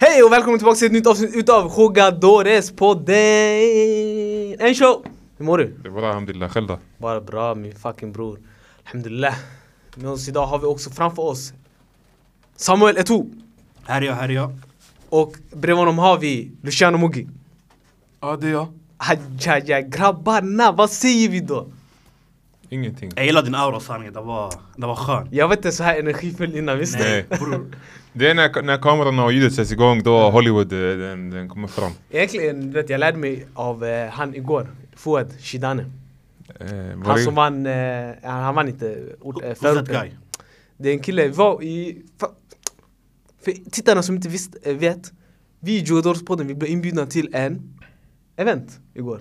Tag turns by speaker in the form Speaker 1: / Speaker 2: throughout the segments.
Speaker 1: Hej och välkommen tillbaka till ett nytt avsnitt utav Jogadores på dig! En show! Hur mår du?
Speaker 2: Det var alhamdulillah, själv då?
Speaker 1: Bara bra min fucking bror. Alhamdulillah. Med oss idag har vi också framför oss Samuel Eto'o
Speaker 3: Här är jag, här är jag.
Speaker 1: och bredvid honom har vi Luciano Moggi.
Speaker 2: Ja, det är jag.
Speaker 1: Ajaja grabbarna, vad säger vi då?
Speaker 2: Ingenting.
Speaker 3: Jag gillar din aura sanningen, den var, den var skön.
Speaker 1: Jag vet inte så här energifull innan, visst?
Speaker 2: Nej.
Speaker 3: bror.
Speaker 2: Det är när, när kameran och ljudet sätts igång,
Speaker 1: Mm.
Speaker 2: då Hollywood eh, den, den kommer fram.
Speaker 1: Egentligen, vet, jag lärde mig av eh, han igår, Fouad Shidane.
Speaker 2: Eh, var
Speaker 1: Han
Speaker 2: det-
Speaker 1: som vann, eh, han, han vann inte ort, eh,
Speaker 3: Who's
Speaker 1: förorten.
Speaker 3: that guy?
Speaker 1: Det är en kille, var i... Fa, för tittarna som inte visst, eh, vet, vi i Jogadorspodden, vi blev inbjudna till en event igår.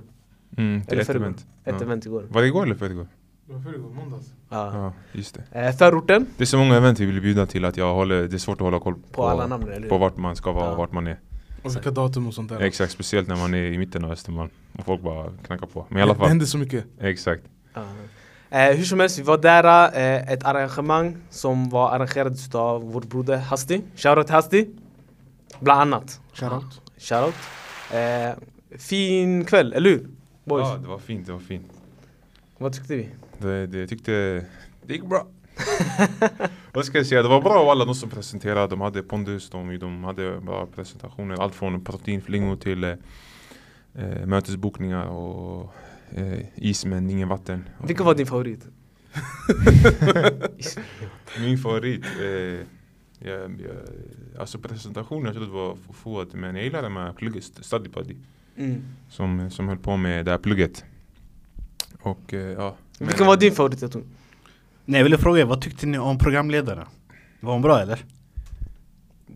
Speaker 2: Mm, till
Speaker 1: Eller
Speaker 2: ett
Speaker 1: förrgår.
Speaker 2: event.
Speaker 1: Ett
Speaker 2: Ja.
Speaker 1: event igår.
Speaker 2: Var det igår eller förrgår?
Speaker 4: Det var förrgår, måndags.
Speaker 1: Ja.
Speaker 2: Ja, just det.
Speaker 1: Eh, förorten,
Speaker 2: Det är så många event vi blir bjudna till att jag håller, det är svårt att hålla koll på,
Speaker 1: alla namnen, eller hur?
Speaker 2: På vart man ska vara
Speaker 1: Ja.
Speaker 2: och vart man är.
Speaker 4: Och vilka datum och sånt där.
Speaker 2: Exakt, speciellt när man är i mitten av Östermalm. Och folk bara knackar på. Men i alla
Speaker 4: Det
Speaker 2: fall,
Speaker 4: hände så mycket.
Speaker 2: exakt.
Speaker 1: ja. eh, hur som helst, vi var där, eh, ett arrangemang som var arrangerat av vår broder Hasti. Shoutout Hasti. Bland annat.
Speaker 4: Shoutout.
Speaker 1: Shoutout. Eh, fin kväll, eller hur? Boys,
Speaker 2: Ja, det var fint, det var fint.
Speaker 1: vad tyckte vi?
Speaker 2: Det, det jag tyckte det gick bra. Vad ska jag säga, det var bra av alla de som presenterade. De hade pondus, de, de hade bra presentationer. Allt från proteinflingor till eh, eh, mötesbokningar och eh, is men ingen vatten. Och
Speaker 1: Vilken var din favorit?
Speaker 2: Min favorit? Eh, jag, jag, alltså presentationen, jag trodde det var Fouad, men jag gillar den här plugget, Study Buddy,
Speaker 1: Mm.
Speaker 2: som, som höll på med det här plugget. Och eh, ja. men-
Speaker 1: Vilken var din favorit? Jag tror?
Speaker 3: Nej jag ville fråga er, vad tyckte ni om programledarna? Var hon bra eller?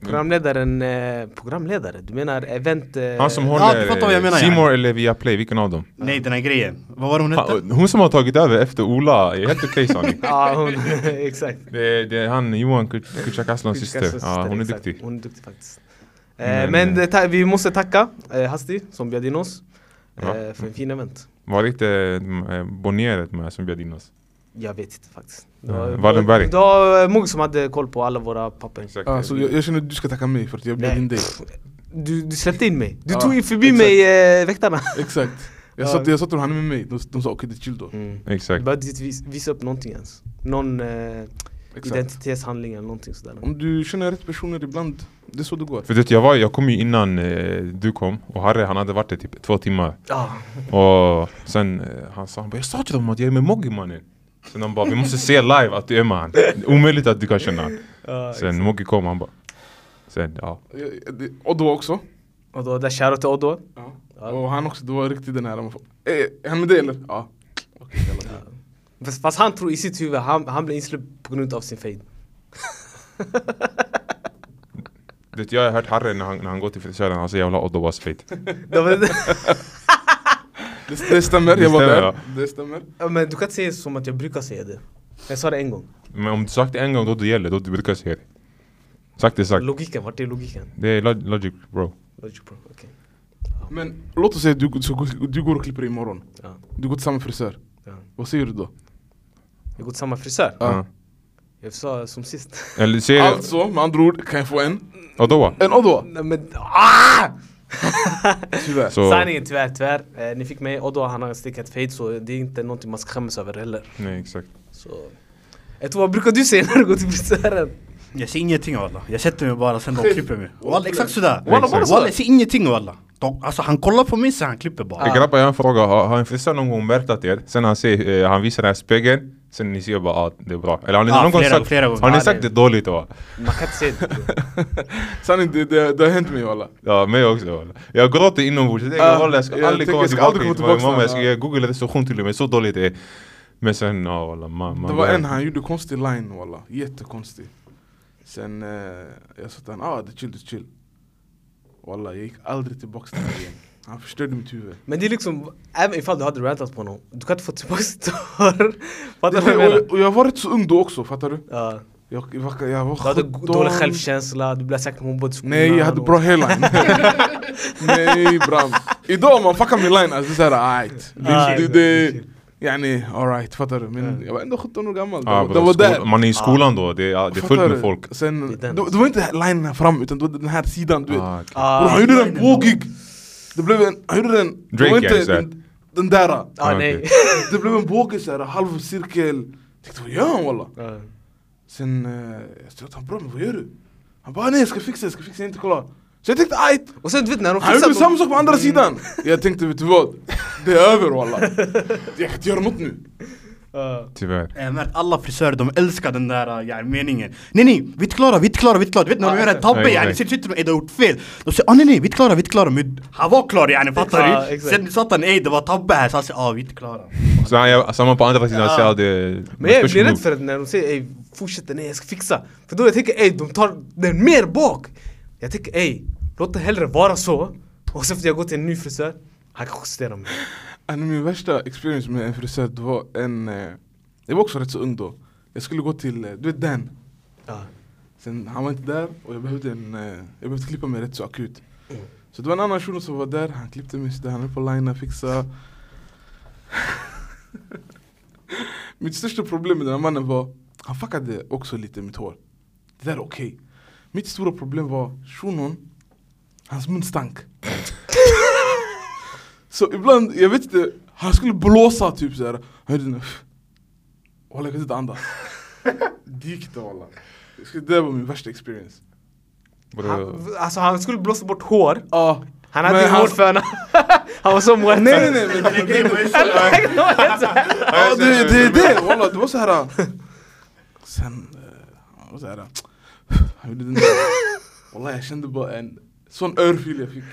Speaker 1: Programledaren, eh, programledare? Du menar event... Eh,
Speaker 2: Han som
Speaker 3: Ja, du
Speaker 2: håller
Speaker 3: fattar vad jag
Speaker 2: eh,
Speaker 3: menar,
Speaker 2: C More eller Viaplay, vilken av dem?
Speaker 3: Nej den här grejen, vad var det hon hette?
Speaker 2: Fan, Hon som har tagit över efter Ola är helt okej sa ni.
Speaker 1: Ja, hon, exakt.
Speaker 2: Det är, det är han Johan Kut- Kutjak Aslans syster. Ja, hon är
Speaker 1: exakt.
Speaker 2: duktig.
Speaker 1: Hon är duktig faktiskt. Eh,
Speaker 2: Men,
Speaker 1: men
Speaker 2: eh,
Speaker 1: eh, ta- vi måste tacka eh, Hasti som bjöd in oss
Speaker 2: Ja.
Speaker 1: eh, för en fin event.
Speaker 2: Var inte eh, Bonnieret med som bjöd in oss?
Speaker 1: Jag vet inte faktiskt.
Speaker 2: Ja, Wallenberg.
Speaker 1: Det var eh, Mugg som hade koll på alla våra papper.
Speaker 2: Exakt.
Speaker 4: Alltså, jag, jag känner att du ska tacka mig för att jag bjöd
Speaker 1: Nej.
Speaker 4: in dig.
Speaker 1: Du, du släppte in mig. Du
Speaker 4: Ja,
Speaker 1: tog ju förbi
Speaker 4: exakt.
Speaker 1: mig eh, väktarna.
Speaker 4: Exakt. Jag
Speaker 1: Ja.
Speaker 4: sa till jag sa till dem, han är med mig. De, de sa okej det är chill då.
Speaker 1: Mm. Du
Speaker 2: Exakt.
Speaker 1: behövde inte vis, visa upp någonting ens. Någon eh,
Speaker 4: Exakt.
Speaker 1: identitetshandling eller någonting sådär.
Speaker 4: Om du känner rätt personer ibland, det är så det går.
Speaker 2: För du vet, jag, var, jag kom ju innan eh, du kom och Harry han hade varit där typ två timmar.
Speaker 1: Ja.
Speaker 2: Och sen eh, han sa han bara, jag sa till dem att jag är med Moggi mannen. Sen han bara vi måste se live att du är med han. Det är Omöjligt att du kan känna han.
Speaker 1: Ja,
Speaker 2: Sen Moggi kom han bara. Sen ja.
Speaker 4: Jag- jag- det- Och då också.
Speaker 1: Och då, där shoutout till Oddo. Ja.
Speaker 4: Och han också, det var riktigt den här. man får, "Eh, Är han med dig eller? Ja. Okej, jävlar.
Speaker 1: typ. Fast, fast han tror i sitt huvud, han, han blev insläppt på grund av sin fade.
Speaker 2: Du vet, jag har hört Harry när han, när han går till frisören, han säger jävla Oddo was fate.
Speaker 1: Det var-
Speaker 4: Det, det stämmer,
Speaker 2: Det
Speaker 4: jag var
Speaker 2: stämmer,
Speaker 4: där.
Speaker 2: ja.
Speaker 4: Det stämmer.
Speaker 1: Ja, men du kan inte säga som att jag brukar säga det. Jag sa det en gång.
Speaker 2: Men om du sagt det en gång då det gäller, då du brukar säga det. Sagt är sagt.
Speaker 1: Logiken, vart är logiken?
Speaker 2: Det är lo- logic bro.
Speaker 1: Logic bro, okej.
Speaker 4: Men låt oss säga att du, så- du går och klipper dig imorgon.
Speaker 1: Ja,
Speaker 4: Du går till samma frisör.
Speaker 1: ja.
Speaker 4: Vad säger du då?
Speaker 1: Jag går till samma frisör.
Speaker 4: Ja.
Speaker 2: Ja.
Speaker 1: Jag sa som sist.
Speaker 2: Eller säger alltså.
Speaker 4: Alltså, med andra ord, kan jag få en?
Speaker 2: Odoa.
Speaker 4: En Odwa?
Speaker 1: Nej men ah!
Speaker 4: Tyvärr.
Speaker 2: Så,
Speaker 1: Sanningen tyvärr, tyvärr. Eh, ni fick mig och då han har stickat fade så det är inte någonting man ska skämmas över heller.
Speaker 2: nej exakt.
Speaker 1: Så... Jag tror, vad brukar du säga när du går till frisören?
Speaker 3: Jag ser ingenting walla, jag sätter mig bara sen de klipper mig Walla exakt sådär!
Speaker 2: Walla, bara
Speaker 3: Walla
Speaker 4: sådär.
Speaker 3: jag ser ingenting walla! De, alltså han kollar på mig sen han klipper bara
Speaker 1: Ah.
Speaker 2: Ah. Grabbar jag har en fråga, har, har en frisör någon gång märktat er? Sen han, ser, eh, han visar den här spegeln, sen ni ser bara att ah, det är bra. Eller har ni
Speaker 3: Ah,
Speaker 2: någon
Speaker 3: flera-
Speaker 2: gång sagt,
Speaker 3: flera gånger.
Speaker 2: Har ni
Speaker 1: Ah,
Speaker 2: sagt
Speaker 1: det-
Speaker 2: det är dåligt? Va?
Speaker 1: Man kan inte säga det. bro.
Speaker 4: Sanning, det, det, det har hänt mig walla.
Speaker 2: Ja, mig också. va. Jag gråter inombords, jag
Speaker 4: Ah,
Speaker 2: tänker walla jag ska
Speaker 4: jag
Speaker 2: aldrig
Speaker 4: tänker,
Speaker 2: komma
Speaker 4: jag ska aldrig
Speaker 2: tillbaka hit. va.
Speaker 4: komma tillbaka
Speaker 2: Mamma jag ska
Speaker 4: sen,
Speaker 2: jag googla recension till och med, så dåligt det är. Men sen, ja walla. Man, man
Speaker 4: Det var en han gjorde konstig line walla, jättekonstig Sen eh, jag sa till honom, ah det är chill, det är chill Walla jag gick aldrig tillbaks till honom igen Han förstörde mitt huvud
Speaker 1: Men det är liksom, även ifall du hade rantat på någon, du kan inte få tillbaka ditt hår.
Speaker 4: det,
Speaker 1: Fattar du vad jag menar?
Speaker 4: och, och jag var rätt så ung då också, fattar du?
Speaker 1: Ja.
Speaker 4: Jag, jag, var- jag var
Speaker 1: Du hade
Speaker 4: 17.
Speaker 1: dålig självkänsla, du blev säkert mobbad i skolan
Speaker 4: Nej jag hade
Speaker 1: och-
Speaker 4: bra hairline Nej bram Idag om man fuckar min line alltså, det är såhär aight det,
Speaker 1: Ah,
Speaker 4: det, det, يعني alright fattar du? Men jag var ändå 17 år gammal.
Speaker 2: Ah,
Speaker 4: det,
Speaker 2: bro,
Speaker 4: det var
Speaker 2: skol-
Speaker 4: där.
Speaker 2: Man är i skolan då, det är, det är fullt
Speaker 4: Fattar
Speaker 2: med
Speaker 4: du?
Speaker 2: folk.
Speaker 1: Det
Speaker 4: Sen,
Speaker 1: är
Speaker 4: det,
Speaker 1: den.
Speaker 4: det var inte linen här fram utan det var den här sidan du vet.
Speaker 2: Ah, okej.
Speaker 4: Bro,
Speaker 1: Ah,
Speaker 4: han gjorde den vågig! Det blev en, han gjorde den... det
Speaker 2: Drake,
Speaker 4: var
Speaker 2: ja, just det.
Speaker 4: den, den där.
Speaker 1: ah,
Speaker 2: Ah,
Speaker 1: nej.
Speaker 2: okej.
Speaker 4: Det blev en båge såhär, halvcirkel. Jag tänkte vad gör han walla?
Speaker 1: Ja.
Speaker 4: Sen, eh, jag sa till honom bro men vad gör du? Han bara nej jag ska fixa, jag ska fixa, jag är inte klar. Så jag tänkte ajt!
Speaker 1: Och sen du vet när de
Speaker 4: Han gjorde
Speaker 1: fixar...
Speaker 4: samma sak på andra sidan! Jag tänkte vet du vad? Det är över walla. Jag kan inte göra något nu.
Speaker 1: Ah.
Speaker 2: Tyvärr.
Speaker 3: Jag har märkt Eh, alla frisörer, de älskar den där eh, ja, meningen Nej nej, vi är inte klara, vi är inte klara, vi är inte klara Du vet när de gör en tabbe,
Speaker 2: exakt.
Speaker 3: yani, sen sitter de ey du har gjort fel De säger ah nej nej, vi är inte klara, vi är inte klara Men han var klar yani,
Speaker 1: Ja,
Speaker 3: fattar du?
Speaker 1: exakt.
Speaker 3: Sen satt han ey det var tabbe här, så han säger ah vi är inte klara
Speaker 2: Så han gör samma på andra sidan,
Speaker 3: Ah.
Speaker 2: så det...
Speaker 1: Men jag blir rädd för att när de säger ey fortsätt, nej jag ska fixa. För då jag tänker ey de tar den mer bak. Jag tänker ey låt det hellre vara så. Och sen får jag gå till en ny frisör. Han kan justera mig.
Speaker 4: Alltså, min värsta experience med en frisör det var en... eh, Jag var också rätt så ung då. Jag skulle gå till, eh, du vet Dan.
Speaker 1: Ja.
Speaker 4: Sen han var inte där och jag behövde, en, eh, jag behövde klippa mig rätt så akut. Så det var en annan shuno som var där, han klippte mig sådär, han höll på att linea, fixa. mitt största problem med den här mannen var, han fuckade också lite mitt hår. Det där är okej. Mitt stora problem var shunon, hans mun stank. så ibland, jag vet inte, han skulle blåsa typ såhär. Han gjorde den här, Walla jag kunde inte andas. Det gick inte walla. Det där var min värsta experience.
Speaker 1: Han, alltså han skulle blåsa bort hår.
Speaker 4: Ja.
Speaker 1: Han hade
Speaker 4: Men
Speaker 1: ju
Speaker 4: han-
Speaker 1: hårföna. han var så muerto.
Speaker 4: Nej nej nej men det, det, ja, det, det, det, walla, det var såhär... Sen... eh, Han var såhär... Han gjorde den där... Walla jag kände bara en sån örfil jag fick.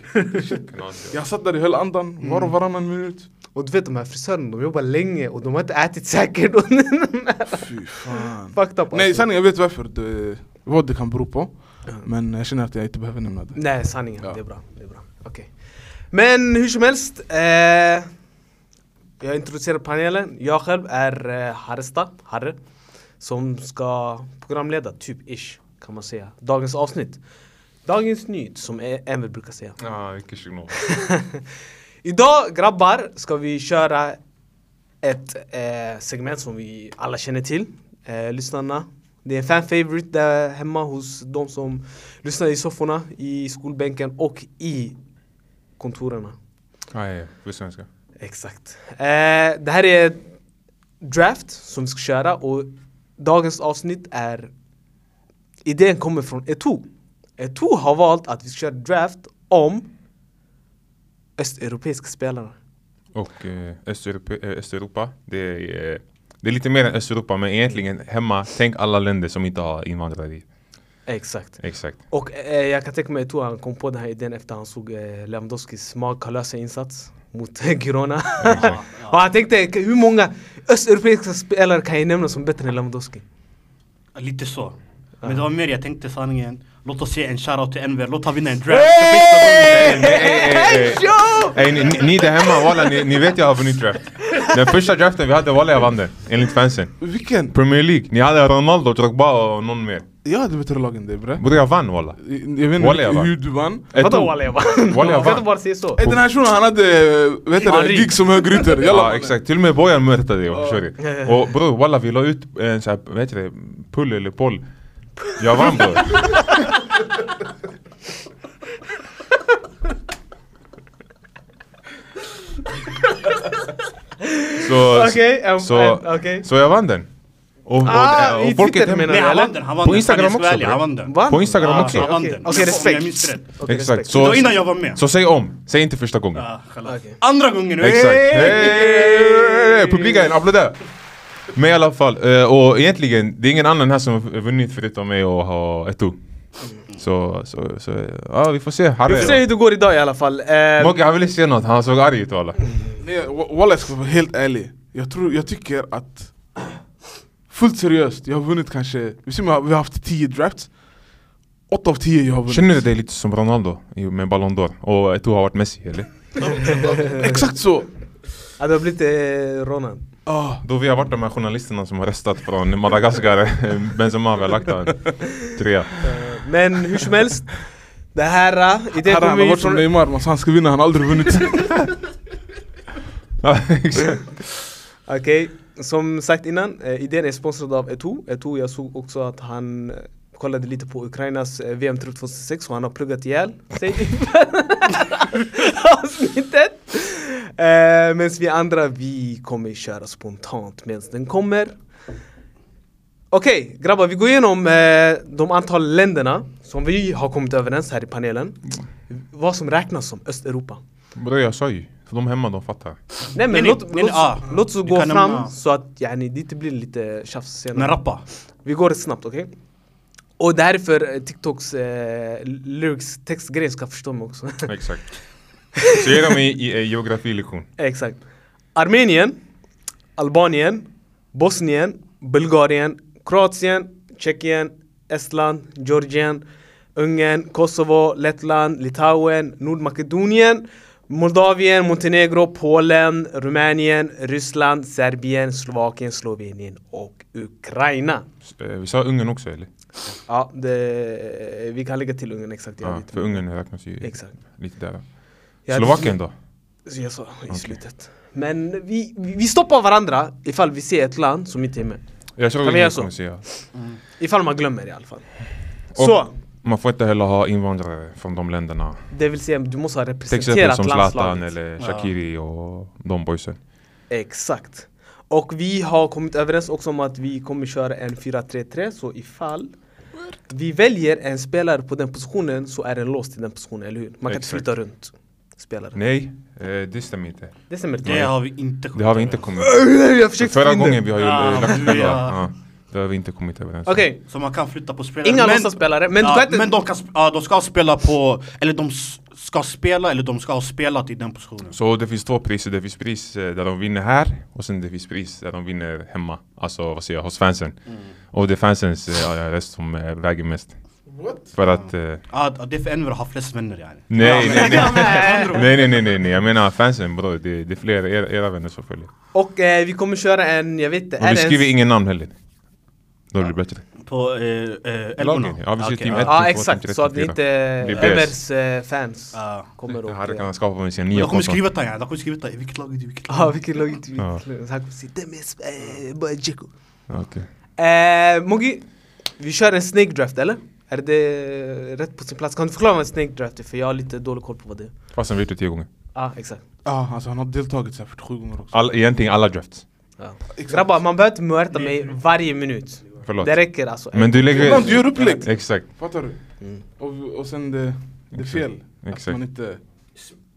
Speaker 4: Shit. Jag satt där i höll andan var och varannan minut.
Speaker 1: Och du vet de här frisörerna, de jobbar länge och de har inte ätit säkert. Och
Speaker 4: Fy fan.
Speaker 1: Fucked up
Speaker 4: Nej
Speaker 1: alltså.
Speaker 4: sanningen jag vet varför. Det, vad det kan bero på. Men jag känner att jag inte behöver nämna det.
Speaker 1: Nej, sanningen.
Speaker 4: Ja.
Speaker 1: Det är bra. Det är bra. Okej. Men hur som helst. Eh, jag introducerar panelen. Jag själv är eh, Harresta, Harre. Som ska programleda, typ ish, kan man säga. Dagens avsnitt. Dagens nytt, som E- Emil brukar säga.
Speaker 2: Ja, vilken signal.
Speaker 1: Idag grabbar ska vi köra ett eh, segment som vi alla känner till. Eh, lyssnarna. Det är en fan favorite där hemma hos de som lyssnar i sofforna, i skolbänken och i kontorerna.
Speaker 2: Nej, på svenska.
Speaker 1: Exakt. Eh, det här är draft som vi ska köra och dagens avsnitt är Idén kommer från E Eto. Eto har valt att vi ska köra draft om östeuropeiska spelare.
Speaker 2: Och eh, Östeuropa, eh, Östeuropa det, är, eh, det är lite mer än Östeuropa, men egentligen hemma, tänk alla länder som inte har invandrare i.
Speaker 1: Exakt.
Speaker 2: Exakt.
Speaker 1: Och eh, jag kan tänka mig att han kom på den här idén efter han såg eh, Lewandowskis makalösa insats mot eh, Girona. och han tänkte, "K- hur många östeuropeiska spelare kan jag nämna som bättre än Lewandowski?
Speaker 3: Lite så Men det var mer jag tänkte sanningen Låt oss ge en shoutout till Enver, låt han vinna en draft
Speaker 2: Hey, hey, hey, hey.
Speaker 1: Show!
Speaker 2: Ey, ni, ni- ni där hemma, walla, ni, ni vet jag har vunnit draft. Den första draften vi hade, walla jag vann den. Enligt fansen.
Speaker 4: Vilken?
Speaker 2: Premier League, ni hade Ronaldo, Drogba och någon mer.
Speaker 4: Jag hade bättre lag än dig bre.
Speaker 2: Bror jag vann walla.
Speaker 4: Jag vet
Speaker 2: Walla, jag
Speaker 4: inte
Speaker 2: vann.
Speaker 4: hur du vann.
Speaker 2: Ett
Speaker 1: Vadå
Speaker 2: ord.
Speaker 1: Walla jag vann?
Speaker 2: Walla, jag
Speaker 1: Jag kan
Speaker 2: vann.
Speaker 1: inte bara säga så.
Speaker 4: Eh, Den här shunon han hade, eh, vet du
Speaker 1: Han
Speaker 4: det,
Speaker 1: rik.
Speaker 4: gig som högerytter. Jalla
Speaker 2: Ja
Speaker 4: mannen.
Speaker 2: exakt, till och med Bojan mötte det, förstår du? Och bror walla vi la ut en sån här, vad heter det, pull eller boll Jag vann bror Så,
Speaker 1: Okej, en-
Speaker 2: så,
Speaker 1: en- okej.
Speaker 2: så jag vann den Och, och,
Speaker 1: Ah,
Speaker 2: och
Speaker 1: i
Speaker 2: folket
Speaker 1: Twitter
Speaker 2: hemma-
Speaker 1: menar
Speaker 3: Nej
Speaker 1: du?
Speaker 3: han vann den, han vann
Speaker 2: På
Speaker 3: den
Speaker 2: Instagram
Speaker 3: Fan, jag ska
Speaker 2: också,
Speaker 3: vara ärlig,
Speaker 2: bro.
Speaker 3: Han vann den
Speaker 1: Vann?
Speaker 2: På Instagram
Speaker 3: Ja,
Speaker 2: också
Speaker 3: Han vann
Speaker 1: Okej,
Speaker 3: den,
Speaker 1: okej,
Speaker 3: om
Speaker 1: respekt.
Speaker 3: jag minns rätt
Speaker 1: Okej,
Speaker 2: Exakt,
Speaker 1: respekt.
Speaker 3: Det
Speaker 2: så,
Speaker 3: var innan jag var med
Speaker 2: så säg om, säg inte första gången
Speaker 3: Ja, khalas.
Speaker 1: Okej.
Speaker 3: Andra gången!
Speaker 2: Exakt.
Speaker 3: hey!
Speaker 2: Hey! Publiken, applåder! Men i alla fall, eh, och egentligen, det är ingen annan här som har vunnit förutom mig och har ett ord. Så, så, så, ja vi får se. Harry.
Speaker 1: Vi får se hur det går idag i alla fall. Eh,
Speaker 2: Mogge han ville se något, han såg arg ut walla.
Speaker 4: Nej, eh, wa- Walla jag ska vara helt ärlig. Jag, tror, jag tycker att, fullt seriöst, jag har vunnit kanske, vi ser om jag- vi har haft 10 drafts. 8 av 10 jag har vunnit.
Speaker 2: Känner du dig lite som Ronaldo i- med Ballon d'Or? Och Eto'o har varit Messi eller?
Speaker 4: Exakt så!
Speaker 1: ja, det har blivit eh, Ronan.
Speaker 4: Ah,
Speaker 2: Då vi har varit de här journalisterna som har röstat från Madagaskar, eh, Benzema vi har lagt en trea.
Speaker 1: Eh, Men hur som helst. Det här, eh, idén
Speaker 4: här
Speaker 1: kommer
Speaker 4: han har
Speaker 1: ju
Speaker 4: varit som
Speaker 1: från...
Speaker 4: Neymar, man sa han ska vinna, han har aldrig vunnit.
Speaker 2: Ja, exakt.
Speaker 1: Okej, som sagt innan, eh, idén är sponsrad av Eto. Eto, jag såg också att han eh, kollade lite på Ukrainas eh, VM-trupp 2006 och han har pluggat ihjäl sig inför avsnittet. Eh, Medan vi andra, vi kommer köra spontant medan den kommer. Okej, grabbar, vi går igenom eh, de antal länderna som vi har kommit överens här i panelen. Vad som räknas som Östeuropa.
Speaker 2: Bror jag sa ju. För de hemma de fattar.
Speaker 1: Nej men
Speaker 3: Nej,
Speaker 1: låt,
Speaker 3: nej,
Speaker 1: låt,
Speaker 3: nej, ah.
Speaker 1: låt så
Speaker 3: Vi
Speaker 1: gå
Speaker 3: kan
Speaker 1: fram
Speaker 3: nämna-
Speaker 1: så att yani, det inte blir lite tjafs
Speaker 3: Men
Speaker 1: senare.
Speaker 3: rappa.
Speaker 1: Vi går snabbt, okej? Och det här är för eh, TikToks eh, lyrics textgrej ska förstå mig också.
Speaker 2: Exakt. Så ge dem i, i, i geografilektion.
Speaker 1: Exakt. Armenien, Albanien, Bosnien, Bulgarien, Kroatien, Tjeckien, Estland, Georgien, Ungern, Kosovo, Lettland, Litauen, Nordmakedonien, Moldavien, Montenegro, Polen, Rumänien, Ryssland, Serbien, Slovakien, Slovenien och Ukraina.
Speaker 2: S- eh, Vi sa Ungern också eller?
Speaker 1: Ja, det, vi kan lägga till Ungern exakt. Jag
Speaker 2: Ja,
Speaker 1: vet inte.
Speaker 2: för Ungern räknas ju
Speaker 1: Exakt.
Speaker 2: lite där.
Speaker 1: Jag hade-
Speaker 2: Slovakien då?
Speaker 1: Så jag sa i slutet. Men vi, vi vi stoppar varandra ifall vi ser ett land som inte är med.
Speaker 2: Jag tror
Speaker 1: Kan vi
Speaker 2: Ungern
Speaker 1: göra så?
Speaker 2: kommer säga.
Speaker 1: Ifall man glömmer i alla fall.
Speaker 2: Och-
Speaker 1: Så,
Speaker 2: Man får inte heller ha invandrare från de länderna.
Speaker 1: det vill säga du måste ha
Speaker 2: Till exempel
Speaker 1: representerat
Speaker 2: som Zlatan
Speaker 1: landslaget.
Speaker 2: eller Shakiri och de boysen.
Speaker 1: Exakt. Och vi har kommit överens också om att vi kommer köra en 4-3-3, så ifall vi väljer en spelare på den positionen så är den låst till den positionen, eller hur? Man kan inte
Speaker 2: Exakt.
Speaker 1: flytta runt spelaren.
Speaker 2: Nej, eh, det stämmer inte.
Speaker 1: Det stämmer inte.
Speaker 3: Det har vi inte
Speaker 2: Det har vi inte kommit
Speaker 1: Jag försökte få
Speaker 2: Förra
Speaker 1: in det.
Speaker 2: gången vi har ju
Speaker 3: Ja,
Speaker 2: eh, lagt upp
Speaker 3: men
Speaker 2: den
Speaker 3: ja.
Speaker 2: ja. Det har vi inte kommit överens om.
Speaker 1: Okej,
Speaker 3: Så man kan flytta på spelare.
Speaker 1: Inga låsta spelare, men du kan
Speaker 3: ja,
Speaker 1: inte-
Speaker 3: men de, kan, sp- ja, de ska spela på, eller de s- ska spela eller de ska ha spelat i den positionen.
Speaker 2: Så det finns två priser. Det finns pris eh, där de vinner här och sen det finns pris där de vinner hemma. Alltså vad säger jag, hos fansen.
Speaker 1: Mm.
Speaker 2: Och det är fansens eh, röst som eh, väger mest.
Speaker 4: What?
Speaker 2: För att... Eh,
Speaker 3: Ja, det är för Enver har flest vänner yani.
Speaker 2: nej, nej, nej. nej, nej, nej, nej, nej. Jag menar fansen bror. Det, det är fler era, era vänner som följer.
Speaker 1: och eh, vi kommer köra en, jag vet inte,
Speaker 2: Och vi
Speaker 1: det en-
Speaker 2: skriver ingen namn heller. Då blir det bättre.
Speaker 3: På eh, eh,
Speaker 2: Lagen,
Speaker 3: Elverna.
Speaker 2: ja, vi ser
Speaker 3: Okej,
Speaker 2: team
Speaker 3: ja.
Speaker 2: ett.
Speaker 1: Ja
Speaker 2: Typ
Speaker 1: exakt,
Speaker 2: 18,
Speaker 1: så att det
Speaker 2: 34.
Speaker 1: inte
Speaker 2: Blir
Speaker 1: Evers
Speaker 2: bäst.
Speaker 1: eh, fans
Speaker 3: Ja.
Speaker 1: kommer
Speaker 2: Det här kan
Speaker 1: och... eh,
Speaker 2: han skapa med sin nya
Speaker 3: De kommer
Speaker 2: konton.
Speaker 3: skriva det yani, de kommer skriva det. I vilket lag är du? i Vilket
Speaker 1: Ja,
Speaker 3: lag?
Speaker 1: vilken logg inte vi
Speaker 2: Ja.
Speaker 1: Så han kommer säga "Dem är, eh, bara Dzeko."
Speaker 2: Okej.
Speaker 1: Eh, Mogi, vi kör en snake draft eller? Är det rätt på sin plats? Kan du förklara vad en snake draft är? För jag har lite dålig koll på vad det är.
Speaker 2: Fast han vet det tio gånger.
Speaker 1: Ja, exakt.
Speaker 4: Ja, alltså han har deltagit så här 47 gånger också.
Speaker 2: All, egentligen alla drafts.
Speaker 1: Ja.
Speaker 4: Exakt.
Speaker 1: Grabbar, man behöver inte mörda mig varje minut.
Speaker 2: Förlåt.
Speaker 1: Det räcker alltså.
Speaker 2: Men du
Speaker 4: Ibland du
Speaker 2: lägger...
Speaker 4: gör upplägg.
Speaker 2: Exakt.
Speaker 4: Fattar du?
Speaker 1: Mm.
Speaker 4: Och, och sen det, det är fel. Att
Speaker 2: Exakt.
Speaker 4: man inte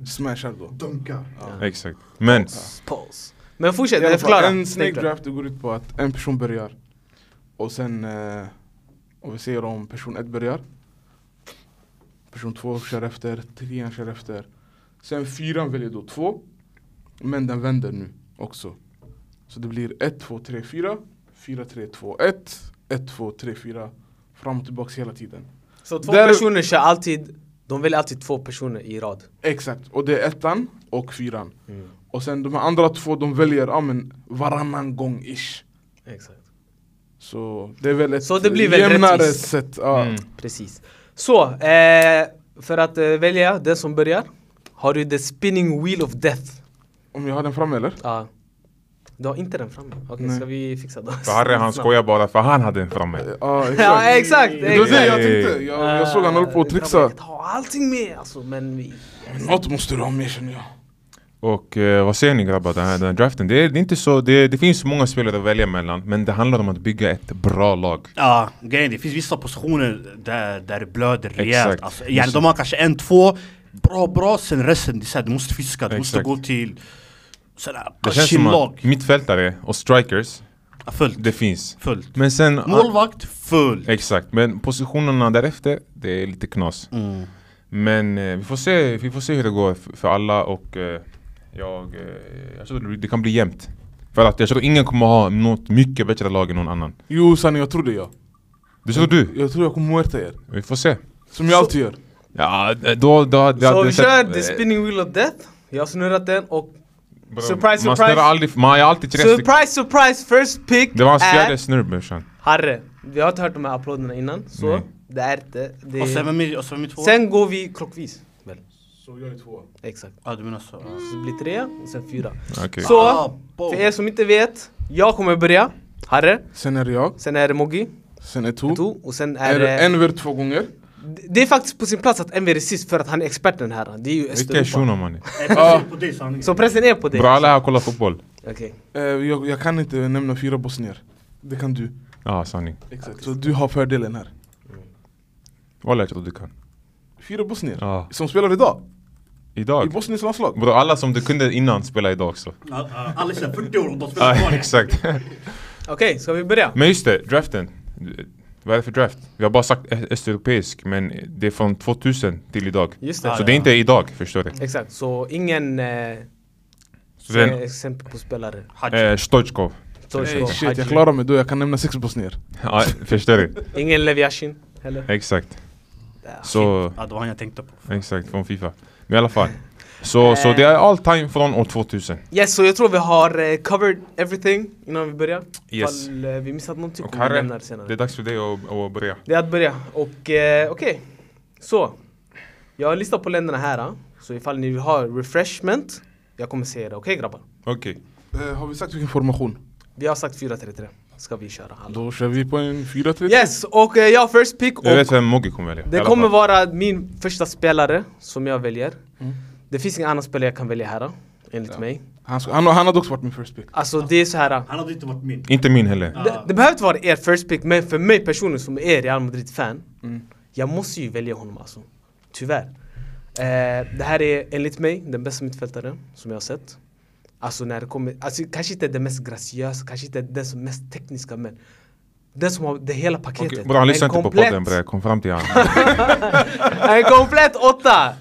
Speaker 4: smashar då.
Speaker 3: Dunka.
Speaker 2: Exakt. Men...
Speaker 1: Paus. Men fortsätt,
Speaker 4: I alla
Speaker 1: eh,
Speaker 4: fall,
Speaker 1: förklara.
Speaker 4: En snake draft det går ut på att en person börjar och sen eh, och vi ser om person ett börjar. Person två kör efter, trean kör efter. Sen fyran väljer då två. Men den vänder nu också. Så det blir 1, 2, 3, 4, 4, 3, 2, 1, 1, 2, 3, 4. Fram och tillbaks hela tiden.
Speaker 1: Så två
Speaker 4: Där-
Speaker 1: personer kör alltid, de väljer alltid två personer i rad.
Speaker 4: Exakt, och det är ettan och fyran.
Speaker 1: Mm.
Speaker 4: Och sen de här andra två de väljer ja, men varannan gång ish.
Speaker 1: Exakt.
Speaker 4: Så det är väl ett
Speaker 1: Så det blir väl
Speaker 4: jämnare
Speaker 1: rättvist.
Speaker 4: sätt. Ja.
Speaker 2: Mm.
Speaker 1: Precis. Så, eh, för att eh, välja den som börjar har du the spinning wheel of death.
Speaker 4: Om jag har den framme eller?
Speaker 1: Ja. Du har inte den framme? Okej,
Speaker 4: Nej.
Speaker 1: ska vi fixa det?
Speaker 2: För Harry han skojar bara för han hade en framme.
Speaker 4: Ja
Speaker 1: Ja,
Speaker 4: exakt.
Speaker 1: exakt!
Speaker 4: det var det
Speaker 1: exakt. Ah,
Speaker 4: jag tänkte. Jag, jag såg han höll på att trixa.
Speaker 1: Jag har Eh, allting med alltså, men vi...
Speaker 4: Något måste du ha med känner jag.
Speaker 2: Och eh, vad säger ni grabbar, den här, den här draften? Det, är, det, är inte så, det, det finns många spelare att välja mellan men det handlar om att bygga ett bra lag.
Speaker 3: Ja, grejen är, det finns vissa positioner där, där det blöder rejält.
Speaker 2: Exakt.
Speaker 3: Alltså, yani, de har kanske en, två bra, bra, sen resten, det är så här, du måste fiska, du måste
Speaker 2: Exakt.
Speaker 3: gå till sådär,
Speaker 2: Det känns som att
Speaker 3: chillag.
Speaker 2: mittfältare och strikers,
Speaker 3: Ja, Fullt,
Speaker 2: det finns.
Speaker 3: fullt.
Speaker 2: Men sen...
Speaker 3: Målvakt, fullt.
Speaker 2: Exakt, men positionerna därefter, det är lite knas. Men eh, vi, får se, vi får se hur det går f- för alla och eh, jag, eh, jag tror det, blir- det kan bli jämnt. För att jag tror ingen kommer ha något mycket bättre lag än någon annan.
Speaker 4: Jo sanning jag tror det jag.
Speaker 2: Det tror du?
Speaker 4: Jag tror jag kommer muerta er.
Speaker 2: Vi får se.
Speaker 4: Som jag alltid gör.
Speaker 2: Ja, eh, då... då, då
Speaker 1: Så vi kör the
Speaker 2: eh,
Speaker 1: spinning wheel of death. Jag har snurrat den och...
Speaker 2: Bro,
Speaker 1: Surprise,
Speaker 2: eh, man
Speaker 1: surprise.
Speaker 2: snurrar aldrig, man har alltid tre stycken.
Speaker 1: Surprise, Äh. surprise! First pick
Speaker 2: Det var hans
Speaker 1: är
Speaker 2: fjärde snurr brorsan.
Speaker 1: Harry. Vi har inte hört de här applåderna innan, så
Speaker 2: Nej.
Speaker 1: det är inte... Det...
Speaker 3: Och sen vem är, och sen vem är två?
Speaker 1: Sen går vi klockvis. Väl?
Speaker 4: Så jag är tvåa.
Speaker 1: Exakt.
Speaker 3: Ja, du menar så. Eh,
Speaker 1: Så det blir tre och sen fyra.
Speaker 2: Okej.
Speaker 1: Så,
Speaker 3: Ah, bo.
Speaker 1: för er som inte vet, jag kommer börja. Harre,
Speaker 4: Sen är det jag,
Speaker 1: sen är det Moggi,
Speaker 4: sen är To.
Speaker 1: Tou och sen är
Speaker 4: Oh. Är
Speaker 1: det...
Speaker 4: det Enver två gånger?
Speaker 1: Det- Det är faktiskt på sin plats att Enver är sist för att han är experten här. Det är ju
Speaker 2: Vilken
Speaker 1: Östeuropa.
Speaker 2: shuno mannen.
Speaker 3: Jag är precis på dig sanningen.
Speaker 1: Så pressen är på dig.
Speaker 2: Bror alla här kollar fotboll.
Speaker 1: Okej.
Speaker 4: Eh, jag, jag kan inte nämna fyra bosnier. Det kan du.
Speaker 2: Ja sanning.
Speaker 4: Exakt. Så du har fördelen här.
Speaker 2: Walla jag tror du kan.
Speaker 4: Fyra bosnier.
Speaker 2: Ja.
Speaker 4: Som spelar idag. I
Speaker 2: Idag.
Speaker 4: Bosniens landslag.
Speaker 2: Bror alla som du kunde innan spelar idag också.
Speaker 3: Ja, ja, Alla är 40 år och de
Speaker 2: Ja
Speaker 3: spelar kvar.
Speaker 2: exakt.
Speaker 1: Okej, ska vi börja?
Speaker 2: Men just det, draften. Vad är det för draft? Vi har bara sagt ö- östeuropeisk men det är från 2000 till idag.
Speaker 1: Just
Speaker 3: Ja,
Speaker 1: det.
Speaker 2: Så det är inte idag, förstår du?
Speaker 1: Exakt, så ingen eh,
Speaker 2: Så det är en-
Speaker 1: exempel på spelare.
Speaker 3: Hajj.
Speaker 2: Eh, Stoichkov.
Speaker 1: Toshko,
Speaker 4: Hey, shit,
Speaker 1: Hadji.
Speaker 4: jag klarar mig då. Jag kan nämna sex bosnier.
Speaker 2: Ja, förstår du?
Speaker 1: Ingen Lev Yashin heller.
Speaker 2: Exakt.
Speaker 1: Ja.
Speaker 2: Så,
Speaker 3: Ja, det var han jag tänkte på.
Speaker 2: exakt, från Fifa. Men i alla fall.
Speaker 1: Eh.
Speaker 2: Så, så det är all time från år 2000.
Speaker 1: Yes, så jag tror vi har eh, covered everything innan vi börjar.
Speaker 2: Yes.
Speaker 1: Ifall eh, vi missat någonting
Speaker 2: Och
Speaker 1: kommer vi
Speaker 2: Harry,
Speaker 1: nämna det
Speaker 2: det är
Speaker 1: senare.
Speaker 2: dags för dig att, att börja.
Speaker 1: Det är att börja. Och eh, okej, så. Jag har listat på länderna här. ah. Så ifall ni vill ha refreshment, jag kommer säga det. Okej grabbar?
Speaker 2: Okej.
Speaker 4: Eh, har vi sagt vilken formation?
Speaker 1: Vi har sagt 4-3-3. Ska vi köra alla.
Speaker 4: Då kör vi på en 4-3.
Speaker 1: Yes, och eh, jag har first pick och
Speaker 2: Jag vet vem Mogge kommer välja. i
Speaker 1: det
Speaker 2: alla
Speaker 1: kommer
Speaker 2: fall. Mm.
Speaker 1: vara min första spelare som jag väljer. Det finns ingen annan spelare jag kan välja här, ah, enligt mig.
Speaker 4: Han, ska, han, han hade också varit min first pick.
Speaker 1: Alltså det är så här.
Speaker 3: Han hade inte varit min.
Speaker 2: Inte min heller.
Speaker 1: Det, det behöver inte vara er first pick, men för mig personligen som är Real Madrid-fan,
Speaker 4: Mm.
Speaker 1: jag måste ju välja honom alltså. Tyvärr. Eh, det här är enligt mig den bästa mittfältaren som jag har sett. Alltså när det kommer, alltså, kanske inte den mest graciösa, kanske inte den som mest tekniska men den som har det hela paketet.
Speaker 2: Okej, Bror han
Speaker 1: En
Speaker 2: lyssnar inte på
Speaker 1: komplett-
Speaker 2: podden bre, kom fram till han.
Speaker 1: En komplett åtta!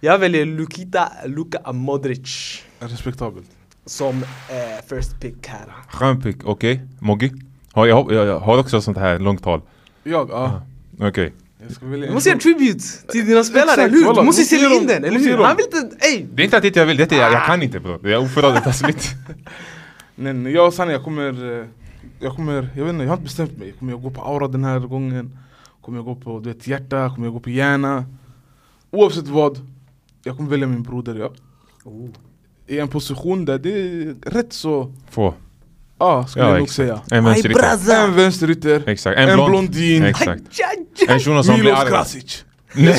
Speaker 1: Jag väljer Lukita Luka Modric
Speaker 4: Respektabelt.
Speaker 1: som eh, first pick här.
Speaker 2: Skön pick, okej. Mogge? Har, jag, jag, jag har också sånt här långt tal.
Speaker 4: Jag, ja.
Speaker 2: Okej.
Speaker 4: Jag ska välja
Speaker 1: Du
Speaker 4: en
Speaker 1: måste göra
Speaker 4: kjol.
Speaker 1: tribute till dina spelare,
Speaker 4: Exakt,
Speaker 1: eller hur?
Speaker 4: walla,
Speaker 1: Du måste
Speaker 4: måste ge
Speaker 1: sälja in
Speaker 4: dem-
Speaker 1: den, eller
Speaker 4: måste ge
Speaker 1: hur?
Speaker 4: dem.
Speaker 1: Han vill inte, ey!
Speaker 2: Det är inte att inte jag vill, det är att jag, jag kan inte bror. Jag är oförrådd, jag tar slut.
Speaker 4: Nej, nej, jag och Sanne, jag kommer... eh, Jag kommer, jag vet inte, jag har inte bestämt mig. Kommer jag gå på aura den här gången? Kommer jag gå på du vet, hjärta? Kommer jag gå på hjärna? Oavsett vad, jag kommer välja min broder ja.
Speaker 2: Oh.
Speaker 4: I en position där det är rätt så,
Speaker 2: Få.
Speaker 4: ja skulle
Speaker 2: Ja,
Speaker 4: jag nog
Speaker 2: exakt.
Speaker 4: säga.
Speaker 2: En
Speaker 1: Aj
Speaker 2: vänsterytter.
Speaker 1: braza!
Speaker 4: En vänsterytter,
Speaker 2: Exakt, en,
Speaker 4: en,
Speaker 2: blond.
Speaker 4: blondin,
Speaker 2: Exakt.
Speaker 1: Ja, ja.
Speaker 2: En shuno som blir
Speaker 4: Milos
Speaker 2: arg.
Speaker 4: Krasic.
Speaker 1: Nej!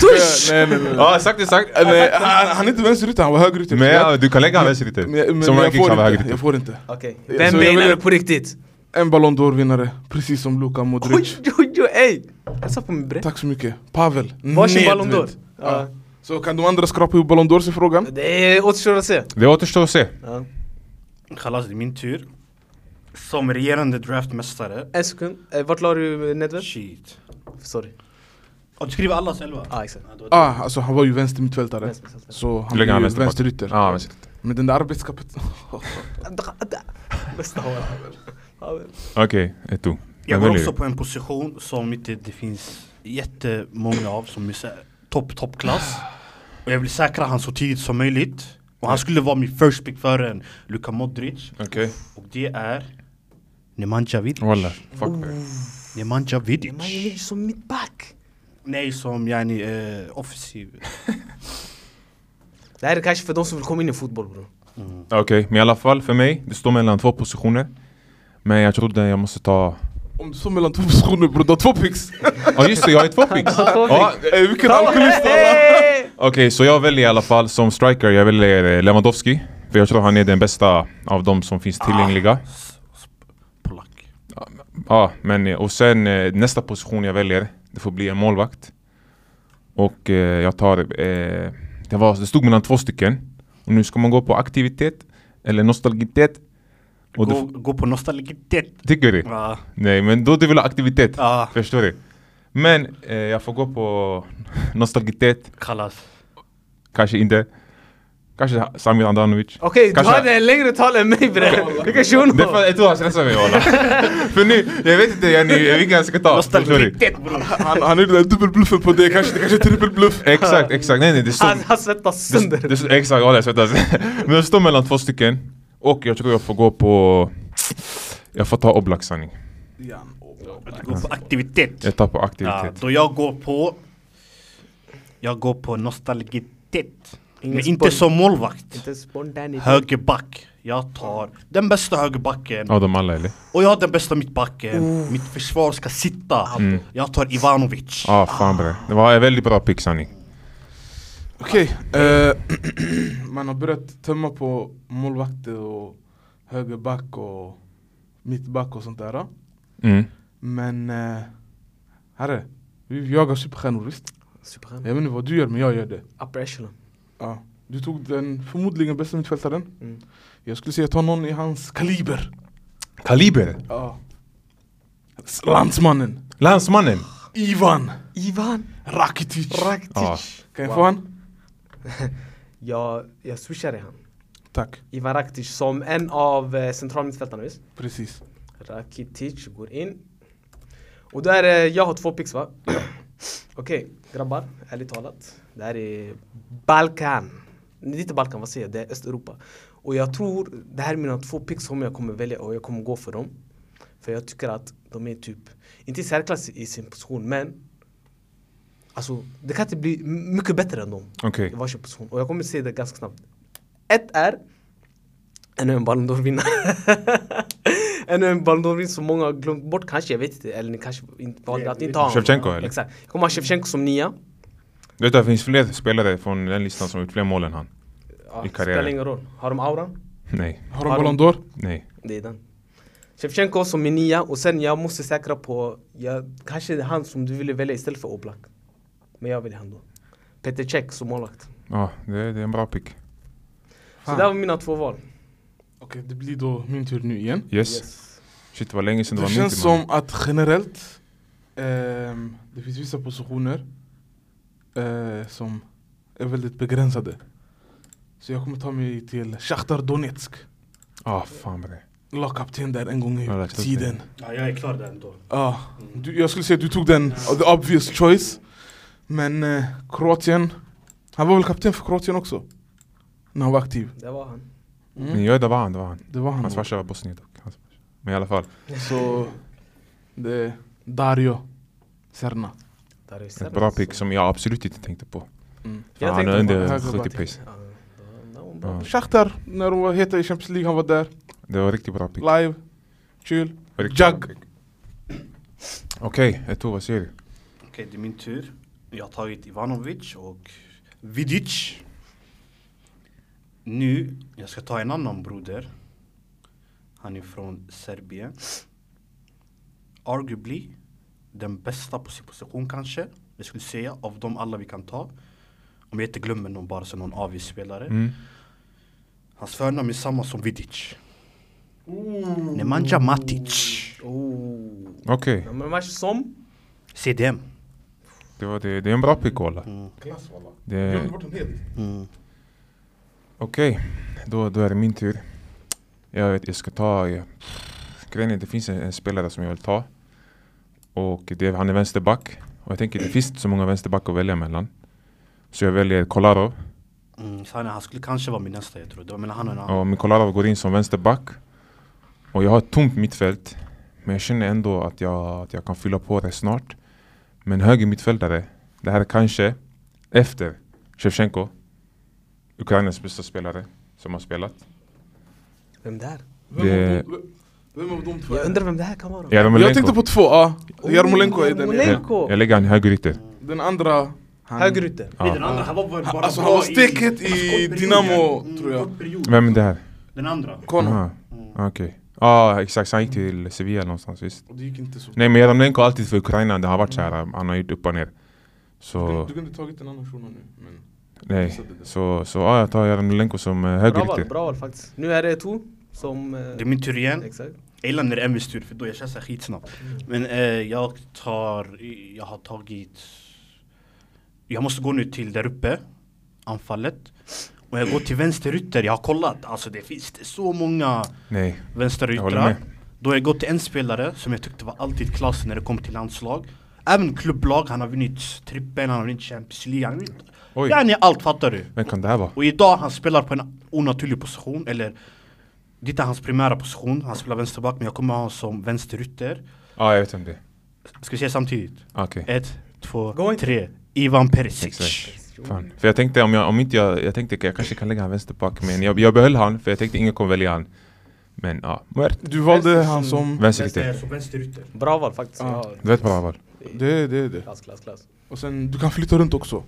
Speaker 1: Tush!
Speaker 4: Nej nej nej.
Speaker 2: Ja exakt exakt.
Speaker 4: Eh, nej, han, han är inte vänsterytter, han var högerytter.
Speaker 2: Men
Speaker 4: förlåt.
Speaker 2: ja, du kan lägga han vänsterytter.
Speaker 4: typ, men, jag- men
Speaker 2: Som
Speaker 4: jag,
Speaker 2: rankings han var
Speaker 4: får inte,
Speaker 2: högerytter.
Speaker 4: jag får inte.
Speaker 1: Okej,
Speaker 4: Så
Speaker 1: vem
Speaker 4: jag
Speaker 1: menar du
Speaker 4: väljer-
Speaker 1: på riktigt?
Speaker 4: En Ballon d'Or-vinnare, precis som Luka
Speaker 1: Oj,
Speaker 4: Modric.
Speaker 1: oj, oj, ey! Hälsa på min bre.
Speaker 4: Tack så mycket. Pavel.
Speaker 1: Varsin
Speaker 4: Nedved.
Speaker 1: Ballon Ah. d'Or.
Speaker 4: Ja.
Speaker 1: Ja.
Speaker 4: Så kan de andra skrapa ihop Ballon d'Ors i frågan?
Speaker 1: Det återstår att se.
Speaker 2: Det återstår att se.
Speaker 1: Ja.
Speaker 3: Khalas, det är min tur. Som regerande draftmästare.
Speaker 1: En sekund, eh, vart la du Nedved?
Speaker 3: Shit.
Speaker 1: Sorry.
Speaker 3: Och du skriver allas elva?
Speaker 1: Ah, exakt.
Speaker 3: Ja, det var det.
Speaker 4: Ah, alltså han var ju vänstermittfältare.
Speaker 1: Vänstermittfältare.
Speaker 4: Så han
Speaker 2: Du lägger
Speaker 4: blir
Speaker 2: han
Speaker 4: ju
Speaker 2: vänsterback.
Speaker 4: vänsterytter.
Speaker 2: Ja, vänsterytter.
Speaker 4: Men den där arbetskapaciteten...
Speaker 1: Bästa håret. Ja,
Speaker 2: Okej, ett du.
Speaker 3: Jag går också på en position som inte det finns jättemånga av som är så här topp, toppklass. Och jag vill säkra han så tidigt som möjligt. Och han skulle vara min first pick före en Luka Modric.
Speaker 2: Okej.
Speaker 3: Och det är Nemanja Vidic.
Speaker 2: Walla. Fuck bre.
Speaker 3: Nemanja
Speaker 1: men Man
Speaker 3: Vidic.
Speaker 1: ligger som mittback.
Speaker 3: Nej, som yani eh, offensiv.
Speaker 1: Det här är kanske för de som vill komma in i fotboll bror.
Speaker 2: Okej, men i alla fall för mig, det står mellan två positioner. Men jag trodde jag måste ta...
Speaker 4: Om du står mellan två positioner bror, du har två picks!
Speaker 2: Ja just det, jag har ju två picks!
Speaker 1: två
Speaker 2: Ja,
Speaker 4: Eh, Vilken alkoholist alla!
Speaker 2: Okej, så jag väljer i alla fall som striker, jag väljer eh, Lewandowski. För jag tror han är den bästa av de som
Speaker 1: Ah.
Speaker 2: finns tillgängliga.
Speaker 3: Polack.
Speaker 2: Ja, men eh, och sen eh, nästa position jag väljer, det får bli en målvakt. Och eh, jag tar, eh, det, var, det stod mellan två stycken. Och nu ska man gå på aktivitet eller nostalgitet. Och
Speaker 3: Gå,
Speaker 2: du,
Speaker 3: gå på nostalgitet.
Speaker 2: tycker du?
Speaker 3: Ja,
Speaker 2: Nej, men då du vill ha aktivitet.
Speaker 1: Ah.
Speaker 3: ja.
Speaker 2: Förstår du? Men eh, jag får gå på nostalgitet,
Speaker 3: Kallas.
Speaker 2: kanske inte. Kanske Samir Andanovic.
Speaker 1: Okej, du
Speaker 2: Kanske-
Speaker 1: hade en längre tal än mig bre. Vilken shuno!
Speaker 2: Det är för, jag tror han stressar mig walla. för nu, jag vet inte Jenny, vilken jag ska ta. Förstår du?
Speaker 3: Nostalgitet bror.
Speaker 4: Han, han är den där dubbelbluffen på det, kanske, det kanske är trippelbluff.
Speaker 2: Exakt, exakt. Nej nej, det står...
Speaker 1: Han, han svettas
Speaker 2: Det,
Speaker 1: sönder.
Speaker 2: det, det, exakt, walla jag svettas. Men det står mellan två stycken. Och jag tror jag får gå på... Jag får ta Oblak sanning.
Speaker 4: Jan, oh,
Speaker 3: Du går på aktivitet.
Speaker 2: Jag tar på
Speaker 3: Ja,
Speaker 2: aktivitet.
Speaker 3: då jag går på Jag går på nostalgitet.
Speaker 1: Ingen
Speaker 3: Men inte
Speaker 1: spon-
Speaker 3: som målvakt.
Speaker 1: Inte spontanitet.
Speaker 3: Högerback. Jag tar den bästa högerbacken.
Speaker 2: Av dem alla eller?
Speaker 3: Och jag har den bästa mittbacken. Mitt försvar ska sitta. Jag tar Ivanovic.
Speaker 2: Mm. Ja, ah, fan bre. Det var en väldigt bra pick sanning.
Speaker 4: Okej, eh, man har börjat tömma på målvakter och högerback och mittback och sånt där.
Speaker 2: Mm.
Speaker 4: Men eh, herre, vi jagar superstjärnor visst?
Speaker 1: Superstjärna.
Speaker 4: Jag vet inte vad du gör men jag gör det.
Speaker 1: Upper echelon.
Speaker 4: Ja. Du tog den förmodligen bästa mittfältaren.
Speaker 1: Mm.
Speaker 4: Jag skulle säga ta någon i hans kaliber.
Speaker 2: Kaliber!
Speaker 4: Ja. Landsmannen.
Speaker 2: Landsmannen!
Speaker 4: Ivan
Speaker 1: Ivan
Speaker 4: Rakitic.
Speaker 1: Rakitic.
Speaker 2: Ja.
Speaker 4: kan jag
Speaker 1: Wow.
Speaker 4: få han?
Speaker 1: Jag, jag swishade han.
Speaker 4: Tack,
Speaker 1: Ivan Rakitic som en av eh, centralmittfältarna visst?
Speaker 4: precis.
Speaker 1: Rakitic går in. Och där, eh, jag har två picks va? Okej, grabbar, ärligt talat. Det här är Balkan. Nej, Det är inte Balkan, vad säger jag? Det är Östeuropa. Och jag tror, det här är mina två picks som jag kommer välja och jag kommer gå för dem. För jag tycker att de är typ, inte i särklass i sin position men Alltså, det kan inte bli m- mycket bättre än dem
Speaker 2: Okej.
Speaker 1: i varsin position. Och jag kommer se det ganska snabbt. Ett är ännu en Ballon d'Or-vinnare. ännu en Ballon d'Or-vinnare som många har glömt bort kanske, jag vet inte. Eller ni kanske inte valde att inte ha honom.
Speaker 2: Shevchenko, eller?
Speaker 1: Exakt. Jag kommer ha Shevchenko som nia.
Speaker 2: Du vet att det finns fler spelare från den listan som gjort fler mål än han.
Speaker 1: Ja,
Speaker 2: I
Speaker 1: spelar
Speaker 2: karriären.
Speaker 1: ingen roll. Har de auran?
Speaker 2: Nej,
Speaker 4: Har de
Speaker 1: Har de-
Speaker 4: Ballon d'Or?
Speaker 2: nej.
Speaker 1: Det är den. Shevchenko som min nia och sen jag måste säkra på, jag, kanske det är han som du ville välja istället för Oblak. Men jag väljer han då. Peter Cech som målvakt.
Speaker 2: Ja, det, det är en bra pick.
Speaker 1: Så
Speaker 4: Fan.
Speaker 1: det var mina två val.
Speaker 4: Okej, det blir då min tur nu igen.
Speaker 2: Yes. Shit, det var länge sedan det,
Speaker 4: Det
Speaker 2: var min
Speaker 4: känns
Speaker 2: tur,
Speaker 4: som
Speaker 2: man.
Speaker 4: att generellt ehm, det finns vissa positioner eh, som är väldigt begränsade. Så jag kommer ta mig till Shakhtar Donetsk.
Speaker 2: Ah, fan bre.
Speaker 4: Lagkapten där en gång
Speaker 2: Ja,
Speaker 4: i
Speaker 2: det känns
Speaker 4: tiden.
Speaker 3: Ja, jag är klar där ändå.
Speaker 4: Ja, du, jag skulle säga att du tog den, uh, the obvious choice. Men eh, Kroatien, han var väl kapten för Kroatien också? När han var aktiv.
Speaker 1: Det var han.
Speaker 4: Mm.
Speaker 2: Men ja, det var han, det var han.
Speaker 4: Det var han.
Speaker 2: Mm. Hans
Speaker 4: då.
Speaker 2: farsa var bosnier dock. Hans farsa. Men i alla fall,
Speaker 4: Så det är Dario Serna.
Speaker 1: Där är
Speaker 2: ett
Speaker 1: Serna,
Speaker 2: bra
Speaker 1: så-
Speaker 2: pick som jag absolut inte tänkte på.
Speaker 4: Mm.
Speaker 2: För
Speaker 1: Jag
Speaker 2: han är
Speaker 1: tänkte på
Speaker 2: under
Speaker 4: högerback.
Speaker 2: 70 pace.
Speaker 1: Ja, det var en bra
Speaker 2: Ja,
Speaker 1: pick.
Speaker 4: Shakhtar, när de var heta i Champions League, han var där.
Speaker 2: det var riktigt bra pick.
Speaker 4: Live, chill.
Speaker 2: Riktigt
Speaker 4: Jug.
Speaker 2: bra pick. Okej, okay, Eto, vad säger du?
Speaker 3: Okej, det är min tur. Jag har tagit Ivanovic och Vidic. Nu, jag ska ta en annan broder. Han är från Serbien. Arguably den bästa på sin position kanske. Jag skulle säga av de alla vi kan ta. Om jag inte glömmer någon bara så någon AV-spelare.
Speaker 2: Mm.
Speaker 3: Hans förnamn är samma som Vidic. Nemanja Matic.
Speaker 1: Oh.
Speaker 2: Okej,
Speaker 1: Ja, men match som?
Speaker 3: CDM.
Speaker 2: det, var det, det är en bra pick walla.
Speaker 4: Klass walla.
Speaker 2: Det
Speaker 4: Jag
Speaker 2: är-
Speaker 4: glömde bort dem helt.
Speaker 3: Mm.
Speaker 2: Okej, då, då är det min tur. Jag, vet, jag ska ta... Jag, grejen är, det finns en, en spelare som jag vill ta. Och det, han är vänsterback. Och jag tänker, det finns inte så många vänsterbackar att välja mellan. Så jag väljer Kolarov.
Speaker 3: Mm, så han, han skulle kanske vara min nästa jag tror. Det var mellan han och en annan.
Speaker 2: Och Mikolarov går in som vänsterback. Och jag har ett tomt mittfält. Men jag känner ändå att jag, att jag kan fylla på det snart. Men höger mittfältare, det här är kanske efter Shevchenko. Ukrainas bästa spelare som har spelat.
Speaker 1: Vem där?
Speaker 4: Vem
Speaker 2: Det-
Speaker 4: av dem- Vem av dem två
Speaker 1: Jag
Speaker 4: är
Speaker 1: undrar
Speaker 4: det?
Speaker 1: vem det här kan vara.
Speaker 4: Jag
Speaker 2: Jarmolenko.
Speaker 4: tänkte på två, ja. Jarmolenko är den ena.
Speaker 1: Jarmolenko.
Speaker 2: Jag lägger han i högerytter.
Speaker 4: Den andra, han...
Speaker 1: Högerytter.
Speaker 2: Ja.
Speaker 3: Den andra, han var väl bara
Speaker 4: Alltså,
Speaker 3: bra
Speaker 4: han var
Speaker 3: i-
Speaker 4: steket i
Speaker 3: kortperioden.
Speaker 4: Dynamo,
Speaker 3: Mm,
Speaker 4: tror jag.
Speaker 3: kortperiod.
Speaker 2: Vem är det här?
Speaker 3: Den andra.
Speaker 4: Kono.
Speaker 2: Aha, Ah, okej. Ja, exakt. Han gick till Sevilla någonstans, visst.
Speaker 4: Och det gick inte så.
Speaker 2: Nej, men Jarmolenko har alltid för Ukraina. Det har varit så här,
Speaker 4: Mm.
Speaker 2: han har gjort upp och ner.
Speaker 4: Du,
Speaker 2: Så,
Speaker 4: du kunde tagit en annan shuno nu. Men...
Speaker 2: nej. Så, så ja, jag tar Jarmolenko som eh,
Speaker 1: Bra val,
Speaker 2: högerytter.
Speaker 1: bra val faktiskt. Nu är det Tor som... eh,
Speaker 3: Det är min tur igen.
Speaker 1: Exakt.
Speaker 3: Jag gillar när det är Emils tur för då jag känner så här skitsnabbt.
Speaker 4: Mm.
Speaker 3: Men eh, jag tar, jag har tagit Jag måste gå nu till där uppe Anfallet Och jag går till vänsterytter, jag har kollat Alltså det finns det så många
Speaker 2: Nej. Jag håller
Speaker 3: vänsteryttrar
Speaker 2: med.
Speaker 3: Då har jag gått till en spelare som jag tyckte var alltid klass när det kom till landslag Även klubblag, han har vunnit trippen, han har vunnit Champions League, han har vunnit
Speaker 2: Oj.
Speaker 3: Yani allt fattar du
Speaker 2: Vem kan det här vara?
Speaker 3: Och idag han spelar på en onaturlig position, eller det är inte hans primära position, han spelar vänsterback men jag kommer ha honom som vänsterytter
Speaker 2: Ja, Ah, jag vet vem det är. Ah,
Speaker 3: Ska vi säga samtidigt?
Speaker 4: Eh,
Speaker 2: Okej.
Speaker 3: Ett, två,
Speaker 1: Gå inte.
Speaker 3: tre Ivan Perisic.
Speaker 2: Exakt. Fan. För jag tänkte om jag, om inte jag, jag tänkte jag kanske kan lägga han vänsterback men jag, jag behöll han för jag tänkte ingen kommer välja han. Men ah, ja, Muert.
Speaker 4: Du valde han som...
Speaker 2: Vänsterytter.
Speaker 3: vänsterytter.
Speaker 1: Bra val faktiskt.
Speaker 4: Ja.
Speaker 1: Ja.
Speaker 2: Det var ett bra val.
Speaker 4: Det, det, det.
Speaker 1: Klass, klass, klass.
Speaker 4: Och sen, du kan flytta runt också.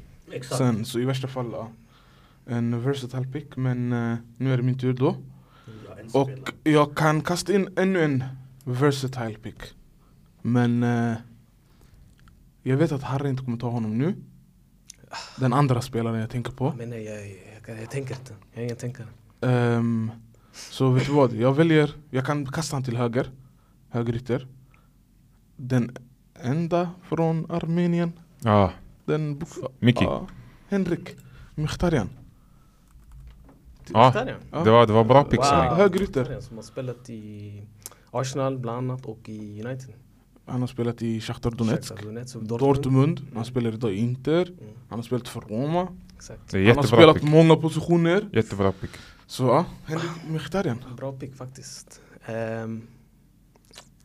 Speaker 4: Sen, så i värsta fall, ja. En versatile pick, men eh, nu är det min tur då. Och jag kan kasta in ännu en versatile pick. Men eh, jag vet att Harry inte kommer ta honom nu. Den andra spelaren jag tänker på.
Speaker 1: Men nej, jag, jag, jag, jag tänker inte. Jag är ingen tänkare.
Speaker 4: Ehm, så vet du vad, jag väljer, jag kan kasta han till höger. Högerytter. Den enda från Armenien.
Speaker 2: Ja,
Speaker 4: Den bok-
Speaker 2: Miki.
Speaker 4: Ja, Henrik Mkhitaryan.
Speaker 2: Ja,
Speaker 1: Stadion.
Speaker 4: Ja.
Speaker 2: Ah. det var, det var bra pick
Speaker 4: Wow.
Speaker 2: Sonic.
Speaker 4: Högerytter.
Speaker 1: Stadion Som har spelat i Arsenal bland annat och i United.
Speaker 4: Han har spelat i Shakhtar Donetsk.
Speaker 1: Shakhtar Donetsk och
Speaker 4: Dortmund.
Speaker 1: Dortmund.
Speaker 4: Han spelar idag i Inter.
Speaker 1: Mm.
Speaker 4: Han har spelat för Roma.
Speaker 1: Exakt.
Speaker 2: Det är
Speaker 4: Han har
Speaker 2: jättebra
Speaker 4: spelat
Speaker 2: pick.
Speaker 4: på många positioner.
Speaker 2: Jättebra pick.
Speaker 4: Så ja, Henrik Mkhitaryan.
Speaker 1: Bra pick faktiskt. Ehm,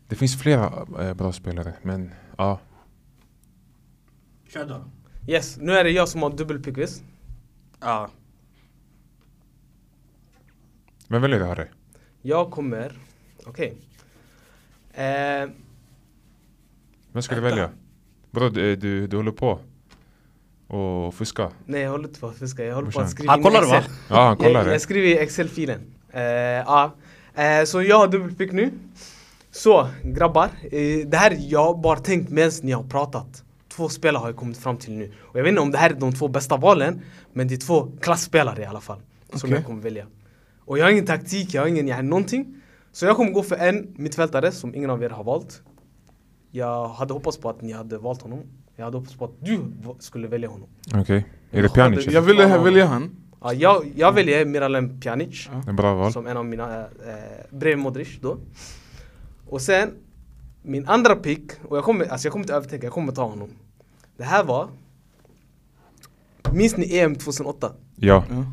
Speaker 2: Det finns flera eh, bra spelare men ja.
Speaker 3: Kör då.
Speaker 1: yes, nu är det jag som har dubbelpick visst?
Speaker 3: Ja.
Speaker 2: Vem väljer du Harry?
Speaker 1: Jag kommer... Okej. Ehm,
Speaker 2: Vem ska du
Speaker 1: Vänta.
Speaker 2: välja? Bro, du, du, du håller på och fuska.
Speaker 1: nej, jag håller inte på att fiska. Jag håller på
Speaker 2: Brorsan.
Speaker 1: att skriva
Speaker 3: Han
Speaker 1: in
Speaker 3: kollar
Speaker 1: Excel.
Speaker 3: va?
Speaker 2: Ja, han kollar
Speaker 1: Jag,
Speaker 2: det.
Speaker 1: jag skriver i Excel-filen. Eh, ja. Eh, så jag har dubbelpick nu. Så grabbar, eh, det här jag har bara tänkt medan ni har pratat. Två spelare har jag kommit fram till nu. Och jag vet inte om det här är de två bästa valen, men det är två klassspelare i alla fall. Som
Speaker 4: Okej.
Speaker 1: jag kommer välja. Och jag har ingen taktik, jag har ingen, jag har någonting. Så jag kommer gå för en mittfältare som ingen av er har valt. Jag hade hoppats på att ni hade valt honom. Jag hade hoppats på att du va- skulle välja honom.
Speaker 2: Okej. Är det Pjanic?
Speaker 4: Jag
Speaker 2: Det
Speaker 4: ville välja han.
Speaker 1: Ja, jag, jag väljer Miralem Pjanic.
Speaker 2: är bra val.
Speaker 1: Som en av mina, eh, bredvid Modric då. Och sen, min andra pick, och jag kommer, alltså jag kommer inte övertänka, jag kommer ta honom. Det här var, minns ni EM 2008?
Speaker 2: Ja.
Speaker 4: Ja.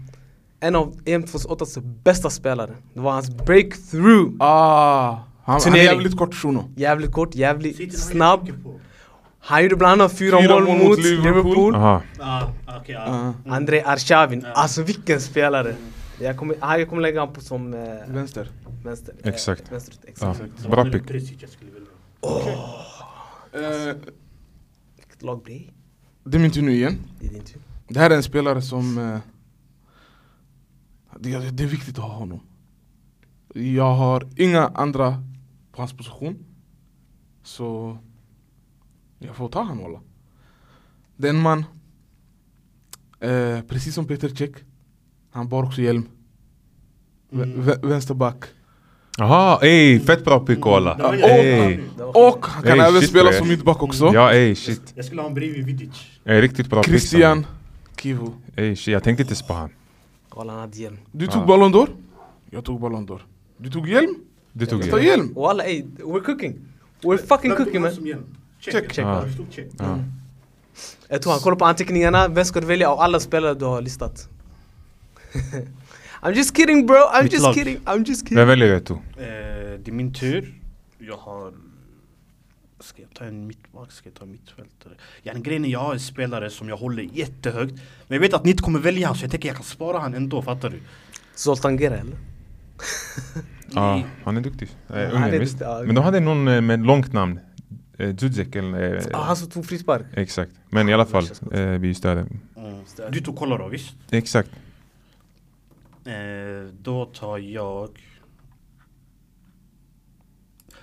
Speaker 1: En av EM 2008s bästa spelare. Det var hans breakthrough.
Speaker 4: Ah, han, han är
Speaker 1: Turnering.
Speaker 4: jävligt kort shuno.
Speaker 1: Jävligt kort, jävligt snabb. Han gjorde bland annat fyra,
Speaker 4: Fyra
Speaker 1: mål mot Liverpool.
Speaker 2: Aha.
Speaker 3: Ja, okej.
Speaker 4: Ah,
Speaker 1: Andrei Arshavin,
Speaker 3: Ja.
Speaker 1: alltså vilken spelare! Jag kommer, ah, jag kommer lägga honom på som eh,
Speaker 4: vänster.
Speaker 1: vänster.
Speaker 2: Exakt.
Speaker 1: Eh, vänster exakt.
Speaker 2: Ja. Bra pick.
Speaker 4: Eh,
Speaker 1: Vilket lag blir det?
Speaker 4: det är min tur nu igen.
Speaker 1: Det är din tur.
Speaker 4: Det här är en spelare som... eh, Det, det är viktigt att ha honom. Jag har inga andra på hans position. Så jag får ta han walla. Det är en man, eh, precis som Peter Cech, han bar också hjälm. Vä- vä- Vänsterback.
Speaker 2: Aha, ey, fett bra pick
Speaker 4: var
Speaker 2: walla.
Speaker 4: ju-
Speaker 2: Ey.
Speaker 1: Det var-
Speaker 4: Och han kan
Speaker 2: Hey,
Speaker 4: även
Speaker 2: shit,
Speaker 4: spela
Speaker 2: bre.
Speaker 4: som mittback också.
Speaker 2: Ja ey, shit.
Speaker 3: Jag skulle ha en bredvid Vidic.
Speaker 2: Ey, riktigt bra pick.
Speaker 4: Christian Kivu.
Speaker 2: Sonic. Ey, shit, jag tänkte inte ens på han.
Speaker 1: Kolla han hade hjälm.
Speaker 4: Du tog
Speaker 2: Ah.
Speaker 4: Ballon d'Or, jag tog Ballon d'Or. Du tog hjälm,
Speaker 2: Du tog
Speaker 4: jag tar
Speaker 2: ju.
Speaker 4: hjälm.
Speaker 1: Walla ey, we're cooking. We're fucking cooking man. Check, check.
Speaker 2: Ja. Ja.
Speaker 1: Jag tror han kollar på anteckningarna, vem ska du välja av alla spelare du har listat? I'm just kidding bro, I'm
Speaker 3: Mitt
Speaker 1: just
Speaker 3: lag.
Speaker 1: kidding, I'm just
Speaker 2: Vem
Speaker 1: kidding.
Speaker 2: väljer du Eto?
Speaker 3: Eh, det är min tur. Jag har... Ska jag ta en mittback? Ska jag ta en mittfältare? Ja, grejen är jag har en spelare som jag håller jättehögt. Men jag vet att ni inte kommer välja han så jag tänker jag kan spara han ändå, fattar du?
Speaker 1: Zoltan Gera eller?
Speaker 2: Ja, han är duktig. Eh,
Speaker 1: han är
Speaker 2: Ungern,
Speaker 1: duktig,
Speaker 2: visst?
Speaker 1: ja.
Speaker 2: Men de hade någon eh, med långt namn. Eh, Zuzek eller... eh,
Speaker 1: Ah, han som tog frispark.
Speaker 2: Exakt. Men i alla fall,
Speaker 1: Manchester City.
Speaker 2: eh, vi är just där.
Speaker 3: Mm. Du tog Kolarov, visst?
Speaker 2: Exakt.
Speaker 3: Eh, då tar jag...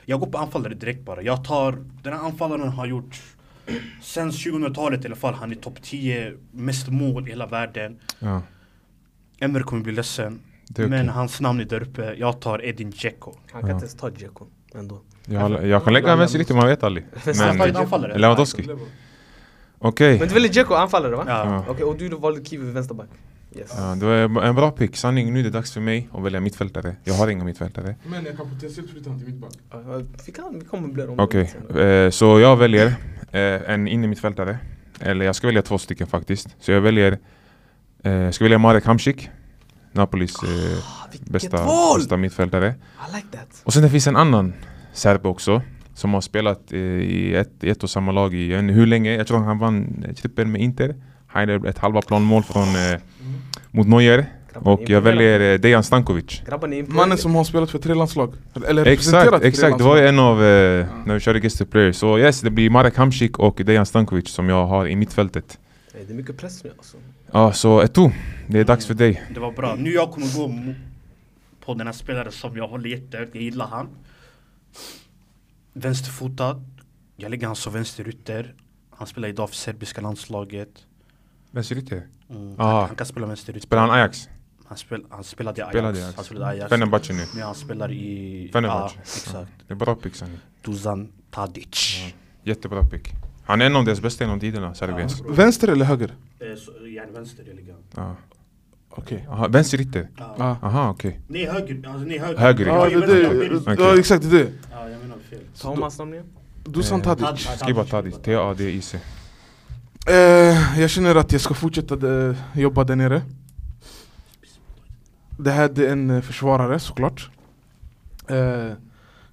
Speaker 3: Jag går på anfallare direkt bara. Jag tar... Den här anfallaren har gjort... Sen 2000-talet i alla fall, han är topp 10 mest mål i hela världen.
Speaker 2: Ja.
Speaker 3: Emre kommer bli ledsen.
Speaker 2: Det är okej.
Speaker 3: Men hans namn är där uppe. Jag tar Edin Dzeko.
Speaker 1: Han kan
Speaker 2: Ja.
Speaker 1: inte ens ta Dzeko ändå.
Speaker 2: Jag, jag kan lägga honom vänster riktigt, man vet aldrig.
Speaker 3: Han tar en
Speaker 2: Men...
Speaker 3: anfallare.
Speaker 2: Lewandowski. Okej.
Speaker 1: Men du väljer Dzeko, anfallare va?
Speaker 3: Ja.
Speaker 1: Okej, och du valde Kiwi vid vänsterback? Yes.
Speaker 2: Ja, det var en bra pick. Sanning, nu är det dags för mig att välja mittfältare. Jag har inga mittfältare.
Speaker 4: Men jag kan potentiellt flytta honom till mittback.
Speaker 1: Ja, Vi kan, vi kommer bli om det
Speaker 2: Okej,
Speaker 1: sen.
Speaker 2: eh, så jag väljer eh, en innermittfältare. Eller jag ska välja två stycken faktiskt. Så jag väljer, eh, jag ska välja Marek Hamsik. Napolis eh,
Speaker 1: Ah, vilket
Speaker 2: bästa,
Speaker 1: val!
Speaker 2: bästa mittfältare.
Speaker 1: I like that.
Speaker 2: Och sen det finns en annan serb också Som har spelat eh, i ett, i ett och samma lag i en, hur länge? Jag tror han vann eh, trippen med Inter. Han gjorde ett halva planmål från, eh, mot Neuer.
Speaker 1: Grabben,
Speaker 2: Och jag
Speaker 1: imponerande.
Speaker 2: väljer eh, Dejan Stankovic.
Speaker 1: Grabben är imponerad.
Speaker 4: Mannen som har spelat för tre landslag. Eller representerat
Speaker 2: Exakt,
Speaker 4: tre
Speaker 2: exakt. Det var ju en av, eh, när vi körde Guest the Player. Så yes, det blir Marek Hamsik och Dejan Stankovic som jag har i mittfältet.
Speaker 1: Nej, Det är mycket press nu alltså.
Speaker 2: Ja, så Eto'o, det är dags för dig.
Speaker 3: Det var bra. Nu jag kommer gå mo- på den här spelaren som jag håller jättehögt. Jag gillar han. Vänsterfotad. Jag lägger han som vänsterytter. Han spelar idag för serbiska landslaget.
Speaker 2: Vem ser ut
Speaker 3: Mm.
Speaker 2: Ah.
Speaker 3: Han, han kan spela vänsterytter.
Speaker 2: Spelar han Ajax?
Speaker 3: Han, spel, han spelade i Ajax.
Speaker 2: Spelade i Ajax.
Speaker 3: Han spelade i Ajax.
Speaker 2: Fenerbahce nu.
Speaker 3: Men han spelar i...
Speaker 2: Fenerbahce.
Speaker 3: Ja, exakt.
Speaker 2: Det är bra pick Sani.
Speaker 3: Dusan Tadic.
Speaker 2: Jättebra pick. Han är en av deras bästa genom tiderna, Serbiens.
Speaker 4: Vänster eller höger?
Speaker 3: Eh, så- Yani vänster jag lägger han.
Speaker 2: Ja.
Speaker 4: Okej.
Speaker 2: Aha, vänsterytter?
Speaker 3: Ja.
Speaker 4: Ah.
Speaker 2: Aha, okej.
Speaker 3: Nej höger. Alltså, nej höger.
Speaker 2: Höger,
Speaker 4: Ja,
Speaker 2: jag
Speaker 4: det, det,
Speaker 2: Okej.
Speaker 4: ja, exakt det. är det.
Speaker 3: Ja, jag menar fel.
Speaker 1: Ta om hans namn igen.
Speaker 4: Dusan
Speaker 2: Eh,
Speaker 4: Tadic.
Speaker 2: Skriv bara Tadic. T-A-D-I-C.
Speaker 4: Eh, jag känner att jag ska fortsätta de, jobba där nere. Det här det är en eh, försvarare såklart. Eh, jag vet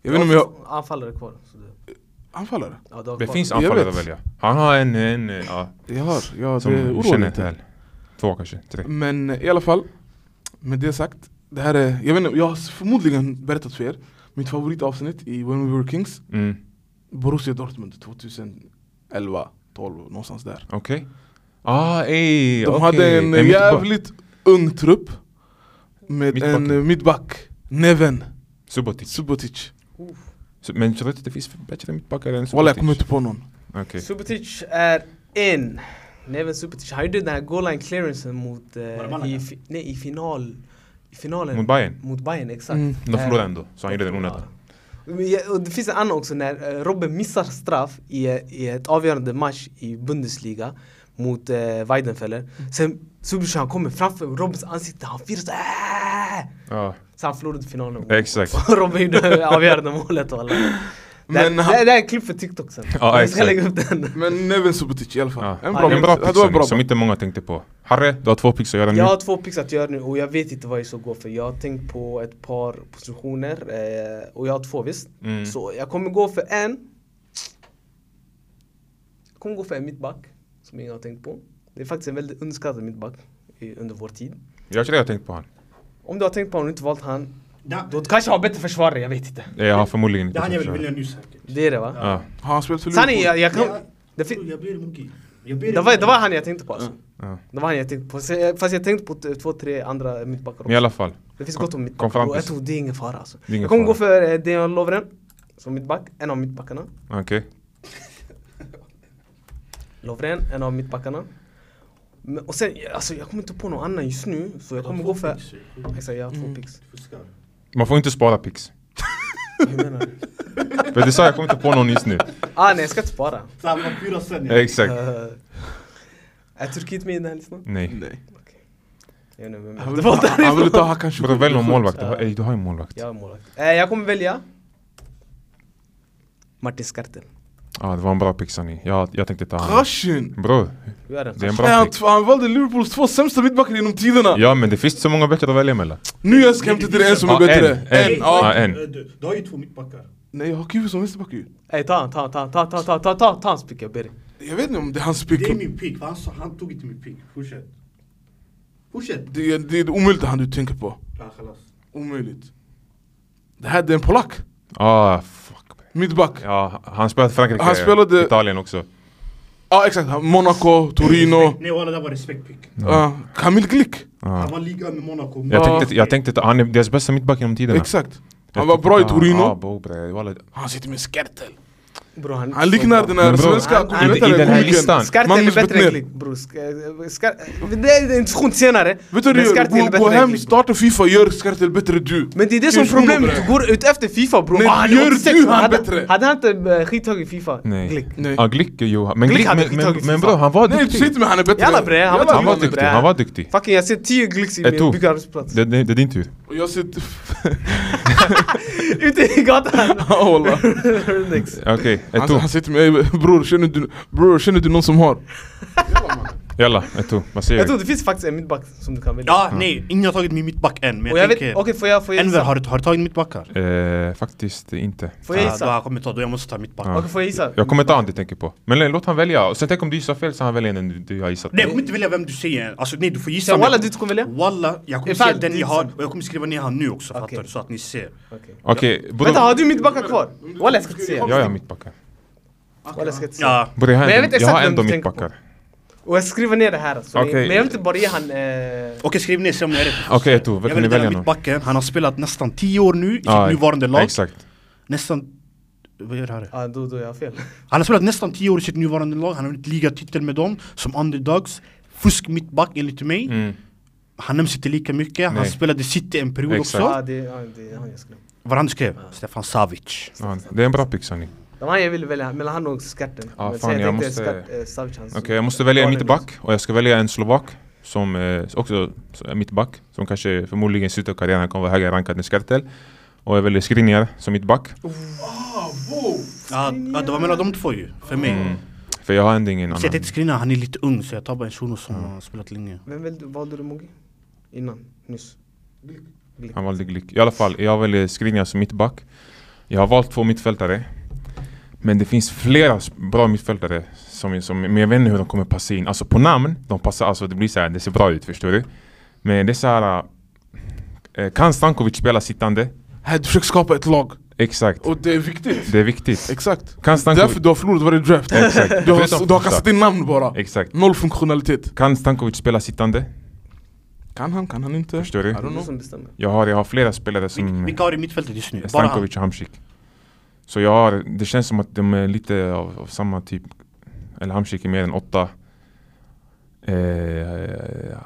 Speaker 4: inte om jag...
Speaker 1: Anfallare kvar. Så det,
Speaker 4: Anfallare?
Speaker 1: ja, du har
Speaker 2: Det
Speaker 1: kvar.
Speaker 2: finns
Speaker 4: Jag
Speaker 2: anfallare
Speaker 4: vet.
Speaker 2: att välja. Han har en, en, eh, ja,
Speaker 4: Jag har, ja,
Speaker 2: som
Speaker 4: det
Speaker 2: du
Speaker 4: oroar
Speaker 2: känner
Speaker 4: lite.
Speaker 2: väl. Två kanske, tre.
Speaker 4: Men eh, i alla fall, med det sagt. Det här är, jag vet inte, jag har förmodligen berättat för er. Mitt favoritavsnitt i When We Were Kings,
Speaker 2: Mm.
Speaker 4: Borussia Dortmund 2011, 12 någonstans där.
Speaker 2: Okej. Ah, ey,
Speaker 4: De
Speaker 2: okej.
Speaker 4: hade en
Speaker 2: Det är mitt val.
Speaker 4: jävligt ung trupp med
Speaker 2: Mittbacken.
Speaker 4: en eh, mittback, Neven
Speaker 2: Subotic.
Speaker 4: Subotic.
Speaker 2: Så- Men tror du inte det finns bättre mittbackare än
Speaker 4: Walla jag
Speaker 2: Subotic?
Speaker 4: kommer inte på någon.
Speaker 2: Okej.
Speaker 1: Subotic är in. Neven Subotic. Han gjorde den här goal line clearancen mot... Eh,
Speaker 3: det Malaga?
Speaker 1: i, fi- nej, i final... I finalen.
Speaker 2: Mot Bayern?
Speaker 1: Mot Bayern, exakt.
Speaker 4: Mm.
Speaker 2: De förlorade
Speaker 1: Eh,
Speaker 2: ändå, så han gjorde den onödan.
Speaker 1: Men jag- och det finns en annan också när eh, Robben missar straff i, eh, i ett avgörande match i Bundesliga mot eh, Weidenfeller.
Speaker 4: Mm.
Speaker 1: Sen Subotic han kommer framför Robbens ansikte, han firar såhär.
Speaker 2: Ja,
Speaker 1: Så han förlorade finalen.
Speaker 2: exakt.
Speaker 1: Och Robben gjorde avgörande målet walla. Det, här-
Speaker 4: Men
Speaker 1: det,
Speaker 4: han-
Speaker 1: här- det här är klipp för TikTok sen.
Speaker 2: Ja,
Speaker 1: jag ska
Speaker 2: exakt.
Speaker 1: lägga upp den.
Speaker 4: Men Neven Subotic i alla fall.
Speaker 2: Ja.
Speaker 4: En
Speaker 1: Ja,
Speaker 4: bra,
Speaker 1: det
Speaker 2: En bra
Speaker 4: ja, det var
Speaker 2: pick liksom.
Speaker 4: en bra.
Speaker 2: Sonny, som inte många tänkte på. Harry, du har två picks att göra nu.
Speaker 1: Jag har två picks att göra nu och jag vet inte vad jag ska gå för. Jag har tänkt på ett par positioner eh, och jag har två visst.
Speaker 2: Mm.
Speaker 1: Så jag kommer gå för en. Jag kommer gå för en mittback som ingen har tänkt på. Det är faktiskt en väldigt underskattad mittback i, under vår tid.
Speaker 2: Jag tror jag har tänkt på han.
Speaker 1: Om du har tänkt på honom och inte valt han,
Speaker 3: Da-
Speaker 1: då kanske jag har bättre försvarare, jag vet inte.
Speaker 2: Eh, Jag har förmodligen inte
Speaker 3: Det han jag
Speaker 2: tänkt
Speaker 3: vill
Speaker 2: på det.
Speaker 3: välja nu säkert.
Speaker 1: Det är det va?
Speaker 2: Ja.
Speaker 4: Har han spelat för
Speaker 1: Sanning, jag, jag kan...
Speaker 3: Ja.
Speaker 1: Det, fi-
Speaker 3: Jag ber Monkey. Jag ber
Speaker 1: det, var, det var han jag tänkte på alltså.
Speaker 2: Ja.
Speaker 1: Det var han jag tänkte på. Så jag- Fast jag tänkte på t- två, tre andra mittbackar
Speaker 2: Men i
Speaker 1: också.
Speaker 2: alla fall.
Speaker 1: Det finns gott om
Speaker 2: Kom
Speaker 1: mittbackar.
Speaker 2: fram
Speaker 1: Och jag
Speaker 2: precis.
Speaker 1: tror det är ingen fara alltså.
Speaker 2: Det är ingen
Speaker 1: Jag kommer
Speaker 2: fara.
Speaker 1: gå för eh, Dejan Lovren som mittback, en av mittbackarna.
Speaker 2: Okej.
Speaker 1: Lovren, en av mittbackarna. Men, och sen, alltså jag kommer inte på någon annan just nu, så jag kommer gå för... Exakt, jag har två
Speaker 2: Mm.
Speaker 1: picks.
Speaker 2: Man får inte spara picks.
Speaker 1: Hur menar du?
Speaker 2: För du sa jag kommer inte på någon just nu.
Speaker 1: Ah nej, jag ska inte spara.
Speaker 3: Samma fyra sen.
Speaker 2: Eh, Exakt.
Speaker 1: Eh, är Turkiet med i den här listan?
Speaker 2: Nej.
Speaker 4: Nej.
Speaker 1: Jag vet inte vem
Speaker 4: Han
Speaker 1: jag
Speaker 4: vill,
Speaker 1: valde
Speaker 4: ta- han ville
Speaker 1: därifrån.
Speaker 4: ta Hakan
Speaker 2: Bror
Speaker 4: Şükür.
Speaker 2: välj någon målvakt. Du
Speaker 1: Ja.
Speaker 2: har, ey, du har ju målvakt.
Speaker 1: Jag är målvakt. Eh, jag kommer välja... Martin Skartel.
Speaker 2: Ja, det var en bra pick Sani. Jag, jag tänkte ta han.
Speaker 4: Russian!
Speaker 2: Bror,
Speaker 1: Du är den.
Speaker 2: det är en
Speaker 4: Nej,
Speaker 2: bra
Speaker 4: han,
Speaker 2: pick.
Speaker 4: han valde Liverpools två sämsta mittbackar genom tiderna.
Speaker 2: Ja men det finns så många bättre att välja mellan.
Speaker 4: Nu jag ska hämta till dig en som är
Speaker 2: Ja,
Speaker 4: bättre.
Speaker 2: en, en.
Speaker 4: ja.
Speaker 2: Ja, en.
Speaker 3: Du du har ju två mittbackar.
Speaker 4: Nej jag har Kuvu som vänsterback ju.
Speaker 1: Ey ta han, ta han, ta han, ta han, ta han, ta han, ta han, ta hans pick jag ber dig.
Speaker 4: Jag vet inte om det är hans
Speaker 3: Det är
Speaker 4: pick.
Speaker 3: min pick. Han, sa, han tog inte min pick. Fortsätt. Fortsätt.
Speaker 4: Det är, det är omöjligt det han du tänker på.
Speaker 3: Ja, kalas.
Speaker 4: Omöjligt. Det här det är en polack.
Speaker 2: Ah, fuck.
Speaker 4: Mittback. Ja
Speaker 2: Ja, han spelade Frankrike.
Speaker 4: Han spelade-
Speaker 2: Italien också.
Speaker 4: ah, exakt, han- Monaco, Torino.
Speaker 3: Nej walla, det var respektpick.
Speaker 4: ah, Kamil Glick.
Speaker 3: Han var ligan med Monaco.
Speaker 2: Jag
Speaker 4: Ja.
Speaker 2: tänkte, jag tänkte ta, han är deras bästa mittback genom tiderna.
Speaker 4: Exakt.
Speaker 2: Jag
Speaker 4: Han var
Speaker 2: tänkte
Speaker 4: bra i
Speaker 2: ta Ah, han. Ja,
Speaker 4: Torino.
Speaker 2: bro, bre, walla.
Speaker 4: Han sitter med skärtel.
Speaker 1: Bro, han, är
Speaker 4: Han
Speaker 1: så
Speaker 4: liknar
Speaker 1: bra.
Speaker 4: den
Speaker 2: Men
Speaker 4: här
Speaker 2: bror,
Speaker 4: svenska...
Speaker 1: han-
Speaker 4: vet
Speaker 1: i- i
Speaker 4: du,
Speaker 1: den här
Speaker 4: Gulliken.
Speaker 2: listan.
Speaker 1: Skartel är
Speaker 4: Magnus
Speaker 1: bättre
Speaker 4: Betnér.
Speaker 1: klick bror. Sk- skar- Det är en diskussion senare.
Speaker 4: Vet du vad
Speaker 1: Men
Speaker 4: du
Speaker 1: Skartel är
Speaker 4: gör? Gå-
Speaker 1: bättre
Speaker 4: Gå hem,
Speaker 1: klick, bror.
Speaker 4: starta Fifa, gör skärtel bättre du.
Speaker 1: Men det är det som är
Speaker 4: Tusen
Speaker 1: problemet,
Speaker 4: kronor.
Speaker 1: du går ut efter Fifa bror.
Speaker 4: Men
Speaker 1: Ah, han är
Speaker 4: gör
Speaker 1: 86,
Speaker 4: du
Speaker 1: man.
Speaker 4: han
Speaker 1: Hade-
Speaker 4: bättre?
Speaker 1: Hade han inte eh, skithög i Fifa?
Speaker 2: Nej.
Speaker 1: Glick.
Speaker 4: Nej.
Speaker 2: Ja, Glick är ju... Men
Speaker 1: Glick
Speaker 2: Glick,
Speaker 1: hade
Speaker 2: men,
Speaker 1: inte
Speaker 2: men,
Speaker 1: tagit
Speaker 2: men
Speaker 1: FIFA.
Speaker 2: bror han var
Speaker 4: Nej du
Speaker 2: duktig.
Speaker 4: sitter med han är bättre.
Speaker 1: Jalla bre, han var
Speaker 4: Jalla.
Speaker 2: Han var
Speaker 1: Glick,
Speaker 2: duktig,
Speaker 1: bre.
Speaker 2: han var duktig.
Speaker 1: Fucking jag ser 10 glicks i min
Speaker 2: Eto'o.
Speaker 1: byggarbetsplats.
Speaker 2: Det, det, det är din tur.
Speaker 1: typ.
Speaker 4: Och jag sitter...
Speaker 1: Ute i gatan.
Speaker 4: Ja wallah.
Speaker 1: Next.
Speaker 2: Okej,
Speaker 4: Han,
Speaker 2: Eto'o.
Speaker 4: han sitter med bror, känner du, bror, känner du någon som har?
Speaker 2: Jalla, ett to. Vad säger
Speaker 1: Jag
Speaker 2: vi?
Speaker 1: tror det finns faktiskt en mittback som du kan välja.
Speaker 3: Ja, nej, ingen har tagit min mittback än. Men
Speaker 1: och
Speaker 3: jag,
Speaker 1: jag vet,
Speaker 3: tänker,
Speaker 1: okej får jag, får jag
Speaker 3: Enver,
Speaker 1: gissa?
Speaker 3: har, du- har du tagit mittbackar?
Speaker 2: Eh, faktiskt inte.
Speaker 1: Får jag
Speaker 3: Ah, då
Speaker 1: gissa?
Speaker 3: han kommer ta, då jag måste ta mittback.
Speaker 2: Ja.
Speaker 1: Okej får jag gissa?
Speaker 2: Jag kommer ta han du tänker på. Men låt han välja. Sen tänk om du gissar fel så han väljer en du, du har gissat på.
Speaker 3: Nej, jag kommer inte välja vem du säger. Alltså nej, du får gissa.
Speaker 1: Sen
Speaker 3: men-
Speaker 1: walla du inte kommer välja?
Speaker 3: Walla, jag kommer
Speaker 1: Ifall
Speaker 3: säga den
Speaker 1: det är
Speaker 3: jag har
Speaker 1: sant.
Speaker 3: och jag kommer skriva ner han nu också
Speaker 1: Okej.
Speaker 3: fattar du? Så att ni ser.
Speaker 1: Okej.
Speaker 2: Okej, borde...
Speaker 1: Vänta har du mittbackar kvar? Walla jag ska inte säga.
Speaker 2: Jag är mittbackar.
Speaker 1: Walla jag ska inte säga.
Speaker 3: Ja,
Speaker 2: Borde jag, ha
Speaker 1: Men jag
Speaker 2: en,
Speaker 1: vet
Speaker 2: jag,
Speaker 1: exakt
Speaker 2: har
Speaker 1: vem
Speaker 2: ändå
Speaker 1: du tänker på.
Speaker 2: mittbackar.
Speaker 1: Och jag skriver ner det här. Så ni,
Speaker 2: Okej.
Speaker 1: men jag vill inte bara ge han... Eh,
Speaker 3: okej skriv ner se om jag är rätt.
Speaker 2: Okej, Eto, vad
Speaker 3: Jag
Speaker 2: kan ni
Speaker 3: väljer den här
Speaker 2: välja nu?
Speaker 3: mittbacken, han har spelat nästan 10 år nu i sitt
Speaker 2: Ja,
Speaker 3: nuvarande lag.
Speaker 2: Exakt.
Speaker 3: Nästan... Vad gör det här?
Speaker 1: ja då, då ah, jag har fel.
Speaker 3: Han har spelat nästan 10 år i sitt nuvarande lag, han har vunnit ligatitel med dem som underdogs. Fusk mittback enligt mig.
Speaker 2: Mm.
Speaker 3: Han nämns inte lika mycket, han
Speaker 2: Nej.
Speaker 3: spelade i City en period
Speaker 2: Exakt.
Speaker 1: Ja
Speaker 3: också.
Speaker 1: det, ja, det är han jag skrev.
Speaker 3: Vad han skrev? Stefan Savic.
Speaker 2: Ja, det är en bra pick Sonny.
Speaker 1: Det var han jag ville välja mellan han och skarten.
Speaker 2: Ja,
Speaker 1: men
Speaker 2: Ah, fan,
Speaker 1: sen
Speaker 2: jag
Speaker 1: tänkte
Speaker 2: måste-
Speaker 1: Skart, eh, Savic, han-
Speaker 2: Okej, jag måste välja en
Speaker 1: Ja, det är bra.
Speaker 2: mittback och jag ska välja en slovak som eh, också är mittback som kanske förmodligen i slutet av karriären han kommer vara högre rankad än Skertel. Och jag väljer Skriniar som mittback.
Speaker 3: Ja, ja, det var mellan de två ju, för mig.
Speaker 2: Mm. För jag har ändå ingen
Speaker 3: Så jag
Speaker 2: annan.
Speaker 3: tänkte skriva han är lite ung så jag tar bara en shuno som
Speaker 2: Mm.
Speaker 3: har spelat länge.
Speaker 1: Vem valde, valde du Mogi? Innan, nyss?
Speaker 2: Han valde Glick. I alla fall, jag väljer Skriniar som mittback. Jag har valt två mittfältare. Men det finns flera s- bra mittfältare som, som, men jag vet inte hur de kommer passa in. Alltså på namn, de passar, alltså det blir så här, det ser bra ut förstår du. Men det är så här, eh, kan Stankovic spela sittande?
Speaker 4: Här, du försöker skapa ett lag.
Speaker 2: Exakt.
Speaker 4: Och det är viktigt.
Speaker 2: Det är viktigt.
Speaker 4: Exakt.
Speaker 2: Kan
Speaker 4: Därför
Speaker 2: Stankovic...
Speaker 4: du har förlorat varje draft.
Speaker 2: Exakt.
Speaker 4: Du
Speaker 2: Förutom
Speaker 4: har, du har
Speaker 2: första.
Speaker 4: kastat in namn bara.
Speaker 2: Exakt.
Speaker 4: Noll funktionalitet.
Speaker 2: Kan Stankovic spela sittande?
Speaker 4: Kan han, kan han inte?
Speaker 2: Förstår
Speaker 4: I
Speaker 2: du?
Speaker 1: Det är
Speaker 4: don't
Speaker 1: du
Speaker 4: know.
Speaker 1: som bestämmer.
Speaker 2: Jag har, jag har flera spelare
Speaker 3: Vil-
Speaker 2: som eh,
Speaker 3: Vilka har du i mittfältet just nu? Bara han?
Speaker 2: Stankovic och Hamsik. Så jag har, det känns som att de är lite av, av samma typ. Eller Hamsik är mer än åtta. Eh,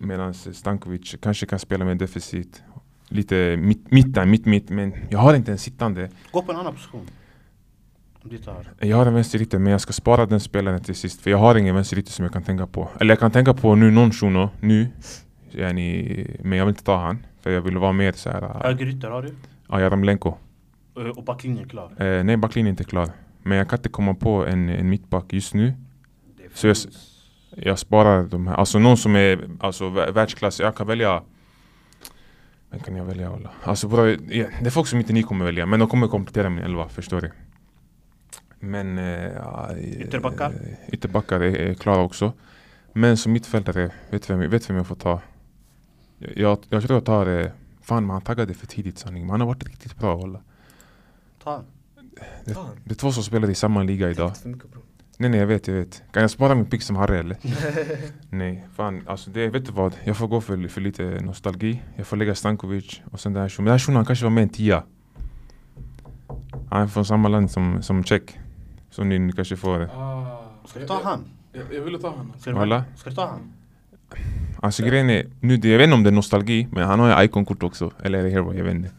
Speaker 2: Medan Stankovic kanske kan spela mer defensivt. Lite mitt, mitten, mitt, mitt. Men jag har inte en sittande.
Speaker 3: Gå på en annan position. Om du tar.
Speaker 2: Jag har en vänsterytter men jag ska spara den spelaren till sist för jag har ingen vänsterytter som jag kan tänka på. Eller jag kan tänka på nu någon shuno, nu. Yani, men jag vill inte ta han. För jag vill vara mer eh, såhär...
Speaker 3: Högerytter har du.
Speaker 2: Ja, Jaramlenko.
Speaker 3: Ö, Och backlinjen klar.
Speaker 2: Eh, nej, backlinjen är inte klar. Men jag kan inte komma på en, en mittback just nu.
Speaker 3: Det
Speaker 2: Så jag s-
Speaker 3: finns-
Speaker 2: Jag sparar de här. Alltså någon som är alltså, vä- världsklass. Jag kan välja... Vem kan jag välja? Ola? Alltså, bara, ja, det är folk som inte ni kommer välja. Men de kommer komplettera min elva, förstår du? Men... Eh, ja, eh,
Speaker 3: Ytterbackar?
Speaker 2: Ytterbackar är, är klara också. Men som mittfältare, vet vem, vet vem jag får ta? Jag, jag, jag tror jag tar... Eh, fan, men han taggade för tidigt sanning. Men han har varit riktigt bra, Ola.
Speaker 3: Ta han.
Speaker 1: Fan,
Speaker 2: Det är två som spelar i samma liga idag.
Speaker 1: för mycket bro.
Speaker 2: Nej nej jag vet, jag vet. Kan jag spara min pick som Harry eller? nej, fan alltså det, vet du vad? Jag får gå för, för lite nostalgi. Jag får lägga Stankovic och sen den här shunon. Den här shunon han kanske var med en tia. Han är från samma land som, som Tjeck. Så ni, ni kanske får...
Speaker 3: Ska du ta han?
Speaker 4: Jag, jag ville ta honom.
Speaker 3: Ska du,
Speaker 2: Walla.
Speaker 3: ska du ta han?
Speaker 2: Alltså grejen är, nu, det- jag vet inte om det är nostalgi men han har ju Icon-kort också. Eller är det Hero? Jag vet inte.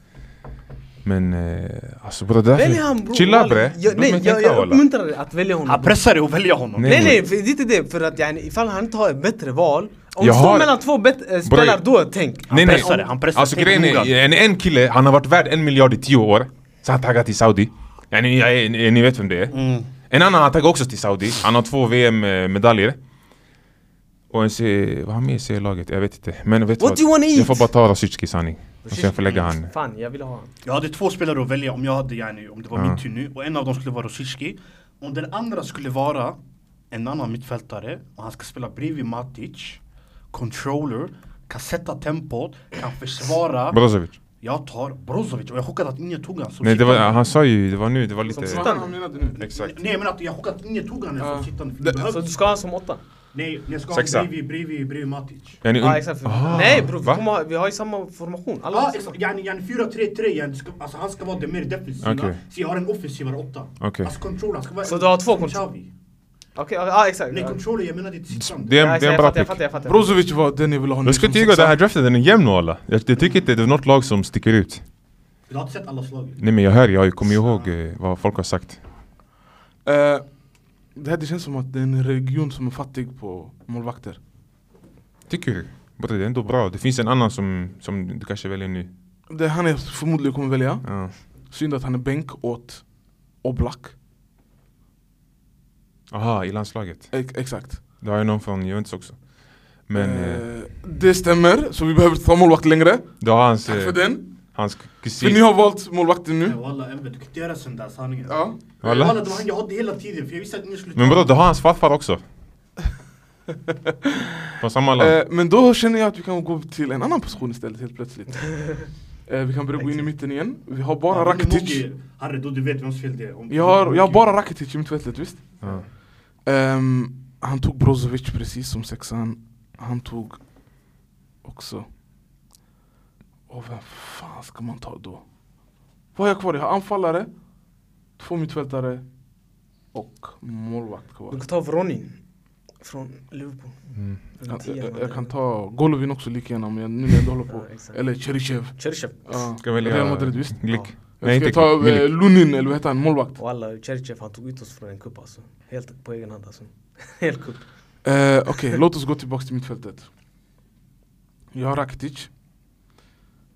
Speaker 2: Men eh, alltså bror det
Speaker 1: Välj han bro!
Speaker 2: Chilla
Speaker 1: walla.
Speaker 2: bre!
Speaker 1: Jag,
Speaker 2: Låt
Speaker 1: nej,
Speaker 2: mig
Speaker 1: jag,
Speaker 2: tänka, Ah,
Speaker 1: jag
Speaker 2: walla.
Speaker 1: uppmuntrar dig att välja honom.
Speaker 3: Han
Speaker 1: bro.
Speaker 3: pressar dig och väljer honom.
Speaker 2: Nej.
Speaker 1: Nej nej, för, det är inte det. För att yani, ifall han inte har ett bättre val. Om
Speaker 2: Jag
Speaker 1: det står
Speaker 2: har-
Speaker 1: mellan två bet- eh, spelare, då tänk.
Speaker 3: Han pressar dig, han pressar
Speaker 2: Alltså
Speaker 3: Tänk
Speaker 2: grejen
Speaker 3: noga.
Speaker 2: är, en, en kille, han har varit värd en miljard i tio år Sen han taggat till Saudi ja, ni, ja, ni ni vet vem det är
Speaker 3: Mm.
Speaker 2: En annan han taggat också till Saudi, han har två VM-medaljer Och en C, vad har han med i C-laget? Jag vet inte Men vet du
Speaker 1: What do you wanna
Speaker 2: Jag får
Speaker 1: eat?
Speaker 2: bara ta Rasicki sanning Och sen får jag lägga han
Speaker 1: Fan, jag vill ha honom.
Speaker 3: Jag hade två spelare att välja om jag hade yani, om det var
Speaker 2: Ja.
Speaker 3: min tur nu och en av dem skulle vara Rosicki Om den andra skulle vara en annan mittfältare och han ska spela bredvid Matic Controller, kan sätta tempot, kan försvara
Speaker 2: Brozovic
Speaker 3: Jag tar Brozovic och jag är chockad att ingen tog han som
Speaker 2: Nej det var,
Speaker 3: sittande.
Speaker 2: han sa ju, det var nu, det var
Speaker 1: Som
Speaker 2: lite
Speaker 1: sittande.
Speaker 4: Vad han menade nu?
Speaker 2: Exakt
Speaker 3: Nej men att jag är chockad att ingen tog han
Speaker 4: Ja.
Speaker 3: som sittande för
Speaker 4: Det-
Speaker 3: det behövs.
Speaker 1: Så Alltså, du ska ha honom som åtta?
Speaker 4: Mm.
Speaker 3: Nej, jag ska
Speaker 2: Sexa.
Speaker 3: ha bredvid, bredvid, bredvid Matic
Speaker 2: Ja, ni
Speaker 1: Ja
Speaker 2: und-
Speaker 1: exakt.
Speaker 2: Ah,
Speaker 1: nej bro, vi,
Speaker 2: va?
Speaker 1: kommer, ha- vi har ju samma formation. Alla
Speaker 3: Ja exakt, yani yani 4-3-3, yani, ska- alltså han ska vara den mer defensiva
Speaker 2: Okej.
Speaker 3: Så jag har en offensivare åtta
Speaker 2: Okej.
Speaker 3: Alltså controller, han ska vara
Speaker 1: Så du har två
Speaker 3: som
Speaker 1: kont-
Speaker 3: Xavi.
Speaker 1: Okej, ja exakt.
Speaker 3: Nej controller, jag menar ditt sittande
Speaker 2: Det är
Speaker 1: Ja,
Speaker 2: en,
Speaker 1: exakt,
Speaker 2: det är en
Speaker 1: jag
Speaker 2: bra
Speaker 1: fattar, jag
Speaker 2: pick
Speaker 1: fattar, jag fattar.
Speaker 4: Brozovic var den jag ville ha nu.
Speaker 2: Jag ska
Speaker 4: som
Speaker 2: inte ljuga,
Speaker 4: sexa.
Speaker 2: den här draften den är jämn walla Jag jag tycker inte det är något lag som sticker ut
Speaker 3: Du har inte sett alla slag
Speaker 2: Nej men jag hör, jag kommer ihåg eh, vad folk har sagt.
Speaker 4: Eh, Det här det känns som att det är en region som är fattig på målvakter.
Speaker 2: Tycker du? Bror det är ändå bra. Det finns en annan som, som du kanske väljer nu.
Speaker 4: Det är han jag förmodligen kommer välja.
Speaker 2: Ja.
Speaker 4: Synd att han är bänk åt Oblak.
Speaker 2: Aha, i landslaget.
Speaker 4: Ex- exakt.
Speaker 2: Det har ju någon från Juventus också. Men eh,
Speaker 4: Eh, det stämmer, så vi behöver ta målvakt längre.
Speaker 2: det har hans,
Speaker 4: Tack
Speaker 2: eh,
Speaker 4: för den.
Speaker 2: hans
Speaker 4: För ni
Speaker 2: kusin.
Speaker 4: har valt målvakten nu.
Speaker 3: Walla Enver, du kan inte göra sån där sanningen.
Speaker 4: Ja.
Speaker 2: Walla.
Speaker 3: Walla, det var han jag hade hela tiden för jag visste att ni skulle...
Speaker 2: Men bror, det har hans farfar också. Från samma land.
Speaker 4: Eh, men då känner jag att vi kan gå till en annan position istället helt plötsligt. eh, vi kan börja gå in i mitten igen. Vi har bara Rakitic.
Speaker 3: Harry, då du vet vems fel det är. Om-
Speaker 4: Jag har, jag har bara Rakitic i mittfältet, visst?
Speaker 2: Ja.
Speaker 4: Ehm, han tog Brozovic precis som sexan. Han tog också... Och vem fan ska man ta då? Vad har jag kvar? Jag har anfallare, två mittfältare och målvakt
Speaker 1: Du
Speaker 4: kvar.
Speaker 1: kan ta Vronin. Från Liverpool.
Speaker 2: Mm.
Speaker 1: Den
Speaker 4: Jag,
Speaker 1: tian
Speaker 4: jag,
Speaker 1: hade-
Speaker 4: jag kan ta Golovin också lika gärna, men jag- nu när jag ändå håller på.
Speaker 1: Ja, exakt.
Speaker 4: Eller Cheryshev.
Speaker 1: Cherchev.
Speaker 4: Ja.
Speaker 2: Ska välja
Speaker 4: Real Madrid, visst?
Speaker 2: Glick.
Speaker 1: Ja.
Speaker 2: Nej,
Speaker 4: Jag ska
Speaker 2: inte
Speaker 4: ta
Speaker 2: Glick.
Speaker 4: eh,
Speaker 2: Milik.
Speaker 4: Lunin, eller vad heter han? Målvakt.
Speaker 1: Walla, Cherchev han tog ut oss från en kupp alltså. Helt på egen hand alltså. Helt kupp.
Speaker 4: Eh, Okej, låt oss gå tillbaka till mittfältet. Jag har Rakitic.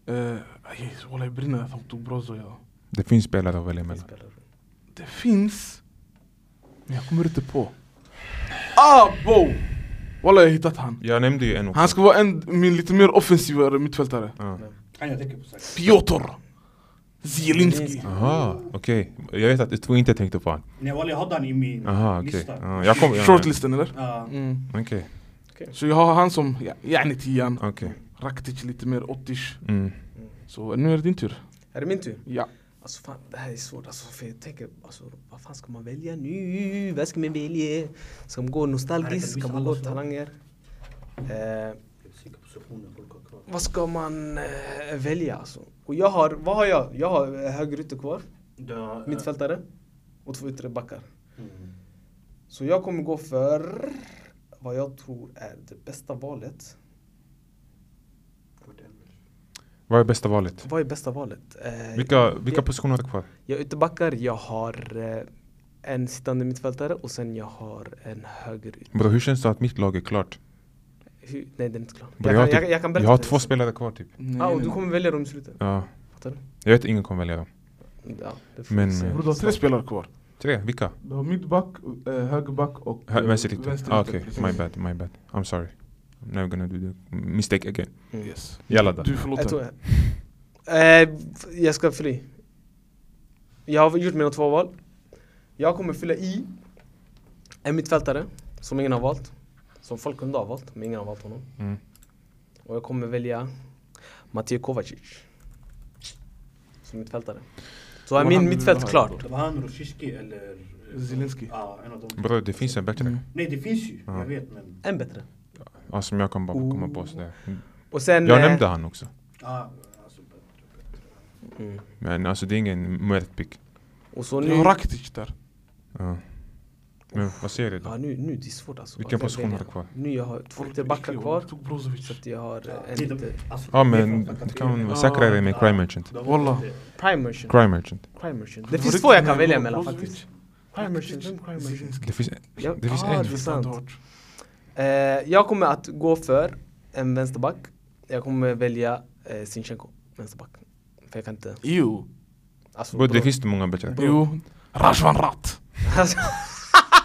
Speaker 4: Eh, Jesus, Walla, jag brinner att han tog Brozo. Ja.
Speaker 2: Det finns spelare att välja mellan.
Speaker 1: Spelare.
Speaker 4: Det finns, men jag kommer inte på. Ah, bo! Walla, jag har hittat han.
Speaker 2: Jag nämnde ju en också.
Speaker 4: Han ska vara en min lite mer offensivare mittfältare.
Speaker 2: Ja.
Speaker 3: Han jag tänker på säkert.
Speaker 4: Piotr Zielinski.
Speaker 1: Zielinski.
Speaker 2: Aha, okej. Jag vet att du två inte tänkte på han.
Speaker 3: Nej walla, jag hade han i min
Speaker 2: Aha, okej.
Speaker 3: lista.
Speaker 2: Ja, jag kom- ja,
Speaker 4: Shortlisten eller?
Speaker 3: Ja.
Speaker 4: Mm.
Speaker 2: Okej, okej.
Speaker 4: Så jag har han som, ja, yani tian.
Speaker 2: Okej.
Speaker 4: Rakitic lite mer 80
Speaker 2: Mm.
Speaker 4: Så nu är det din tur.
Speaker 1: Är det min tur?
Speaker 4: Ja.
Speaker 1: Alltså fan, det här är svårt alltså. För jag tänker, alltså, vad fan ska man välja nu? Vad ska man välja? Ska man gå nostalgiskt? Ska man gå talanger? Eh, vad ska man eh, välja alltså? Och jag har, vad har jag? Jag har eh, högerytter kvar, mittfältare och två yttre backar.
Speaker 3: mm,
Speaker 1: Så jag kommer gå för vad jag tror är det bästa valet.
Speaker 2: Vad är bästa valet?
Speaker 1: Vad är bästa valet? Eh,
Speaker 2: Vilka, vilka
Speaker 1: jag-
Speaker 2: positioner har du kvar?
Speaker 1: Jag har ytterbackar, jag har eh, en sittande mittfältare och sen jag har en höger yt-
Speaker 2: Bro, hur känns det att mitt lag är klart?
Speaker 1: Hur- Nej den är inte klar.
Speaker 2: Bro,
Speaker 1: jag,
Speaker 2: har
Speaker 1: kan,
Speaker 2: typ-
Speaker 1: jag, jag kan berätta.
Speaker 2: jag har
Speaker 1: för dig
Speaker 2: två
Speaker 1: sen.
Speaker 2: spelare kvar typ.
Speaker 1: Ja, och du kommer välja dem i slutet.
Speaker 2: Ja.
Speaker 1: Fattar du?
Speaker 2: Jag vet att ingen kommer välja dem.
Speaker 1: Ja, det får
Speaker 2: Men,
Speaker 1: vi se.
Speaker 2: eh,
Speaker 4: Bror du har tre spelare kvar.
Speaker 2: Tre, vilka?
Speaker 4: Du har mittback, eh, högerback och
Speaker 2: Hö- Vänsterytter.
Speaker 4: vänsterytter,
Speaker 2: Ah, Okej,
Speaker 4: precis.
Speaker 2: my bad, my bad. I'm sorry. I'm never gonna do the mistake again.
Speaker 1: Mm.
Speaker 4: Yes.
Speaker 2: Jalla då.
Speaker 4: Du är
Speaker 1: Jag, tror
Speaker 4: förlåten.
Speaker 1: jag. Eh, jag ska fylla i. Jag har gjort mina två val. Jag kommer fylla i en mittfältare som ingen har valt. Som folk kunde ha valt, men ingen har valt honom.
Speaker 2: Mm.
Speaker 1: Och jag kommer välja Matija Kovacic. Som mittfältare. Så är
Speaker 4: Vad
Speaker 1: min
Speaker 4: hade du
Speaker 1: mittfält
Speaker 4: velat
Speaker 1: klart.
Speaker 4: då?
Speaker 3: Det var han Rosicki eller... eh,
Speaker 4: Zielinski.
Speaker 3: Ja, en av dem.
Speaker 2: Bro, det finns en bättre.
Speaker 4: Mm.
Speaker 3: Nej det finns ju,
Speaker 2: Ja.
Speaker 3: jag vet men...
Speaker 1: En bättre.
Speaker 2: Ja, som jag kan bara komma på
Speaker 1: Ooh.
Speaker 2: sådär.
Speaker 1: Och sen...
Speaker 2: Jag
Speaker 1: eh,
Speaker 2: nämnde han också.
Speaker 3: Ja, alltså,
Speaker 1: Mm.
Speaker 2: Men alltså det är ingen mörkt pick.
Speaker 1: eh, Och så
Speaker 4: Jag
Speaker 1: nu...
Speaker 4: har Rakitic där.
Speaker 2: Ja. Men vad säger du
Speaker 1: Ja
Speaker 2: då?
Speaker 1: nu, nu det är svårt alltså.
Speaker 2: Vilken
Speaker 1: Vem
Speaker 2: position
Speaker 1: väljer
Speaker 2: har du kvar?
Speaker 1: jag? Nu jag har två ytterbackar kvar.
Speaker 4: Jag tog Brozovic.
Speaker 1: Så att jag har eh, en
Speaker 3: det är de-
Speaker 1: lite...
Speaker 3: alltså,
Speaker 2: Ja
Speaker 3: det är
Speaker 2: men
Speaker 3: från
Speaker 2: du kan
Speaker 4: Ja.
Speaker 2: säkra dig med Crime Merchant.
Speaker 3: De-
Speaker 4: Walla.
Speaker 1: Prime merchant.
Speaker 2: Crime Merchant.
Speaker 1: Crime merchant.
Speaker 4: var
Speaker 1: Det finns
Speaker 4: riktigt
Speaker 1: två jag kan
Speaker 4: nära
Speaker 1: välja
Speaker 4: Brozovic.
Speaker 1: mellan faktiskt. Prime merchant. Vem Prime merchant?
Speaker 4: Zielinski.
Speaker 2: Det finns,
Speaker 1: Ja,
Speaker 2: det finns
Speaker 4: Ah,
Speaker 2: en.
Speaker 4: det är
Speaker 1: Sant.
Speaker 4: sant.
Speaker 1: Eh, jag kommer att gå för en vänsterback. Jag kommer välja eh, Sinchenko, vänsterback. För jag kan inte...
Speaker 4: Jo.
Speaker 1: Alltså,
Speaker 2: Bro, det
Speaker 1: bro.
Speaker 2: finns det många bättre.
Speaker 4: Jo. Rajvan Rat.
Speaker 1: Alltså,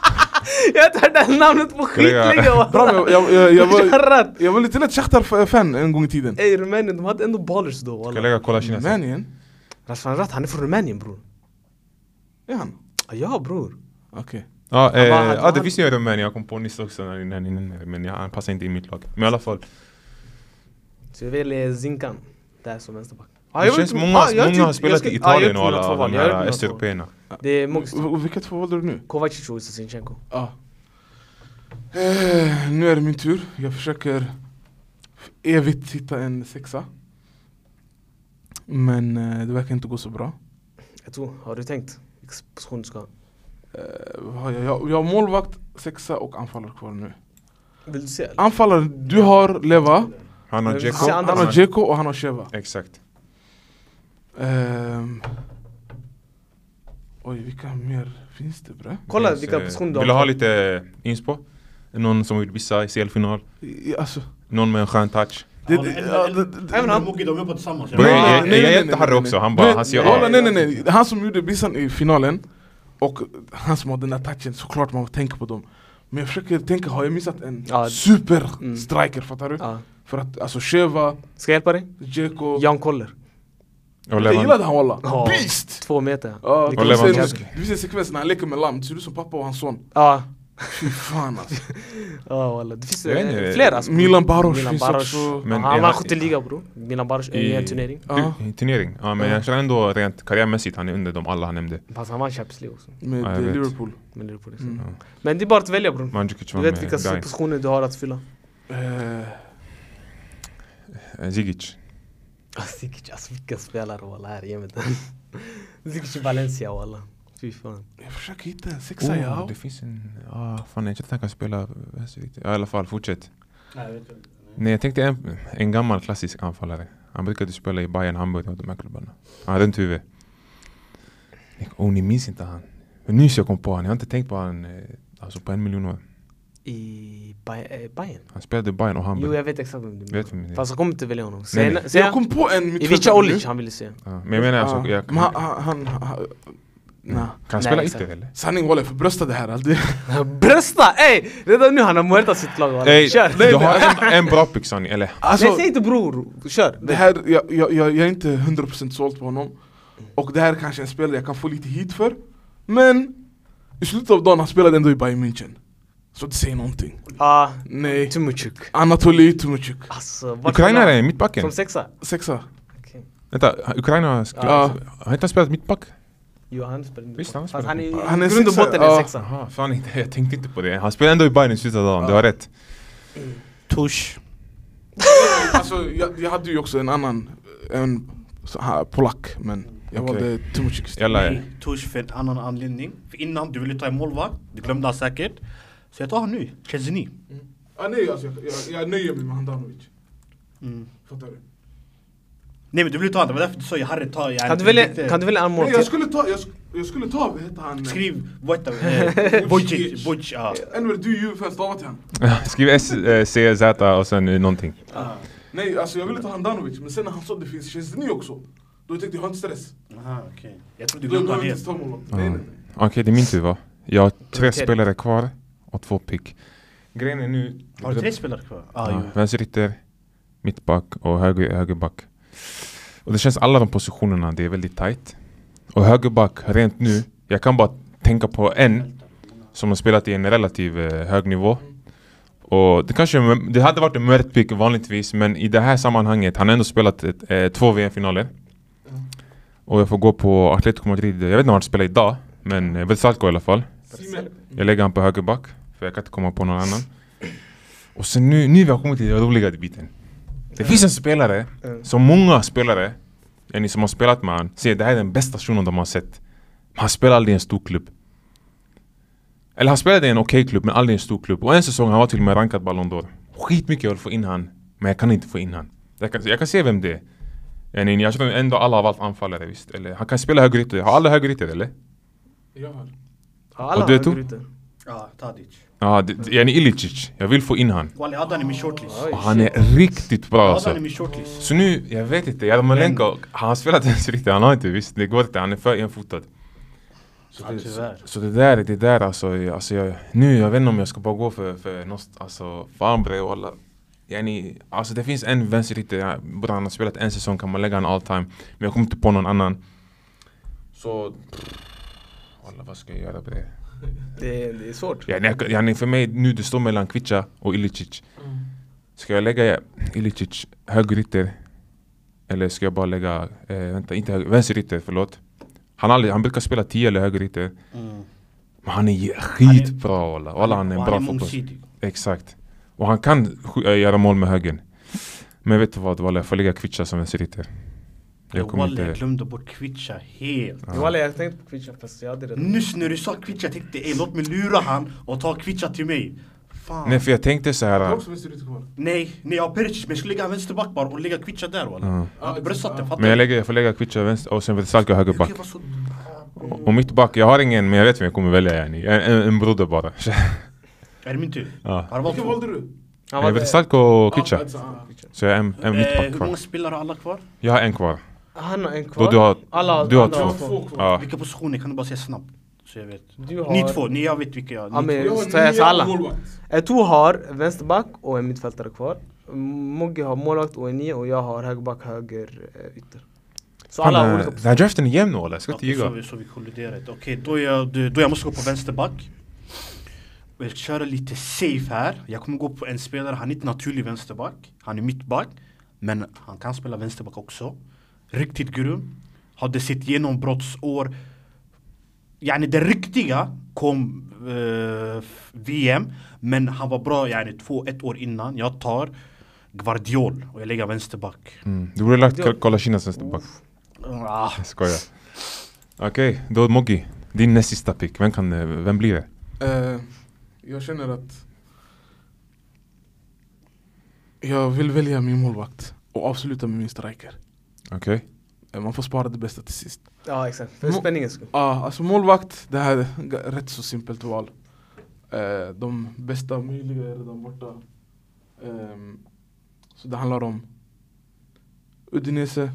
Speaker 1: jag har inte hört det här namnet på skitlänge
Speaker 4: Bra, men
Speaker 1: walla!
Speaker 4: jag, jag, jag, jag, var,
Speaker 1: Jarrat!
Speaker 4: jag var lite lätt Shakhtar-fan en gång i tiden.
Speaker 1: Ey Rumänien, de hade ändå ballers då
Speaker 2: Ska jag
Speaker 1: walla
Speaker 2: lägga kolla Kina sen?
Speaker 4: Rumänien?
Speaker 1: Rashfan Rat, han är från Rumänien bror
Speaker 4: Är han?
Speaker 1: Ah, Ja bror
Speaker 4: Okej.
Speaker 2: Ja, eh,
Speaker 1: Han var-
Speaker 2: ja det
Speaker 1: han-
Speaker 2: finns ju en rumän. Jag kom på nyss också när ni nämnde men jag, han passar inte i mitt lag. Men i alla fall.
Speaker 1: Så jag väljer Zinkan där som vänsterback Ah,
Speaker 2: Det
Speaker 1: jag
Speaker 2: känns
Speaker 1: vet inte-
Speaker 2: många,
Speaker 1: ah, jag har
Speaker 2: många har
Speaker 1: gjort-
Speaker 2: spelat
Speaker 1: jag
Speaker 2: i
Speaker 1: ska- ah, jag har
Speaker 2: Italien
Speaker 1: gjort
Speaker 2: och
Speaker 1: mina två
Speaker 2: alla
Speaker 1: val,
Speaker 2: de
Speaker 1: jag har gjort
Speaker 2: här
Speaker 1: mina två val.
Speaker 2: östeuropéerna.
Speaker 1: Det är många
Speaker 4: V- v- Vilka två valde du nu?
Speaker 1: Kovacic och Sinchenko
Speaker 4: Ja. Eh, nu är det min tur. Jag försöker för evigt hitta en sexa. Men eh, det verkar inte gå så bra.
Speaker 1: Jag tror, har du tänkt? Vilken position du ska ha?
Speaker 4: Eh, vad har jag? Jag, jag har målvakt, sexa och anfallare kvar nu.
Speaker 1: Vill du se? eller?
Speaker 4: Anfallare, du har Leva,
Speaker 2: Han
Speaker 1: Men vi
Speaker 2: har Dzeko.
Speaker 1: ser
Speaker 4: han,
Speaker 1: andra-
Speaker 4: han har Dzeko och han har Sheva.
Speaker 2: Exakt.
Speaker 4: Ehm. oj, vilka mer finns det bre?
Speaker 1: Kolla
Speaker 2: Finns,
Speaker 1: vilka
Speaker 2: eh,
Speaker 1: positioner du
Speaker 2: Vill du ha
Speaker 1: har
Speaker 2: lite eh, inspo? Någon som vill vissa i CL-final?
Speaker 4: I- Alltså,
Speaker 2: Någon med en skön touch?
Speaker 4: det,
Speaker 3: Ja,
Speaker 4: det,
Speaker 3: eller-
Speaker 4: ja,
Speaker 3: eller-
Speaker 4: det, det,
Speaker 1: Även
Speaker 3: Även
Speaker 1: han-
Speaker 3: han Mogge, de jobbar tillsammans.
Speaker 2: Bro,
Speaker 4: Nej,
Speaker 2: jag-
Speaker 4: nej,
Speaker 2: jag-
Speaker 4: nej,
Speaker 2: jag
Speaker 4: nej,
Speaker 2: hjälpte
Speaker 4: nej,
Speaker 2: Harry
Speaker 4: nej,
Speaker 2: också,
Speaker 4: nej.
Speaker 2: han bara-
Speaker 4: Nej,
Speaker 2: han ser-
Speaker 4: Walla,
Speaker 1: ja.
Speaker 4: nej nej nej, han som gjorde bissan i finalen och han som har den där touchen, såklart man tänker på dem. Men jag försöker tänka, har jag missat en
Speaker 1: Ja. Mm.
Speaker 4: superstriker? Fattar du?
Speaker 1: Ja.
Speaker 4: För att alltså Sheva,
Speaker 1: Ska jag hjälpa dig?
Speaker 4: Dzeko.
Speaker 1: Jan Koller.
Speaker 2: Och
Speaker 4: Jag
Speaker 2: Levan,
Speaker 4: gillade han walla.
Speaker 1: Ja.
Speaker 4: Beast!
Speaker 1: Två meter.
Speaker 4: Ja,
Speaker 1: Vilken
Speaker 4: det finns en-
Speaker 2: Lewandowski.
Speaker 4: det finns en sekvens när han leker med lamm, det ser ut som pappa och hans son.
Speaker 1: Ja.
Speaker 4: Fy fan alltså.
Speaker 1: Ja walla. Det finns
Speaker 2: Jag vet
Speaker 1: eh,
Speaker 2: inte.
Speaker 1: flera. Alltså.
Speaker 4: Milan Baros finns
Speaker 1: Baros.
Speaker 4: också.
Speaker 1: Ja,
Speaker 2: Men
Speaker 1: han
Speaker 2: är
Speaker 1: vann
Speaker 2: han-
Speaker 1: skytteliga bror. Milan Baros i en turnering.
Speaker 4: Ja.
Speaker 2: I- i turnering. Ja, men
Speaker 1: Ja.
Speaker 2: jag känner ändå rent karriärmässigt han är under de alla han nämnde.
Speaker 1: Fast han vann Champions League också.
Speaker 4: Med
Speaker 2: Ja, jag
Speaker 4: eh,
Speaker 2: vet.
Speaker 4: Liverpool.
Speaker 1: Men det, är på det.
Speaker 4: Mm.
Speaker 1: sättet. Men det är bara att välja bror.
Speaker 2: Mandzukic
Speaker 1: Du
Speaker 2: var
Speaker 1: vet vilka
Speaker 2: med Guy.
Speaker 1: positioner du har att fylla.
Speaker 4: Eh,
Speaker 2: Eh, Zigic.
Speaker 1: Zikic alltså vilka spelare walla här ge mig den. Zikic i Valencia walla. Fy fan.
Speaker 4: jag försöker hitta en sexa
Speaker 2: Oh,
Speaker 4: ja.
Speaker 2: det finns en... Ah, fan jag tror att han kan spela vänstervikt. Ja, i alla fall, fortsätt. Nej, jag tänkte en, en gammal klassisk anfallare. Han brukade spela i Bayern Hamburg och de här klubbarna. Han hade runt huvud. Jag- Oh, ni minns inte han. Men nyss jag kom på han. Jag har inte tänkt på han eh, alltså på en miljon år.
Speaker 1: I Bay- eh, Bayern.
Speaker 2: Han spelade i Bayern och
Speaker 1: Jo
Speaker 2: Hamburg.
Speaker 1: jag vet exakt vem du
Speaker 2: Vet vem det
Speaker 1: menar.
Speaker 2: är.
Speaker 1: Fast jag kommer inte välja honom.
Speaker 2: Nej,
Speaker 1: Sen,
Speaker 2: nej.
Speaker 1: sen,
Speaker 4: Jag kom på en
Speaker 1: Ivica Olic han ville se.
Speaker 2: Ja, men jag menar alltså...
Speaker 4: Ja.
Speaker 2: Jag, Mm.
Speaker 4: Men han, han, han, han nah.
Speaker 2: kan han
Speaker 1: Nej,
Speaker 2: spela
Speaker 1: exakt.
Speaker 2: ytter eller?
Speaker 4: Sanning walla, jag förbröstar det här. Alltså,
Speaker 1: Brösta! Ey! Redan nu han har muertat sitt lag walla.
Speaker 2: Nej,
Speaker 1: Kör!
Speaker 2: du har en, en bra pick Sonny, eller?
Speaker 1: Nej
Speaker 4: alltså
Speaker 1: säg inte bror, kör!
Speaker 4: det här, jag, jag, jag, jag är inte 100% såld på honom. Och det här är kanske är en spelare jag kan få lite hit för. Men i slutet av dagen han spelade ändå i Bayern München. Så det säger någonting.
Speaker 1: Ah,
Speaker 4: Nej.
Speaker 1: Tumuchuk.
Speaker 4: Anatolij Tumchuk.
Speaker 1: Alltså, vart
Speaker 2: Ukrainare
Speaker 1: han
Speaker 2: är mittbacken.
Speaker 1: Som sexa?
Speaker 4: Sexa.
Speaker 1: Okej.
Speaker 2: Vänta, Ukraina har skrivit...
Speaker 4: Ja.
Speaker 2: Har inte han spelat mittback?
Speaker 1: Jo han spelar
Speaker 2: Visst, han
Speaker 1: Fast
Speaker 2: spelar
Speaker 1: han är
Speaker 2: mittback.
Speaker 4: Han
Speaker 1: i e
Speaker 4: är
Speaker 1: grund och
Speaker 4: sexa,
Speaker 1: botten
Speaker 4: ja.
Speaker 1: är sexa.
Speaker 2: Jaha, fan inte, jag tänkte inte på det. Han spelade ändå i Bayern i slutet av dagen, du har rätt.
Speaker 3: Tush.
Speaker 4: Alltså jag, jag hade ju också en annan, en så här, polack men jag
Speaker 2: Okej.
Speaker 4: valde Tumchuk istället.
Speaker 2: Jalla,
Speaker 3: Nej, Tush för en annan anledning. För innan du ville ta en målvakt, det glömde han säkert. Så jag tar han nu, Chesney.
Speaker 4: Ah, nej, alltså, jag, jag, jag nöjer mig med Handanovic.
Speaker 3: Mm.
Speaker 4: Fattar du?
Speaker 3: Nej men du ville ta han, det var därför du sa jag hade ta jag
Speaker 1: Kan du välja, kan du välja en
Speaker 4: Nej, jag
Speaker 1: målvakt?
Speaker 4: skulle ta, jag, sk- jag skulle ta, vad heter han?
Speaker 3: Skriv, vad heter han? Bojic, Bojic, ja.
Speaker 4: Enver, du är ju fan stavat han.
Speaker 2: Skriv S, eh, C, Z och sen eh, någonting.
Speaker 4: Nej, alltså jag ville ta Handanovic, men sen när han sa att det finns Chesney också. Då tänkte jag, jag har inte stress.
Speaker 3: Aha, okej. Jag trodde
Speaker 4: Då
Speaker 3: du
Speaker 4: behöver
Speaker 3: glömde
Speaker 4: jag
Speaker 3: han
Speaker 4: inte
Speaker 3: helt.
Speaker 4: ta honom. Nej, nej, nej.
Speaker 2: Okej, det är min tur va? Jag har tre
Speaker 1: Prioritering.
Speaker 2: spelare kvar och två pick. Grejen är nu...
Speaker 3: Har du tre spelare kvar? Ah,
Speaker 2: Ja,
Speaker 3: jo.
Speaker 2: Vänsterytter, mittback och höger, högerback. Och det känns alla de positionerna, det är väldigt tight. Och högerback, rent nu, jag kan bara tänka på en som har spelat i en relativ eh, hög nivå. Och det kanske, det hade varit en mörkt pick vanligtvis, men i det här sammanhanget, han har ändå spelat ett, eh, två VM-finaler. Och jag får gå på Atletico Madrid, jag vet inte om han spelar idag, men eh, Vesalco i alla fall.
Speaker 4: Simen.
Speaker 2: Jag lägger han på högerback, för jag kan inte komma på någon annan. Och sen nu, nu har vi kommit till den roliga biten. Det finns en spelare,
Speaker 1: Mm.
Speaker 2: som många spelare, är ni som har spelat med han, säger det här är den bästa shunon de har sett. Men han spelar aldrig i en stor klubb. Eller han spelade i en okej klubb, men aldrig i en stor klubb. Och en säsong han var till och med rankad Ballon d'Or. Skitmycket jag vill få in han, men jag kan inte få in han. Jag kan, jag kan se vem det är. Är ni- Jag tror ändå alla har valt anfallare visst. Eller, han kan spela högerytter. Har alla högerytter eller?
Speaker 4: Jag har.
Speaker 1: Ja, alla
Speaker 2: Och du,
Speaker 1: har
Speaker 2: Tor?
Speaker 1: grytor.
Speaker 3: Ja, Tadic.
Speaker 2: Ja, det- det- är ni Ilicic? Jag vill få in han.
Speaker 3: Wally, jag hade han i min shortlist.
Speaker 1: Oj.
Speaker 3: Jag
Speaker 2: Och han är riktigt bra
Speaker 3: hade
Speaker 2: alltså.
Speaker 3: han i min shortlist.
Speaker 2: Så nu, jag vet inte, Jarmolenko, han har spelat ens riktigt, han har inte visst, det går inte, han är för enfotad.
Speaker 3: Ja, tyvärr.
Speaker 2: Så det där, det där alltså, jag- alltså jag, nu jag vet inte om jag ska bara gå för, för något, alltså fan bre walla. Yani, alltså det finns en vänsterytter, ja, bara han har spelat en säsong kan man lägga en all time, men jag kommer inte på någon annan. Så, walla vad ska jag göra bre?
Speaker 1: Det, är- det är svårt.
Speaker 2: Yani, jag, yani för mig nu det står mellan Kvicha och Ilicic. Ska jag lägga Ilicic högerytter? Eller ska jag bara lägga, eh, vänta, inte höger, vänsterytter, förlåt. Han, har aldrig, han brukar spela 10 eller högerytter.
Speaker 3: Mm.
Speaker 2: Men han är ju skitbra walla. Walla han är en
Speaker 3: Och
Speaker 2: bra fotboll.
Speaker 3: mångsidig.
Speaker 2: Exakt. Och han kan sk- äh, göra mål med högern. Men vet du vad walla, jag får lägga Kvicha som vänsterytter. Jag kommer
Speaker 3: Wally, jag
Speaker 2: inte...
Speaker 3: glömde bort Kvicha helt.
Speaker 1: Jo walla jag tänkte på Kvicha fast jag hade redan.
Speaker 3: Nyss när du sa Kvicha jag tänkte jag låt mig lura han och ta Kvicha till mig. Fan.
Speaker 2: Nej för jag tänkte så
Speaker 4: Jag har
Speaker 2: här. eh,
Speaker 4: också Vänsterut kvar.
Speaker 3: Nej, nej jag har Peric men jag skulle lägga han vänsterback bara och lägga Kvicha där walla.
Speaker 2: Ja.
Speaker 3: Jag hade bröstat det, fattar
Speaker 2: Men jag,
Speaker 3: du?
Speaker 2: lägger, jag får lägga Kvicha vänster och sen Vetsalko
Speaker 3: Jag
Speaker 2: högerback.
Speaker 3: kan vara så-
Speaker 2: Och mitt back, jag har ingen men jag vet vem jag kommer välja yani. En, en, en broder bara.
Speaker 3: Är det min tur?
Speaker 2: Ja.
Speaker 3: Har du valt
Speaker 4: Vilken
Speaker 3: två?
Speaker 4: valde du?
Speaker 1: Han
Speaker 2: Jag
Speaker 1: var
Speaker 2: vill Salko och
Speaker 4: Ah,
Speaker 2: Kitcha.
Speaker 4: alltså, ah, Kitcha.
Speaker 2: Så jag har en, en
Speaker 3: Eh,
Speaker 2: mittback
Speaker 3: Hur
Speaker 2: kvar.
Speaker 3: många spelare har alla kvar?
Speaker 2: Jag har en kvar.
Speaker 1: Han har en
Speaker 2: Då
Speaker 1: kvar.
Speaker 2: du har,
Speaker 1: Alla
Speaker 2: du har
Speaker 1: andra
Speaker 4: Jag
Speaker 2: två.
Speaker 4: har två kvar.
Speaker 2: Ja.
Speaker 3: Vilka positioner kan du bara säga snabbt? Så jag vet.
Speaker 1: Du har...
Speaker 3: Ni två, ni, jag vet vilka jag
Speaker 1: Ja, men-
Speaker 3: ni två.
Speaker 1: Jag ska jag säga alla? Eto E har vänsterback och en mittfältare kvar. Mogge har målvakt och en nia och jag har högerback, höger eh, ytter. Så alla har olika
Speaker 2: eh, Den här draften är jämn walla, jag ska inte
Speaker 3: Okej, så,
Speaker 2: ljuga.
Speaker 3: vi, så vi kolliderar. Okej, då, jag, då då jag måste gå på vänsterback. Och jag ska köra lite safe här. Jag kommer gå på en spelare, han är inte naturlig vänsterback. Han är mittback. Men han kan spela vänsterback också. Riktigt grym. Hade sitt genombrottsår. Yani det riktiga kom eh, VM. Men han var bra yani två, ett år innan. Jag tar Gvardiol och jag lägger vänsterback.
Speaker 2: Mm. Du borde lagt Kolasinac nästan bak.
Speaker 3: Ah,
Speaker 2: Jag skojar. Okej, då Moggi. Din näst sista pick, vem, kan, eh, vem blir det?
Speaker 4: Eh, jag känner att jag vill välja min målvakt och avsluta med min striker.
Speaker 2: Okej?
Speaker 4: Eh, Man får spara det bästa till sist.
Speaker 1: Ja exakt, för
Speaker 4: Mo-
Speaker 1: spänningens skull.
Speaker 4: Ja, alltså målvakt, det här är g- rätt så simpelt val. Eh, de bästa möjliga är redan borta. Ehm, så det handlar om Udinese,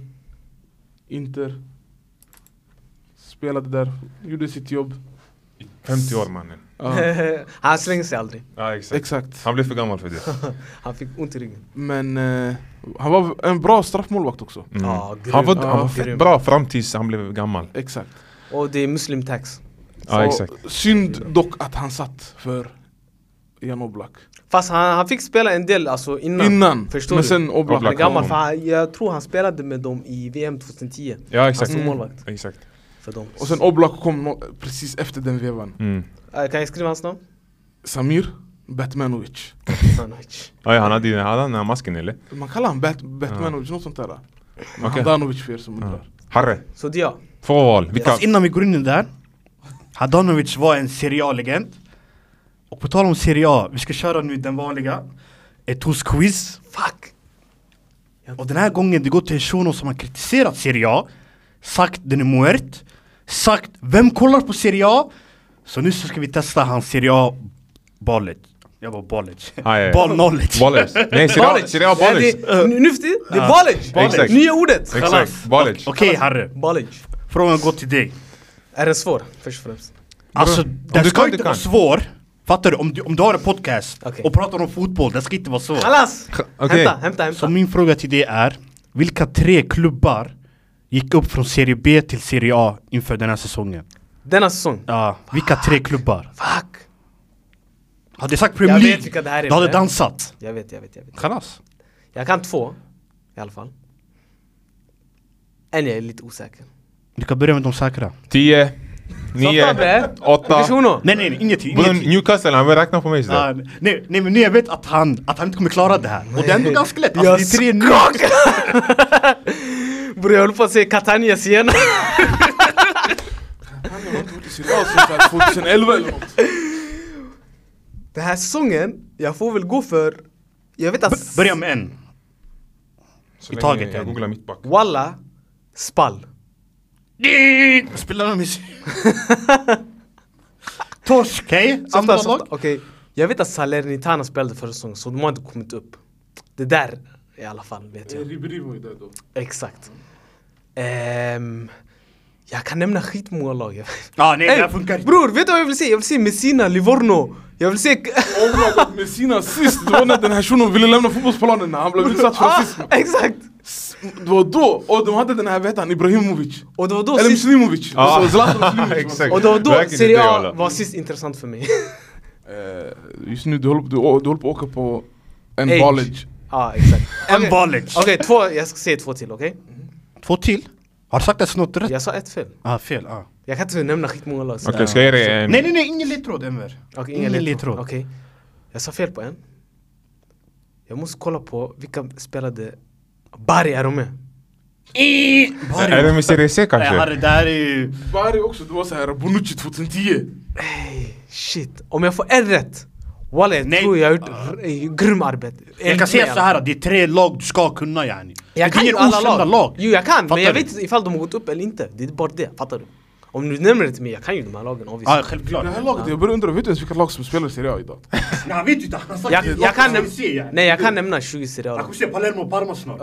Speaker 4: Inter, spelade där, gjorde sitt jobb.
Speaker 2: 50 år mannen.
Speaker 4: Ja,
Speaker 1: han slänger sig aldrig.
Speaker 2: Ja exakt.
Speaker 4: exakt.
Speaker 2: Han blev för gammal för det. Mm.
Speaker 1: Han fick ont i ryggen.
Speaker 4: Men eh, han var en bra straffmålvakt också.
Speaker 2: Mm.
Speaker 1: Ja, grym.
Speaker 2: han var, han var
Speaker 4: Ja,
Speaker 2: fett
Speaker 1: grym.
Speaker 2: bra fram tills han blev gammal.
Speaker 4: Exakt.
Speaker 1: Och det är muslim tax.
Speaker 2: Ja
Speaker 4: Så
Speaker 2: exakt.
Speaker 4: Synd dock att han satt för Jan Oblak.
Speaker 1: Fast han, han fick spela en del alltså innan.
Speaker 4: Innan,
Speaker 1: Förstår
Speaker 4: men
Speaker 1: du?
Speaker 4: sen Oblak.
Speaker 1: Han är
Speaker 2: Oblak.
Speaker 1: gammal
Speaker 2: kom.
Speaker 1: för han, jag tror han spelade med dem i VM 2010.
Speaker 2: Ja
Speaker 1: Han
Speaker 2: exakt.
Speaker 1: stod
Speaker 2: Mm.
Speaker 1: alltså målvakt
Speaker 2: Exakt.
Speaker 1: för dem.
Speaker 4: Och sen Oblak kom nå- precis efter den vevan.
Speaker 2: Mm.
Speaker 1: Eh, kan jag skriva hans namn?
Speaker 4: Samir Batmanovic.
Speaker 1: Sanac.
Speaker 2: Ja, ja, han hade ju hade han den här masken eller?
Speaker 4: Man kallar han Bat Batmanovic, något sånt där. Men
Speaker 2: Okej.
Speaker 4: Handanovic för er som undrar.
Speaker 2: Harre.
Speaker 1: Så det är jag.
Speaker 2: Två val. Vilka?
Speaker 1: Ja.
Speaker 3: Fast innan vi går Alltså, in där Hadanovic var en Serie A-legend Och på tal om Serie A, vi ska köra nu den vanliga Etos quiz
Speaker 1: Fuck!
Speaker 3: Och den här gången det går till en shuno som har kritiserat Serie A Sagt den är muert Sagt vem kollar på Serie A? Så nu så ska vi testa hans Serie A-ballet Jag var ballet
Speaker 2: Ja, ja, ja.
Speaker 3: Ball knowledge
Speaker 2: Ballers. Nej, Serie A-
Speaker 1: Ballage!
Speaker 2: Serie A
Speaker 1: Nej,
Speaker 2: Ballers.
Speaker 1: det är- nu- Nu för tiden, det är ballage!
Speaker 2: Exakt.
Speaker 1: Nya ordet!
Speaker 2: Exakt. Ballers.
Speaker 3: Okej Harry,
Speaker 1: Ballage.
Speaker 3: frågan går till dig
Speaker 1: Är den svår? Först och främst.
Speaker 3: Alltså den
Speaker 2: du
Speaker 3: ska
Speaker 2: kan,
Speaker 3: inte
Speaker 2: du
Speaker 3: vara
Speaker 2: kan.
Speaker 3: svår Fattar du? Om du, om du har en podcast
Speaker 1: Okej.
Speaker 3: och pratar om fotboll, den ska inte vara svår
Speaker 1: Kallas!
Speaker 2: Okej.
Speaker 1: Hämta, hämta, hämta.
Speaker 3: Så min fråga till dig är Vilka tre klubbar gick upp från Serie B till Serie A inför den här säsongen?
Speaker 1: Denna säsong.
Speaker 3: Ja, vilka tre klubbar?
Speaker 1: Fuck!
Speaker 3: Hade jag sagt Premier
Speaker 1: Jag vet
Speaker 3: League,
Speaker 1: vilka det här är,
Speaker 3: du hade
Speaker 1: men-
Speaker 3: dansat
Speaker 1: Jag vet, jag vet, jag vet.
Speaker 3: Kalas
Speaker 1: Jag kan två. I alla fall. En jag är lite osäker.
Speaker 3: Du kan börja med de säkra
Speaker 2: Tio.
Speaker 1: Softa,
Speaker 2: Nio.
Speaker 1: bre.
Speaker 2: Åtta.
Speaker 1: Shuno!
Speaker 3: Nej nej, ingenting,
Speaker 2: Bror,
Speaker 3: ingenting
Speaker 2: Newcastle, han vill räkna på mig sådär.
Speaker 3: Ah, nej, nej men nu jag vet att han, att han inte kommer klara det här Och det är ändå ganska lätt,
Speaker 1: Jag
Speaker 3: alltså, det är tre nu
Speaker 1: Bror jag höll på att säga Catania Siena.
Speaker 4: Han har inte varit i Serie A sedan så här 2011 eller något.
Speaker 1: Den här säsongen, jag får väl gå för... Jag vet att...
Speaker 3: B- Börja med en
Speaker 2: Så
Speaker 3: I
Speaker 2: länge
Speaker 3: taget,
Speaker 2: Jag
Speaker 3: ja.
Speaker 2: googlar mittback.
Speaker 1: Walla, Spall.
Speaker 3: Spelar de i Torsk, okej?
Speaker 1: Softa,
Speaker 3: Andra
Speaker 1: softa.
Speaker 3: lag?
Speaker 1: Okej, jag vet att Salernitana spelade förra säsongen så de har inte kommit upp. Det där i alla fall vet jag.
Speaker 4: Ribéry var ju där då.
Speaker 1: Exakt. Ehm, jag kan nämna skitmånga lag.
Speaker 3: Ja nej det här
Speaker 1: Hey,
Speaker 3: funkar inte
Speaker 1: bror, vet du vad jag vill se? Jag vill se Messina, Livorno. Jag vill se...
Speaker 4: Oblak med sina assist, det var när den här shunon ville lämna fotbollsplanen när han blev utsatt för
Speaker 1: ah,
Speaker 4: rasism.
Speaker 1: exakt!
Speaker 4: S- Det var då, och de hade den här, vad heter han, Ibrahimovic.
Speaker 1: Och det var då
Speaker 4: Eller
Speaker 1: sist,
Speaker 4: Muslimovic.
Speaker 2: Ah.
Speaker 4: Så Zlatan Muslimovic.
Speaker 2: Exakt.
Speaker 1: och det var då
Speaker 2: Verkligen inte
Speaker 1: Serie
Speaker 2: jag, alla.
Speaker 1: A var sist intressant för mig.
Speaker 4: Eh, Just nu, du håller, du, å- du håller på att åka på en
Speaker 1: Age.
Speaker 4: ballage.
Speaker 1: Ja, Ah, exakt.
Speaker 3: En
Speaker 1: Okej.
Speaker 3: Balic
Speaker 1: Okej, två, jag ska säga två till, okej?
Speaker 3: Två till? Har du sagt att snott rätt?
Speaker 1: Jag sa ett fel.
Speaker 3: Ah, fel, ah.
Speaker 1: Jag kan inte nämna skitmånga lag. så-
Speaker 2: Okej, ska jag ge dig en...
Speaker 3: Nej nej nej, ingen ledtråd Enver
Speaker 1: Okej,
Speaker 3: Ingen
Speaker 1: ingen ledtråd.
Speaker 3: ledtråd.
Speaker 1: Okej. Jag sa fel på en. Jag måste kolla på vilka spelade... Bari, är de med?
Speaker 4: Eh,
Speaker 2: Är det med Serie C
Speaker 3: Nej
Speaker 2: kanske?
Speaker 3: Harry, det här är ju...
Speaker 4: Bari också, det var såhär Bonucci 2010.
Speaker 1: Ey, shit. Om jag får en rätt. Walla, jag
Speaker 3: Nej.
Speaker 1: tror jag har gjort r- eh, grym arbete.
Speaker 3: Jag kan säga så här, det är tre lag du ska kunna yani
Speaker 1: Jag
Speaker 3: Det är
Speaker 1: kan ju
Speaker 3: ingen
Speaker 1: alla
Speaker 3: okända
Speaker 1: lag. Jo, jag kan.
Speaker 3: Fattar
Speaker 1: men jag
Speaker 3: du?
Speaker 1: vet inte ifall de har gått upp eller inte. Det är bara det. Fattar du? Om du nämner det till mig, jag kan ju de här lagen obviously.
Speaker 3: Ja, självklart
Speaker 4: Det här laget, jag börjar undra, vet du ens vilka lag som spelar i Serie A idag?
Speaker 3: Nej han vet ju inte, han har sagt
Speaker 1: jag,
Speaker 3: det.
Speaker 1: jag, kan
Speaker 3: Han
Speaker 1: näm-
Speaker 3: kommer se, yani.
Speaker 1: Nej, jag kan nämna 20 serialer.
Speaker 3: Han kommer se Palermo och Parma snart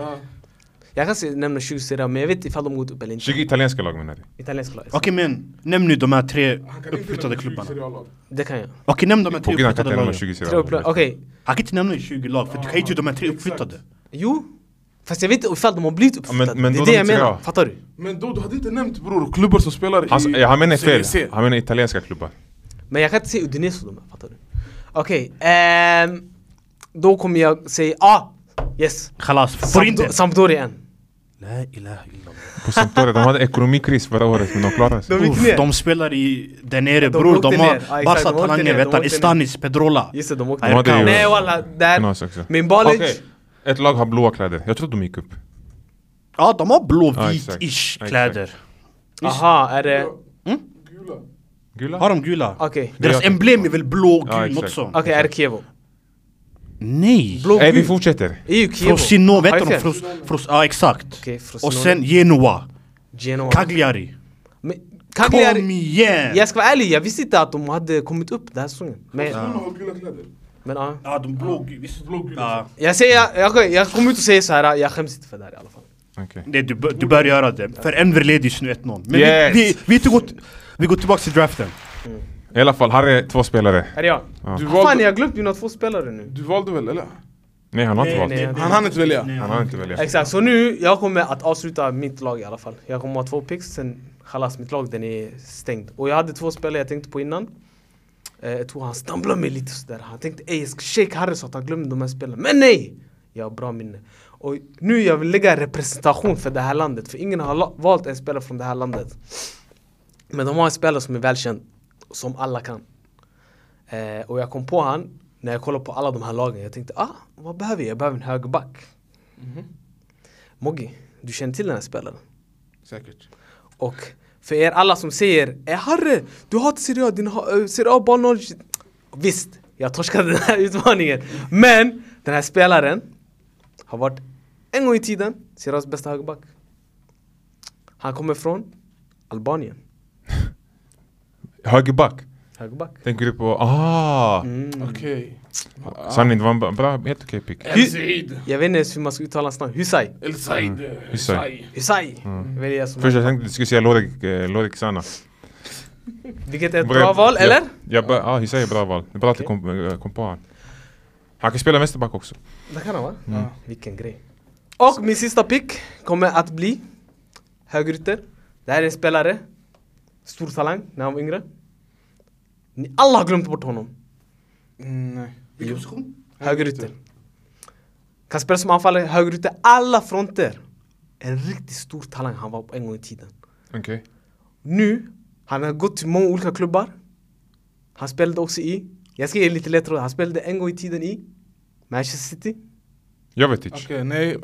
Speaker 1: Jag kan se- nämna 20 Serie A, men jag vet ifall de gått upp eller inte.
Speaker 2: 20 italienska lag menar jag.
Speaker 3: Typ,
Speaker 1: Italiensk lag.
Speaker 3: Okej men, nämn nu de här tre uppflyttade klubbarna. Okej
Speaker 1: Det kan jag.
Speaker 3: nämn de här tre
Speaker 2: Bogdan kan
Speaker 3: uppflyttade
Speaker 2: inte nämna
Speaker 3: lagen.
Speaker 2: 20
Speaker 1: Tre upplag.
Speaker 2: serier.
Speaker 1: Okej.
Speaker 3: Han kan inte nämna 20 lag för du kan ju inte de här tre uppflyttade.
Speaker 1: Jo. Fast jag vet inte ifall de har blivit uppflyttade.
Speaker 2: men
Speaker 1: det
Speaker 2: då
Speaker 1: är det
Speaker 2: de
Speaker 1: jag
Speaker 2: tre,
Speaker 1: menar.
Speaker 2: ja.
Speaker 1: Fattar du?
Speaker 4: Men då, du hade inte nämnt bror klubbar som spelar
Speaker 2: Han,
Speaker 4: i...
Speaker 2: ja, han menar fel.
Speaker 4: Serie C.
Speaker 2: Han menar italienska klubbar.
Speaker 1: Men jag kan inte se Udinese och de här, fattar du? Okej, ehm, då kommer jag säga, ah! Yes!
Speaker 3: Khalas, får in det!
Speaker 1: Sampdo- Sampdoria igen.
Speaker 3: La ilaha illallah.
Speaker 2: På Sampdoria, de hade ekonomikris förra året men de klarade sig.
Speaker 1: De gick ner.
Speaker 3: Uff, de spelar i där nere
Speaker 1: De
Speaker 3: bror,
Speaker 1: åkte
Speaker 3: de
Speaker 1: ner. Ja,
Speaker 3: har
Speaker 1: exakt,
Speaker 3: Barca
Speaker 1: de åkte
Speaker 3: talanger
Speaker 1: ner,
Speaker 3: vet
Speaker 1: de
Speaker 3: han,
Speaker 1: åkte ner.
Speaker 3: Istanis, Pedrola.
Speaker 1: Just det, de åkte
Speaker 3: De
Speaker 1: ner.
Speaker 2: hade ju-
Speaker 1: Nej walla, där.
Speaker 2: Knas också.
Speaker 1: Min Balic.
Speaker 2: Okej, Ett lag har blåa kläder. Jag trodde de gick upp.
Speaker 3: Ja de har
Speaker 2: Ja, exakt.
Speaker 3: blå-vit-ish
Speaker 2: Ja,
Speaker 3: kläder.
Speaker 1: Aha, är det...
Speaker 4: Gula.
Speaker 2: Gula?
Speaker 3: Har de gula?
Speaker 1: Okej.
Speaker 3: Deras
Speaker 2: jag tänker
Speaker 3: emblem är väl blå,
Speaker 2: Ja,
Speaker 3: gul,
Speaker 2: exakt.
Speaker 3: något sånt?
Speaker 1: Okej, är det Kievo?
Speaker 3: Nej!
Speaker 1: Blå
Speaker 2: Nej, vi
Speaker 1: gul?
Speaker 2: fortsätter.
Speaker 1: Är ju Kievo.
Speaker 3: Frosinone, vet
Speaker 1: Har
Speaker 3: du?
Speaker 1: jag fel?
Speaker 3: de? Fros- Fros- Ja exakt.
Speaker 1: Okej, Frosinone.
Speaker 3: Och sen Genoa,
Speaker 1: Genoa.
Speaker 3: Cagliari.
Speaker 1: Men
Speaker 3: Kom
Speaker 1: Cagliari.
Speaker 3: igen!
Speaker 1: Jag ska vara ärlig, jag visste inte att de hade kommit upp den här säsongen. Men,
Speaker 4: Barcelona har gula kläder.
Speaker 1: men ja.
Speaker 3: Ja de blågula, visst blågula? Ja.
Speaker 1: Jag säger, jag, jag kommer ut och säger så här, jag skäms inte för det här i alla fall.
Speaker 2: Okej.
Speaker 3: Nej du, bör- du bör göra det, för Enver leder just nu 1-0 Men
Speaker 2: Yes.
Speaker 3: vi, vi, vi, tog åt, vi går tillbaka till draften
Speaker 2: I alla fall, Harry två spelare.
Speaker 1: Är det jag?
Speaker 4: Du
Speaker 1: Fan,
Speaker 4: valde,
Speaker 1: jag har glömt mina två spelare nu.
Speaker 4: du valde väl eller?
Speaker 2: Nej, han har inte
Speaker 1: nej, Mm.
Speaker 2: valt.
Speaker 4: Han hann inte välja.
Speaker 3: Nej.
Speaker 2: Han har inte väljat.
Speaker 1: Exakt, så nu jag kommer att avsluta mitt lag i alla fall. Jag kommer ha två picks, sen Khalas, mitt lag den är stängd. Och jag hade två spelare jag tänkte på innan. Eh, jag tror han stamblade mig lite sådär. Han tänkte ey jag ska shake Harry så att han glömde de här spelarna. Men nej! Jag har bra minne. Och nu jag vill lägga representation för det här landet. För ingen har la- valt en spelare från det här landet. Men de har en spelare som är välkänd. Som alla kan. Eh, och jag kom på han när jag kollade på alla de här lagen. Jag tänkte, ah, vad behöver jag? Jag behöver en högerback. Moggi, du känner till den här spelaren.
Speaker 4: Säkert.
Speaker 1: Och för er alla som säger eh, Harry, du har inte Serie A, din ha- eh, Serie A bara noll." Visst, jag torskade den här utmaningen. Men den här spelaren har varit en gång i tiden Serie A's bästa högerback. Han kommer från Albanien.
Speaker 2: Högerback.
Speaker 1: Högerback.
Speaker 2: Tänker du på... Ah!
Speaker 1: Mm.
Speaker 4: Mm. Okej.
Speaker 2: Sanning, det var en bra- bra, helt okej pick.
Speaker 4: El Said.
Speaker 1: Jag vet inte ens hur man ska uttala hans namn. Husay.
Speaker 4: El Said. El
Speaker 2: Hussein.
Speaker 4: Said.
Speaker 1: Husay. Det är det som-
Speaker 2: Mm. Först jag tänkte du skulle säga Lorik, eh, Lorik Sana.
Speaker 1: Vilket är ett bra val,
Speaker 2: ja,
Speaker 1: eller?
Speaker 2: Ja, bra- ja, Hisai är bra val. Det är bra att du kom, eh, kom på han. Han kan spela vänsterback också.
Speaker 1: Det kan han va?
Speaker 2: Mm.
Speaker 1: Vilken grej. Och min sista pick kommer att bli högerytter. Det här är en spelare, stor talang när han var yngre. Ni alla har glömt bort honom.
Speaker 4: Mm, Nej.
Speaker 3: Vilken position?
Speaker 1: Högerytter. Kan spela som anfallare, högerytter, alla fronter. En riktigt stor talang han var på en gång i tiden.
Speaker 2: Okej.
Speaker 1: Nu, han har gått till många olika klubbar. Han spelade också i, jag ska ge lite lättare, han spelade en gång i tiden i Manchester City.
Speaker 2: Jovetic.
Speaker 4: Okej, nej.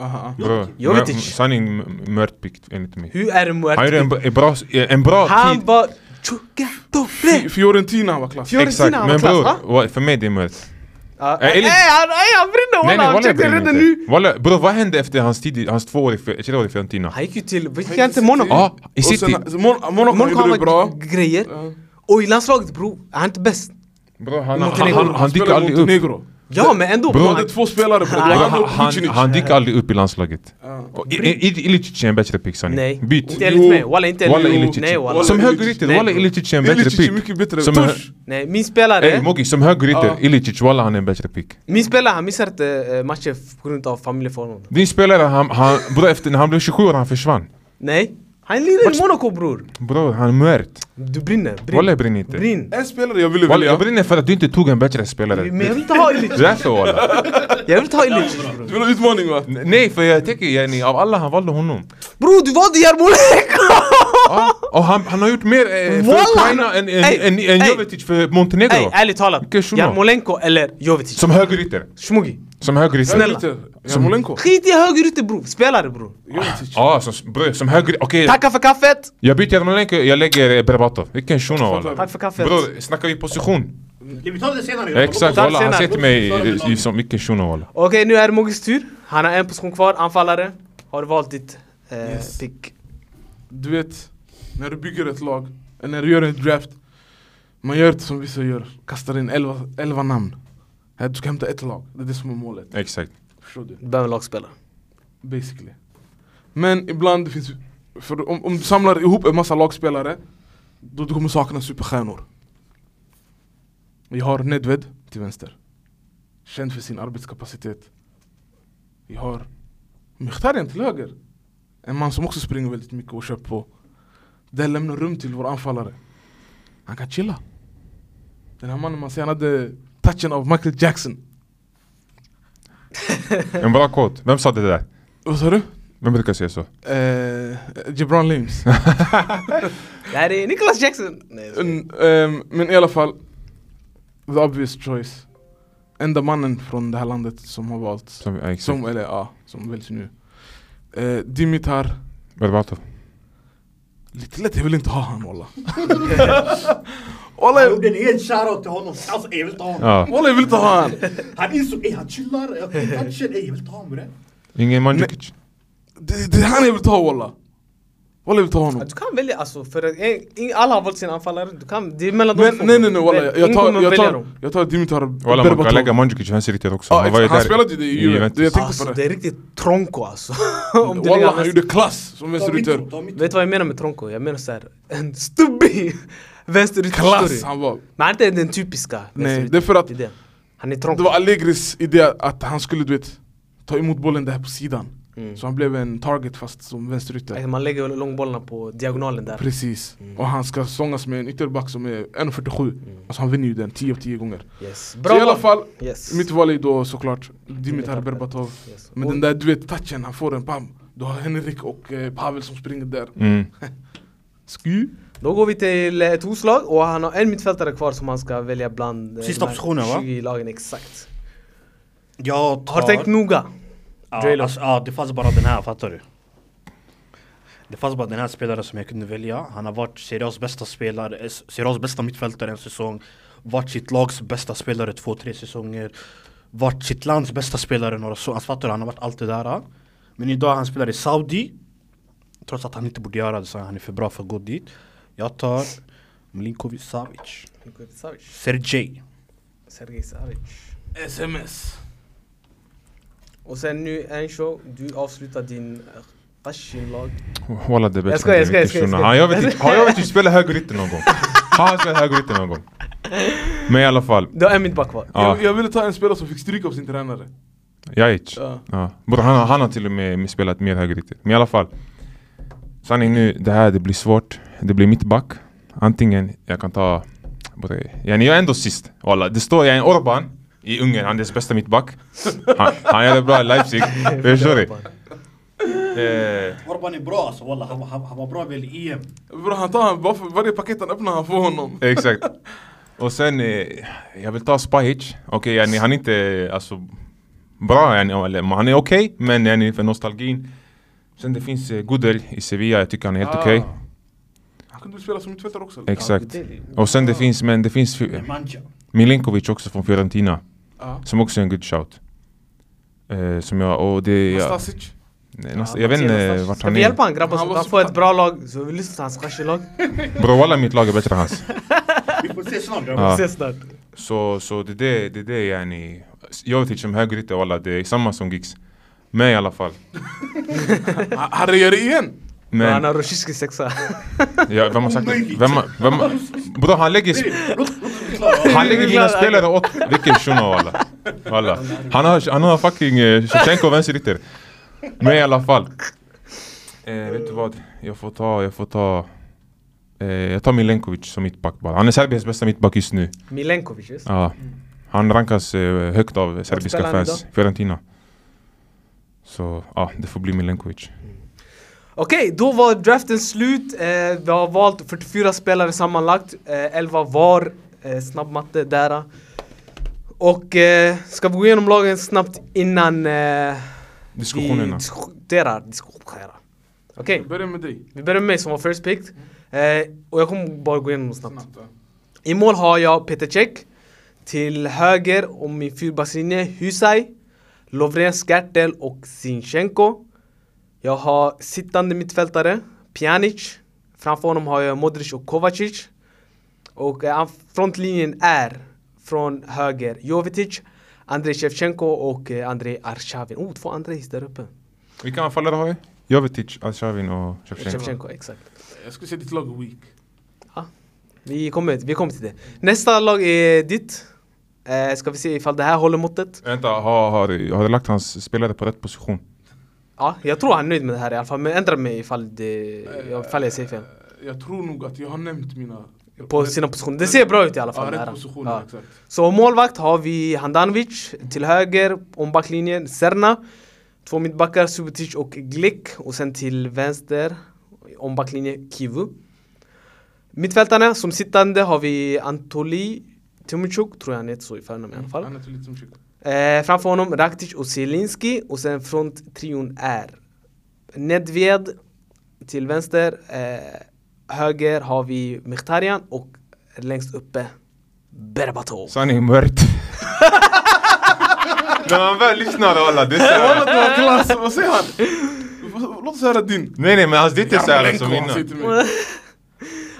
Speaker 4: Aha. aha.
Speaker 2: Bra.
Speaker 1: Jovetic.
Speaker 2: Mör- Sanning, m- mörkt pick enligt mig.
Speaker 1: Hur är det med
Speaker 2: Han gjorde en, b- en bra, s- eh, en bra
Speaker 1: Han
Speaker 2: tid.
Speaker 1: var... Tjuga, dobre!
Speaker 4: Fi- Fiorentina var klass.
Speaker 1: Fior-
Speaker 2: Exakt,
Speaker 1: Fiorentina
Speaker 2: men
Speaker 1: var klass,
Speaker 2: bror, wa- för mig det är mörkt.
Speaker 1: Ja,
Speaker 2: Eh,
Speaker 1: Ey
Speaker 2: Elin-
Speaker 1: han, ey, han brinner
Speaker 2: Nej
Speaker 1: walla,
Speaker 2: nej
Speaker 1: han
Speaker 2: walla jag
Speaker 1: försökte
Speaker 2: bryr
Speaker 1: redan
Speaker 2: mig
Speaker 1: nu!
Speaker 2: inte. Walla bror vad hände efter hans tid, i- hans två år i Fi- tre år i Fiorentina?
Speaker 1: Han gick ju till, gick han till Monaco?
Speaker 2: Ja, i
Speaker 4: Och
Speaker 2: City.
Speaker 4: sen- Mon- Monaco
Speaker 1: Monaco
Speaker 4: gjorde det
Speaker 1: har
Speaker 4: bra.
Speaker 1: varit grejer,
Speaker 4: Ja.
Speaker 1: och i landslaget bro, han är inte bäst
Speaker 2: Bror han, han, han,
Speaker 1: Montenegro.
Speaker 2: han, han dyker
Speaker 4: spelade
Speaker 2: aldrig upp.
Speaker 4: Montenegro.
Speaker 1: Ja men ändå
Speaker 2: Bro,
Speaker 1: bro,
Speaker 4: De hade två spelare på det.
Speaker 2: Bror,
Speaker 4: Han
Speaker 2: han,
Speaker 4: och
Speaker 2: han,
Speaker 4: Vucinic.
Speaker 2: han dyker aldrig upp i landslaget.
Speaker 4: Ja.
Speaker 2: Och I- I- I- Ilicic är en bättre pick Sanning.
Speaker 1: Nej,
Speaker 2: Byt.
Speaker 1: inte enligt mig, walla inte
Speaker 2: Walla
Speaker 1: enligt
Speaker 2: Ilicic.
Speaker 1: mig Nej walla
Speaker 2: Som
Speaker 4: Ilicic.
Speaker 2: högerytter,
Speaker 1: Nej,
Speaker 2: walla
Speaker 1: bro.
Speaker 2: Ilicic är en bättre
Speaker 4: Ilicic
Speaker 2: pick.
Speaker 4: är mycket bättre.
Speaker 2: Som
Speaker 4: Tush!
Speaker 1: Nej min spelare,
Speaker 2: Ey Moggi, som högerytter,
Speaker 4: Ja.
Speaker 2: Ilicic, walla han är en bättre pick.
Speaker 1: min spelare han missar inte eh, matcher f- på grund av familjeförhållanden
Speaker 2: Din spelare, han, han, bror efter när han blev 27 år han försvann.
Speaker 1: Nej, han lirar i Monaco bror
Speaker 2: Bror han är mört.
Speaker 1: Du brinner, brinn
Speaker 2: Walla jag brinner inte.
Speaker 1: Brinn
Speaker 4: En spelare jag ville
Speaker 2: Walla jag
Speaker 4: välja.
Speaker 2: brinner för att du inte tog en bättre spelare.
Speaker 1: Men jag vill inte ha Illich,
Speaker 2: Det är så walla.
Speaker 1: jag vill inte ha Illich
Speaker 4: Du vill ha utmaning va?
Speaker 2: N- Nej för jag tänker yani, av alla han valde honom.
Speaker 1: Bror du valde Jarmolenko!
Speaker 2: Ja, och han, han har gjort mer eh,
Speaker 1: Walla,
Speaker 2: för Ukraina
Speaker 1: han-
Speaker 2: än,
Speaker 1: Ey,
Speaker 2: än, än, än
Speaker 1: ey.
Speaker 2: Jovetic för
Speaker 1: Ey
Speaker 2: Montenegro.
Speaker 1: ärligt talat,
Speaker 2: Vilken shuno.
Speaker 1: Jarmolenko eller Jovetic?
Speaker 2: Som högerytter.
Speaker 1: Shmugi
Speaker 2: Som högerytter.
Speaker 1: Snälla.
Speaker 4: Jarmolenko.
Speaker 1: Skit i högerytter bror, spelare bror
Speaker 4: Jovetic.
Speaker 2: Ja, som, bror, som höger... Okej,
Speaker 1: Tacka för kaffet!
Speaker 2: jag byter Jarmolenko, jag lägger eh, Berbatov. Vilken shuno
Speaker 4: Fattar
Speaker 2: walla.
Speaker 1: Tack för kaffet!
Speaker 2: Bror, snackar vi position?
Speaker 3: Vi tar det senare
Speaker 2: Exakt,
Speaker 1: Tack
Speaker 2: walla han
Speaker 1: senare.
Speaker 2: ser till mig eh, i- som vilken shuno walla.
Speaker 1: Okej, nu är det Moggis tur. Han har en position kvar, anfallare. Har du valt ditt eh,
Speaker 4: Yes.
Speaker 1: pick?
Speaker 4: Du vet, när du bygger ett lag, eller när du gör en draft Man gör inte som vissa gör, kastar in elva, elva namn Här, Du ska hämta ett lag, det är det som är målet
Speaker 2: Exakt.
Speaker 4: Förstår du?
Speaker 1: Du behöver en lagspelare.
Speaker 4: Basically. Men ibland finns, för om, om du samlar ihop en massa lagspelare, då du kommer sakna superstjärnor. Vi har Nedved till vänster. Känd för sin arbetskapacitet. Vi har Mkhitaryan till höger. En man som också springer väldigt mycket och kör på. Det lämnar rum till vår anfallare. Han kan chilla. Den här mannen man ser, han hade touchen av Michael Jackson.
Speaker 2: En bra kod. Vem sa det där?
Speaker 4: Vad sa du?
Speaker 2: Vem brukar säga så?
Speaker 4: Eh, Gibran Lims.
Speaker 1: Det här är Nicholas Jackson! Nej, jag skojar.
Speaker 4: Mm, ehm, men i alla fall, the obvious choice. Enda mannen från det här landet som har valt,
Speaker 2: Som, ja, exakt.
Speaker 4: som, eller ja, som väljs nu. Eh, Dimitar,
Speaker 2: Berbatov.
Speaker 4: lite lätt, jag vill inte ha han walla.
Speaker 3: Jag
Speaker 4: Walla,
Speaker 3: gjorde en hel shoutout till honom. Alltså ey jag vill inte ha honom.
Speaker 2: Ja.
Speaker 4: walla jag vill inte ha han.
Speaker 3: Han insåg ey han chillar. Jag fick touchen. Ey jag vill inte ha honom bre.
Speaker 2: Ingen Mandzukic.
Speaker 4: Det, det är han jag vill ta walla. Walla jag vill ta
Speaker 1: Ja,
Speaker 4: honom.
Speaker 1: Du kan välja alltså, för att en- ing- alla har valt sin anfallare, du kan, det är mellan
Speaker 4: Men
Speaker 1: två.
Speaker 4: nej nej nej walla, jag, jag
Speaker 1: Ingen
Speaker 4: tar,
Speaker 1: kommer
Speaker 4: jag
Speaker 1: välja
Speaker 4: tar,
Speaker 1: dem.
Speaker 4: jag tar Dimitar
Speaker 2: Walla man kan
Speaker 4: Berbatov.
Speaker 2: lägga Mandzukic vänsterytter också.
Speaker 4: Ja,
Speaker 2: ju
Speaker 4: exakt, han
Speaker 2: där
Speaker 4: spelade ju det i Juventus. Jag tänkte på
Speaker 1: Alltså det
Speaker 4: det.
Speaker 1: är riktigt tronko alltså. Om du
Speaker 4: Walla
Speaker 1: lägger
Speaker 4: han
Speaker 1: vänster-
Speaker 4: gjorde klass som
Speaker 3: Ta
Speaker 4: vänsterytter.
Speaker 3: mitt ta mitt
Speaker 1: Vet du vad jag menar med tronko? Jag menar såhär, en stubbig
Speaker 4: Klass
Speaker 1: vänsterytterstory.
Speaker 4: han var.
Speaker 1: Men han är inte den typiska
Speaker 4: Nej,
Speaker 1: vänsterytter,
Speaker 4: det är för att
Speaker 1: det är det. Han är
Speaker 4: Det
Speaker 1: tronko.
Speaker 4: var Allegris idé att han skulle du vet, ta emot bollen där på sidan.
Speaker 1: Mm.
Speaker 4: Så han blev en target fast som vänsterytter.
Speaker 1: Alltså, Man lägger långbollarna på diagonalen där.
Speaker 4: Precis.
Speaker 1: Mm.
Speaker 4: Och han ska sångas med en ytterback som är 1,47. Alltså han vinner ju den 10 av 10 gånger.
Speaker 1: Yes.
Speaker 4: Bra så i alla
Speaker 1: val.
Speaker 4: fall,
Speaker 1: Yes.
Speaker 4: mitt val är då såklart Dimitar Berbatov.
Speaker 1: Yes.
Speaker 4: Men
Speaker 1: Och-
Speaker 4: den där du vet touchen han får den, bam! Du har Henrik och eh, Pavel som springer där.
Speaker 2: Mm.
Speaker 4: Sky.
Speaker 1: Då går vi till eh, ett oslag och han har en mittfältare kvar som han ska välja bland eh,
Speaker 3: Sista
Speaker 1: de här
Speaker 3: positionen, va?
Speaker 1: 20 lagen exakt.
Speaker 3: Jag tar...
Speaker 1: Har tänkt noga.
Speaker 3: Ja,
Speaker 1: Drelo.
Speaker 3: alltså, ja, det fanns bara den här, fattar du? Det fanns bara den här spelaren som jag kunde välja. Han har varit Serias bästa spelare, eh, Serias bästa mittfältare en säsong. Varit sitt lags bästa spelare två, tre säsonger. Varit sitt lands bästa spelare några säsonger. Alltså, fattar du? Han har varit allt det där. Men idag han spelar i Saudi. Trots att han inte borde göra det så han är för bra för att gå dit. Jag tar Milinkovic Savic.
Speaker 1: Savic.
Speaker 3: Sergej.
Speaker 1: Sergej Savic.
Speaker 4: SMS.
Speaker 1: Och sen nu Encho, du avslutar din eh, Qashin-lag.
Speaker 2: Walla det är bättre
Speaker 1: Jag skojar, jag skojar, jag
Speaker 2: än Krishna.
Speaker 1: skojar.
Speaker 2: Han, jag vet inte, har jag vet inte spelat högerytter någon gång? Har han spelat högerytter någon gång? Men i alla fall.
Speaker 1: Du har en mittback kvar.
Speaker 2: Ja.
Speaker 4: Jag, jag ville ta en spelare som fick stryk av sin tränare.
Speaker 2: Jajic.
Speaker 4: Ja.
Speaker 2: Ja. Bror, han, har- han har till och med spelat mer högerytter. Men i alla fall. Sanning nu, det här det blir svårt. Det blir mittback. Antingen jag kan ta... bror, Yani jag är ändå sist. Walla. Det står jag är en Orban i Ungern. Han är deras bästa mittback. Han, han gör det bra i Leipzig. Förstår du? Eh,
Speaker 3: Orban är bra alltså, wallah. Han, han, han var bra väl i E EM.
Speaker 4: Bro, han tar han, bara för varje paket han öppnar han får honom.
Speaker 2: Exakt. Och sen, eh, jag vill ta Spahic. Okej, yani, han är inte eh, alltså, bra, yani, eller, men han är okej, men yani, för nostalgin. Sen det finns eh, Gudel i Sevilla, jag tycker han är helt okej.
Speaker 4: Ah. Han kunde väl spela som mittfältare också? eller?
Speaker 2: Exakt.
Speaker 1: Gudel är-
Speaker 2: Och sen det finns, men det finns eh,
Speaker 3: Nemanja.
Speaker 2: Milinkovic också från Fiorentina,
Speaker 4: Ja.
Speaker 2: som också är en good shout. Eh, som jag, och det, ja,
Speaker 4: Nastasic.
Speaker 2: nej,
Speaker 4: alltså,
Speaker 2: nästa, jag vet inte eh, vart
Speaker 1: Ska
Speaker 2: han
Speaker 1: vi
Speaker 2: är.
Speaker 1: hjälpa han grabbar så
Speaker 4: Han
Speaker 1: att
Speaker 4: var
Speaker 1: han
Speaker 4: så
Speaker 1: får
Speaker 4: fan-
Speaker 1: ett bra lag? Så vi lyssnar till hans Qashin-lag.
Speaker 2: Bro, walla mitt lag är bättre än hans.
Speaker 3: Vi får se snart
Speaker 1: Vi
Speaker 2: Ja.
Speaker 1: ses snart.
Speaker 2: Så, så det är det, det, är det yani. Jovetic som högerytter, walla, det är samma som Giggs. Men i alla fall.
Speaker 4: Ha- Harry gör det igen!
Speaker 1: Men. Han
Speaker 2: Men,
Speaker 1: har Roshiski sexa.
Speaker 2: ja, vem har sagt det?
Speaker 3: Omöjligt.
Speaker 2: Vem, har- vem, har- bror han lägger, sp- han lägger dina spelare åt vilken shuno walla. Walla. Han har, han har fucking eh, Shevchenko vänsterytter. Men i alla fall. Eh, vet du vad? Jag får ta, jag får ta. Eh, jag tar Milenkovic som mittback bara. Han är Serbiens bästa mittback just nu.
Speaker 1: Milenkovic, just.
Speaker 2: Ja. Han rankas eh, högt av serbiska
Speaker 1: spelar han
Speaker 2: fans. Fiorentina. Så ja, det får bli Milenkovic.
Speaker 1: Okej, då var draften slut. Eh, vi har valt 44 spelare sammanlagt. Eh, 11 var. Eh, snabbmatte där. Och eh, ska vi gå igenom lagen snabbt innan eh, vi
Speaker 2: Diskussionerna.
Speaker 1: diskuterar? Diskuterar. Okej,
Speaker 4: Börja med dig.
Speaker 1: vi börjar med mig som var first pick. Eh, och jag kommer bara gå igenom dem snabbt.
Speaker 4: Snabbt. ja.
Speaker 1: I mål har jag Peter Cech Till höger om min fyrbackslinje Husay Lovren Skertel och Zinchenko Jag har sittande mittfältare Pjanic Framför honom har jag Modric och Kovacic Och eh, anf- frontlinjen är från höger Jovetic Andrei Shevchenko och eh, Andrei Arshavin Oh, två Andreis där uppe
Speaker 2: Vilka anfallare har vi? Jovetic, Arshavin och Shevchenko.
Speaker 1: Shevchenko, exakt.
Speaker 4: Jag skulle säga ditt lag är weak.
Speaker 1: Vi kommer, vi kommer till det. Nästa lag är ditt. Eh, ska vi se ifall det här håller måttet.
Speaker 2: Vänta, har, har, har du lagt hans spelare på rätt position?
Speaker 1: Ja, jag tror han är nöjd med det här i alla fall. Men ändra mig ifall, det, ifall jag säger fel.
Speaker 4: Jag tror nog att jag har nämnt mina...
Speaker 1: På sina positioner. Det ser bra ut i alla fall.
Speaker 4: Ja,
Speaker 1: det här.
Speaker 4: rätt positioner,
Speaker 1: Ja.
Speaker 4: exakt.
Speaker 1: Så målvakt har vi Handanovic till höger, om backlinjen Serna. Två mittbackar, Subotic och Glick. Och sen till vänster, om backlinjen Kivu. Mittfältarna, som sittande har vi Antoli Timuchuk, tror jag han heter så i förnamn i alla fall.
Speaker 4: Han är lite som chick.
Speaker 1: Eh, framför honom Raktic och Zielinski och sen fronttrion är Nedved till vänster, eh, höger har vi Mkhitaryan och längst uppe Berbatov.
Speaker 2: Sanning mört. När man väl lyssnar alla, det är såhär.
Speaker 1: Ah!
Speaker 4: Walla du har klass, vad säger han? Låt oss höra din.
Speaker 2: Nej nej men hans ditt är såhär
Speaker 4: Jarmolenko,
Speaker 2: som
Speaker 4: han
Speaker 2: innan.
Speaker 4: säger till mig.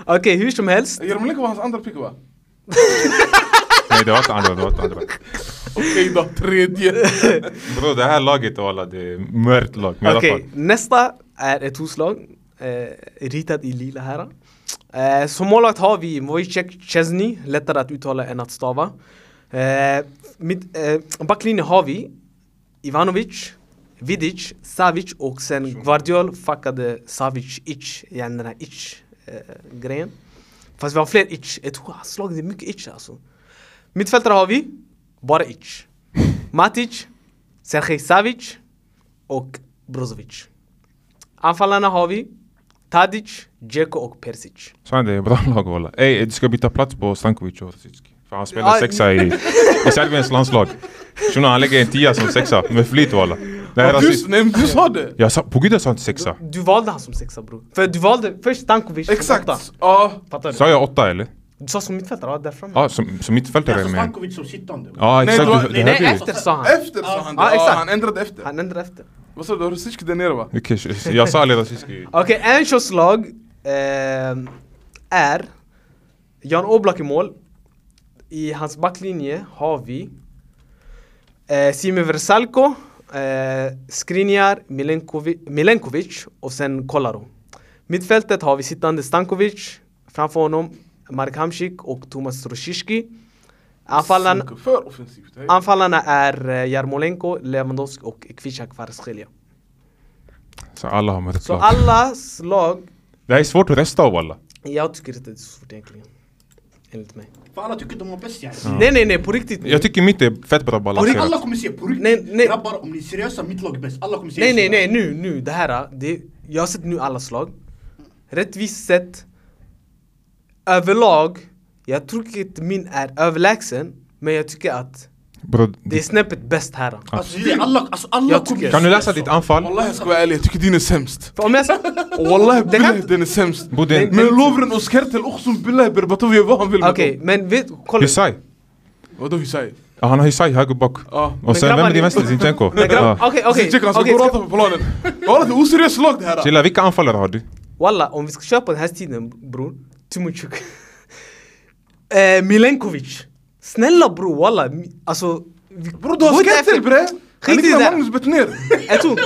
Speaker 1: Okej, hur som helst.
Speaker 4: Jarmolenko var hans andra pick va?
Speaker 2: Nej det var inte andra, det var inte andra.
Speaker 4: Okej då, tredje.
Speaker 2: Bro det här laget alla, det är mört lag. Men i alla
Speaker 1: Okej,
Speaker 2: fall.
Speaker 1: nästa är ett huslag eh, ritat i lila här. Eh, som målvakt har vi Wojciech Chesney, lättare att uttala än att stava. Eh, mitt, eh, backlinje har vi Ivanovic, Vidic, Savic och sen Guardiol fuckade Savic itch, igen den här itch-grejen. Fast vi har fler itch, ett slag, det är mycket itch alltså. Mittfältare har vi, bara itch. Matic, Sergej Savic och Brozovic. Anfallarna har vi Tadic, Dzeko och Persic.
Speaker 2: Sanning det är bra lag alla. Ey du ska byta plats på Stankovic och Rosic. För han spelar
Speaker 1: Ja,
Speaker 2: sexa i, i Serbiens landslag. Shunon han lägger en tia som sexa med flit walla. Det här är
Speaker 4: Ja, du,
Speaker 2: rasism.
Speaker 4: nej, men du sa det!
Speaker 2: Jag sa, på gud jag sa inte sexa.
Speaker 1: Du valde han som sexa bror. För du valde först Stankovic som
Speaker 4: Exakt!
Speaker 1: åtta.
Speaker 4: Ja,
Speaker 1: Fattar du?
Speaker 2: Sa jag åtta eller?
Speaker 1: Du sa som mittfältare, ja där framme.
Speaker 2: Ja, som, som
Speaker 3: Det är
Speaker 2: mittfältare
Speaker 3: alltså
Speaker 2: med.
Speaker 3: Stankovic som sittande.
Speaker 2: Ja
Speaker 4: Nej,
Speaker 2: exakt,
Speaker 4: det var-
Speaker 2: det, det
Speaker 4: nej,
Speaker 2: hörde
Speaker 1: Nej
Speaker 2: ju.
Speaker 1: efter sa han.
Speaker 4: efter sa han det.
Speaker 1: Ja,
Speaker 4: Ja,
Speaker 1: exakt.
Speaker 4: han ändrade efter.
Speaker 1: Han ändrade efter.
Speaker 4: Vad sa du? Har Rosic där nere va?
Speaker 2: Okej, sh- Jag sa Ali Rosic.
Speaker 1: Okej, Anchos lag ehm, är Jan Oblak i mål. I hans backlinje har vi eh, Sime Versalko, eh, Skriniar, Milenkovi- Milenkovic och sen Kolarov. Mittfältet har vi sittande Stankovic, framför honom Mark Hamsik och Thomas Rosicki. Anfallarna,
Speaker 4: För offensivt. hej.
Speaker 1: anfallarna är eh, Jarmolenko, Lewandowski och Kvisha Kvaratskhelia.
Speaker 2: Så alla har mött
Speaker 1: Så
Speaker 2: lag.
Speaker 1: allas lag
Speaker 2: Det här är svårt att resta av alla.
Speaker 1: Jag tycker inte det är så svårt egentligen. Enligt mig.
Speaker 3: För alla tycker de var bäst yani.
Speaker 1: Nej nej nej på riktigt.
Speaker 2: Jag tycker mitt är fett bra balanserat.
Speaker 3: Alla kommer se på
Speaker 1: Nej, nej.
Speaker 3: riktigt. Grabbar om ni är seriösa, mitt lag är bäst. Alla kommer se
Speaker 1: nej
Speaker 3: er
Speaker 1: nej
Speaker 3: sida.
Speaker 1: nej nu, nu det här. Det, jag har sett nu allas lag. Rättvist sett. Överlag. Jag tycker inte min är överlägsen. Men jag tycker att
Speaker 2: Bro,
Speaker 1: det är
Speaker 2: ditt-
Speaker 1: snäppet bäst här.
Speaker 3: Alltså, det är alla, alltså, alla
Speaker 1: Jag
Speaker 3: kommer
Speaker 1: tycker-
Speaker 2: kan du
Speaker 3: se
Speaker 2: läsa
Speaker 3: er
Speaker 2: ditt
Speaker 3: så.
Speaker 2: anfall?
Speaker 4: Wallah jag ska vara ärlig, jag tycker din är sämst.
Speaker 1: För om jag...
Speaker 4: Wallah
Speaker 1: Det kan-
Speaker 4: billah den är sämst.
Speaker 2: Bo, den-
Speaker 4: Men Lovren och Skertel också billah Berbatov gör vad han vill med
Speaker 1: Okej
Speaker 4: dem.
Speaker 1: men vet, kolla.
Speaker 2: Hisai.
Speaker 4: Vadå Hisai?
Speaker 2: Ja, han har Hisai höger bak.
Speaker 4: Ja.
Speaker 2: Och sen, vem
Speaker 1: grabbar,
Speaker 2: är din vänster?
Speaker 1: ni-
Speaker 2: Zinchenko?
Speaker 1: Men grabb-
Speaker 2: Ja.
Speaker 1: Okej
Speaker 4: Okej,
Speaker 1: okej.
Speaker 4: okay, han ska
Speaker 1: okej,
Speaker 4: gå och
Speaker 1: ska-
Speaker 4: rata på planen. Wallah det är oseriöst lag det här.
Speaker 2: Chilla, vilka anfallare har du?
Speaker 1: Walla, om vi ska köra på den här tiden bror, Timuchuk. eh, Milenkovic. Snälla bror, walla. mi- Alltså... vi-
Speaker 4: Bror du har
Speaker 1: gå inte
Speaker 4: Skertel
Speaker 1: efter-
Speaker 4: bre! Han
Speaker 1: Skit i det
Speaker 4: liknar
Speaker 1: där.
Speaker 4: Magnus Bettner.
Speaker 1: Jag tror...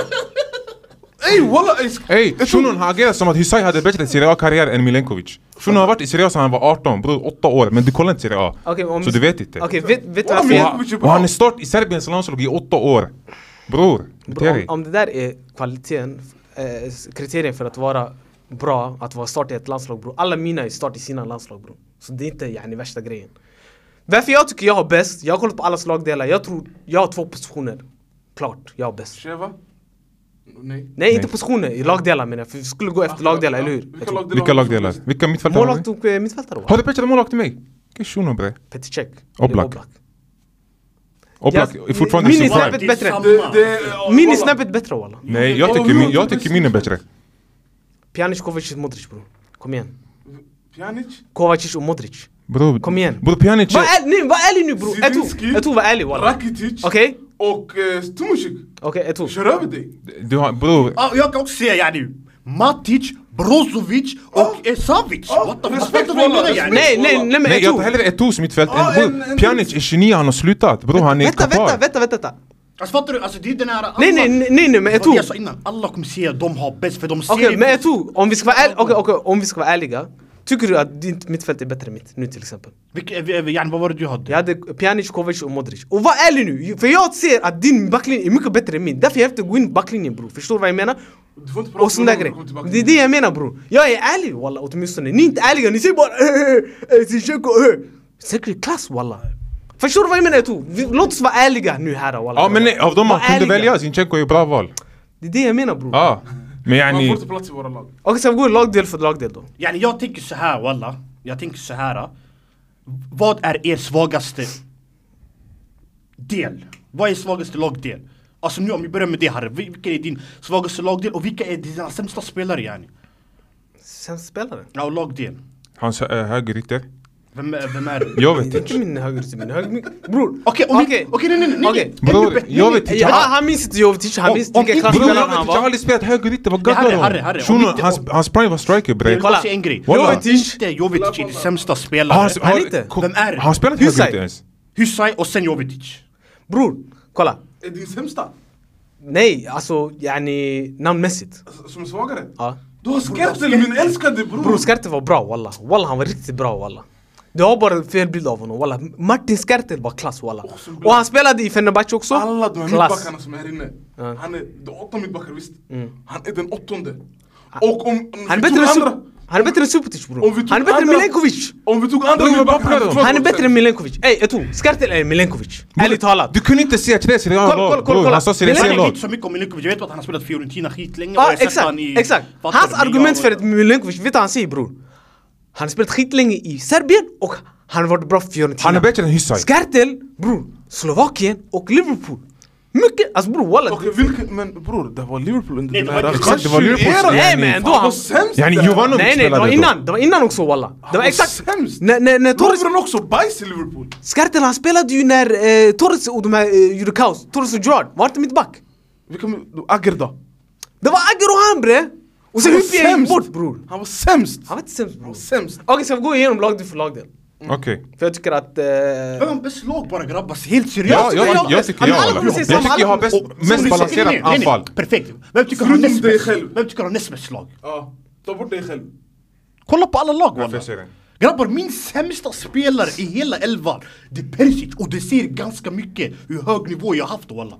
Speaker 4: Ey wallah! ey, sk-
Speaker 2: Ey,
Speaker 4: Jag tror-
Speaker 2: shunon har agerat som att Hisai hade bättre Serie A-karriär än Milenkovic. Shunon har varit i Serie A sedan han var 18, bror 8 år. Men du kollar inte Serie A.
Speaker 1: Okej, om-
Speaker 2: Så du vet inte.
Speaker 1: Okej, vet, vet du
Speaker 4: Walla,
Speaker 1: varför jag...
Speaker 4: Milenkovic är
Speaker 2: Och
Speaker 4: bra.
Speaker 2: han är start i Serbiens landslag i 8 år. Bror, bete
Speaker 1: Bror, om,
Speaker 2: dig.
Speaker 1: om det där är kvaliteten, eh, s- kriterien för att vara bra, att vara start i ett landslag bror. Alla mina är start i sina landslag bror. Så det är inte yani, värsta grejen. Varför jag tycker jag har bäst, jag har kollat på alla slagdelar, jag tror jag har två positioner. Klart, jag har bäst.
Speaker 4: Sheva? Nej.
Speaker 1: Nej, inte
Speaker 2: Nej.
Speaker 1: positioner, i lagdelar menar jag. För vi skulle gå efter lagdelar, eller hur? Jag
Speaker 4: Ah, Vilka
Speaker 1: tror-
Speaker 4: lagdelar?
Speaker 2: Vilka
Speaker 4: har du?
Speaker 2: lagdelar? Vilka mittfältare har
Speaker 1: Målvakt
Speaker 2: du?
Speaker 1: och eh, mittfältare va?
Speaker 2: Har du bättre målvakt än mig? Vilken shunon bre?
Speaker 1: Peticek.
Speaker 2: Oblak. Oblak
Speaker 1: Jag-
Speaker 2: är fortfarande i
Speaker 1: min
Speaker 2: sin
Speaker 1: är
Speaker 2: prime.
Speaker 3: Alla
Speaker 1: snäppet-
Speaker 3: till
Speaker 1: bättre.
Speaker 3: samma.
Speaker 4: Det- det- ja,
Speaker 1: Min är
Speaker 4: wallah.
Speaker 1: snäppet bättre Oh, walla.
Speaker 2: Nej, jag tycker min, jag tycker min är bättre.
Speaker 1: Pjanic, Kovacic, Modric bror. Kom igen.
Speaker 4: Pjanic?
Speaker 1: Kovacic och Modric.
Speaker 2: Bror,
Speaker 1: Kom igen.
Speaker 2: Bror Pjanic,
Speaker 1: Var ärlig, nej, var ärlig nu bror. Jag tror,
Speaker 4: Zielinski.
Speaker 1: jag tror var ärlig walla.
Speaker 4: Rakitic?
Speaker 1: Okej?
Speaker 4: Och eh, Tomusic?
Speaker 1: Okej, jag tror.
Speaker 4: Kör över dig!
Speaker 2: du har, bror.
Speaker 3: Ja, jag kan också säga yani. Matic, Brozovic och eh, Savic.
Speaker 4: Ja,
Speaker 3: What the fuck?
Speaker 4: respekt,
Speaker 3: Fattar du vad jag
Speaker 4: wallah,
Speaker 3: menar yani?
Speaker 1: Nej, nej, nej men
Speaker 2: Nej,
Speaker 1: jag
Speaker 2: jag
Speaker 1: tror.
Speaker 2: tar hellre Eto'o som mittfält. än-
Speaker 4: Ja,
Speaker 2: bror,
Speaker 4: en- en-
Speaker 2: Pjanic är 29, han har slutat. Bror, han är
Speaker 1: Vänta,
Speaker 2: kapabel.
Speaker 1: vänta, vänta, vänta.
Speaker 3: Alltså fattar du? Alltså det är den här... alla-
Speaker 1: Nej, nej, nej, nej, nej, men
Speaker 3: Vad
Speaker 1: Eto'o.
Speaker 3: jag sa innan, alla kommer säga att de har bäst för de ser...
Speaker 1: Okej, men Eto, om vi ska vara ärliga, okej, okej, om vi ska vara ärliga. Tycker du att ditt mittfält är bättre än mitt nu till exempel?
Speaker 3: Vilka- eh, eh, yani, vad var det du hade?
Speaker 1: Jag hade Pjanic, Kovac och Modric. Och var ärlig nu, för jag ser att din backlinje är mycket bättre än min. Därför jag behöver gå in i backlinjen bror, förstår du vad jag menar?
Speaker 4: Du får inte prata
Speaker 1: Och sån där
Speaker 4: om
Speaker 1: grej.
Speaker 4: honom när du kommer
Speaker 1: Det är
Speaker 4: tillbaka.
Speaker 1: det jag menar bror. Jag är ärlig walla åtminstone. Ni är inte ärliga, ni säger bara eh, eh, eh, Zinchenko, eh. Säkert klass walla. Förstår du vad jag menar Eto? Vi- Låt oss vara ärliga nu här walla.
Speaker 2: Ja men nej, av dem man
Speaker 1: Var
Speaker 2: kunde
Speaker 1: ärliga.
Speaker 2: välja, Zinchenko är ju bra val.
Speaker 1: Det är det jag menar bror. Okej,
Speaker 2: Ja. Men
Speaker 4: Man får
Speaker 2: yani,
Speaker 4: inte plats i våra lag.
Speaker 1: ska vi gå lagdel för lagdel då?
Speaker 3: Yani, jag tänker så här walla. Jag tänker så här. Vad är er svagaste del? Vad är svagaste lagdel? Alltså nu om vi börjar med det här. vil- Vilken är din svagaste lagdel och vilka är dina sämsta spelare yani?
Speaker 1: Sämst spelare?
Speaker 3: Ja, och lagdel.
Speaker 2: hans äh, högerytter.
Speaker 3: Vem, är- vem är det?
Speaker 2: Jag vet
Speaker 1: Det är
Speaker 2: inte.
Speaker 1: inte min högerytter, min högerytter... Bror!
Speaker 3: Okej, om vi-
Speaker 1: Okej.
Speaker 3: okej, nej, nej, nej, nej.
Speaker 1: Okej.
Speaker 2: Bror,
Speaker 3: Ännu bättre,
Speaker 2: jag
Speaker 3: ännu
Speaker 2: vet
Speaker 3: bättre.
Speaker 2: inte.
Speaker 1: Ja, han- han minns inte Jovetic, han
Speaker 3: Om-
Speaker 1: minns
Speaker 2: آه،
Speaker 3: om
Speaker 1: vilka
Speaker 3: inte-
Speaker 2: Bror jag
Speaker 1: klassspelare
Speaker 2: vet
Speaker 1: han
Speaker 2: inte, jag har
Speaker 1: var.
Speaker 2: aldrig spelat högerytter, vad
Speaker 3: Harry,
Speaker 2: gaddar
Speaker 3: Harry, Harry,
Speaker 2: du
Speaker 3: om
Speaker 2: om? Shunon,
Speaker 3: inte-
Speaker 2: hans- hans prime var striker
Speaker 3: Jag
Speaker 2: bre.
Speaker 3: vill
Speaker 1: Kolla.
Speaker 3: bara säga en grej.
Speaker 2: Walla.
Speaker 1: Jovetic.
Speaker 3: Inte Jovetic är din sämsta spelare.
Speaker 2: Har han- har-
Speaker 1: inte.
Speaker 2: ko-
Speaker 3: Vem är det?
Speaker 2: Har han spelat
Speaker 1: Hussein.
Speaker 2: högerytter ens?
Speaker 3: Husay och sen Jovetic.
Speaker 1: Bror, kolla.
Speaker 4: Är din sämsta?
Speaker 1: Nej, alltså yani namnmässigt.
Speaker 4: Alltså, Som är svagare?
Speaker 1: Ja.
Speaker 4: Du har Skertel, min älskade bror!
Speaker 1: Bror Skertel var bra walla. Walla han var riktigt bra walla. Du har bara fel bild av honom walla. Martin Skertel var klass walla.
Speaker 4: som bra.
Speaker 1: Och han spelade i Fenerbahce också.
Speaker 4: Alla de här
Speaker 1: klass.
Speaker 4: mittbackarna som är här inne.
Speaker 1: Ja. Mm.
Speaker 4: Han är de åtta mittbackar visst? Han är den åttonde. Och om, om
Speaker 1: Han är
Speaker 4: vi
Speaker 1: bättre
Speaker 4: tog
Speaker 1: än Sup-
Speaker 4: andra...
Speaker 1: han är bättre än Subotic bror.
Speaker 4: Om vi tog
Speaker 1: Han är bättre än
Speaker 4: andra-
Speaker 1: Milenkovic.
Speaker 4: Om vi tog andra
Speaker 2: Bror, men
Speaker 4: mittbackar...
Speaker 2: backar de?
Speaker 4: försvaret
Speaker 1: Han är
Speaker 4: också.
Speaker 1: bättre än Milenkovic. Ey Eto, Skertel är Milenkovic. Ärligt talat.
Speaker 2: Du kunde inte säga Chelsea Real
Speaker 1: Kolla, kolla,
Speaker 2: lag
Speaker 1: kolla,
Speaker 2: bror,
Speaker 1: kolla.
Speaker 2: han sa
Speaker 1: Det är
Speaker 2: Chelsea
Speaker 3: Jag
Speaker 2: Real
Speaker 3: vet
Speaker 2: lag.
Speaker 3: inte så mycket om Milinkovic, jag vet att han har spelat Fiorentina skitlänge
Speaker 1: Ja
Speaker 3: och jag har sett
Speaker 1: exakt,
Speaker 3: han i-
Speaker 1: exakt.
Speaker 3: Fattar
Speaker 1: Hans
Speaker 3: du? Men
Speaker 1: argument för
Speaker 3: jag-
Speaker 1: att Milenkovic, vet du vad han säger bror? Han har spelat skitlänge i Serbien och han har varit bra för Fiorentina.
Speaker 2: Han är bättre än Hysaj.
Speaker 1: Skertel, bror, Slovakien och Liverpool. Mycket, alltså bror walla.
Speaker 4: Okej, vilken... Men bror, det var Liverpool under
Speaker 3: Nej,
Speaker 4: den
Speaker 3: det var
Speaker 4: här...
Speaker 3: inte-
Speaker 2: Exakt, det var Liverpool som-
Speaker 1: Nej men ändå
Speaker 4: Han var
Speaker 1: han...
Speaker 4: sämst
Speaker 2: Yani
Speaker 4: där.
Speaker 2: Jovanovic
Speaker 1: Nej nej, det var
Speaker 2: spelade då.
Speaker 1: innan, det var innan också walla. Det var
Speaker 4: var
Speaker 1: exakt.
Speaker 4: sämst.
Speaker 1: När, när, när Torres...
Speaker 4: Lovren också bajs i Liverpool.
Speaker 1: Skertel han spelade ju när eh, Torres och de här eh, gjorde kaos. Torres och Gerard, var inte mitt back?
Speaker 4: Vi kan... Agger då?
Speaker 1: Det var Agger och han bre! Och sen
Speaker 4: Han var
Speaker 1: Hyppie gick
Speaker 4: sämst.
Speaker 1: bort bror.
Speaker 4: Han var sämst!
Speaker 1: Han var inte sämst bror.
Speaker 4: var sämst.
Speaker 1: Okej, ska vi gå igenom lagdel för lagdel?
Speaker 2: Okej.
Speaker 1: För jag tycker att... eh,
Speaker 3: Vem har bäst lag bara grabbar? Helt seriöst.
Speaker 2: Ja, jag,
Speaker 1: jag-
Speaker 2: jag, jag tycker
Speaker 1: alla
Speaker 2: jag
Speaker 1: kommer
Speaker 2: håller.
Speaker 1: säga
Speaker 2: Jag
Speaker 1: samma,
Speaker 2: tycker jag har
Speaker 1: alla
Speaker 2: bäst,
Speaker 1: kommer-
Speaker 3: Som du
Speaker 2: mest
Speaker 3: säger-
Speaker 2: balanserat
Speaker 3: nej, nej, nej.
Speaker 2: anfall.
Speaker 3: Perfekt. Vem tycker har
Speaker 4: Förutom
Speaker 3: näst
Speaker 4: dig
Speaker 3: bäst?
Speaker 4: själv.
Speaker 3: Vem tycker har näst bäst lag?
Speaker 4: Ja, ta bort dig själv.
Speaker 3: Kolla på alla lag
Speaker 2: Varför
Speaker 3: walla.
Speaker 2: jag säger det?
Speaker 3: Grabbar, min sämsta spelare i hela elvan, det är Perisic. Och det säger ganska mycket hur hög nivå jag har haft walla.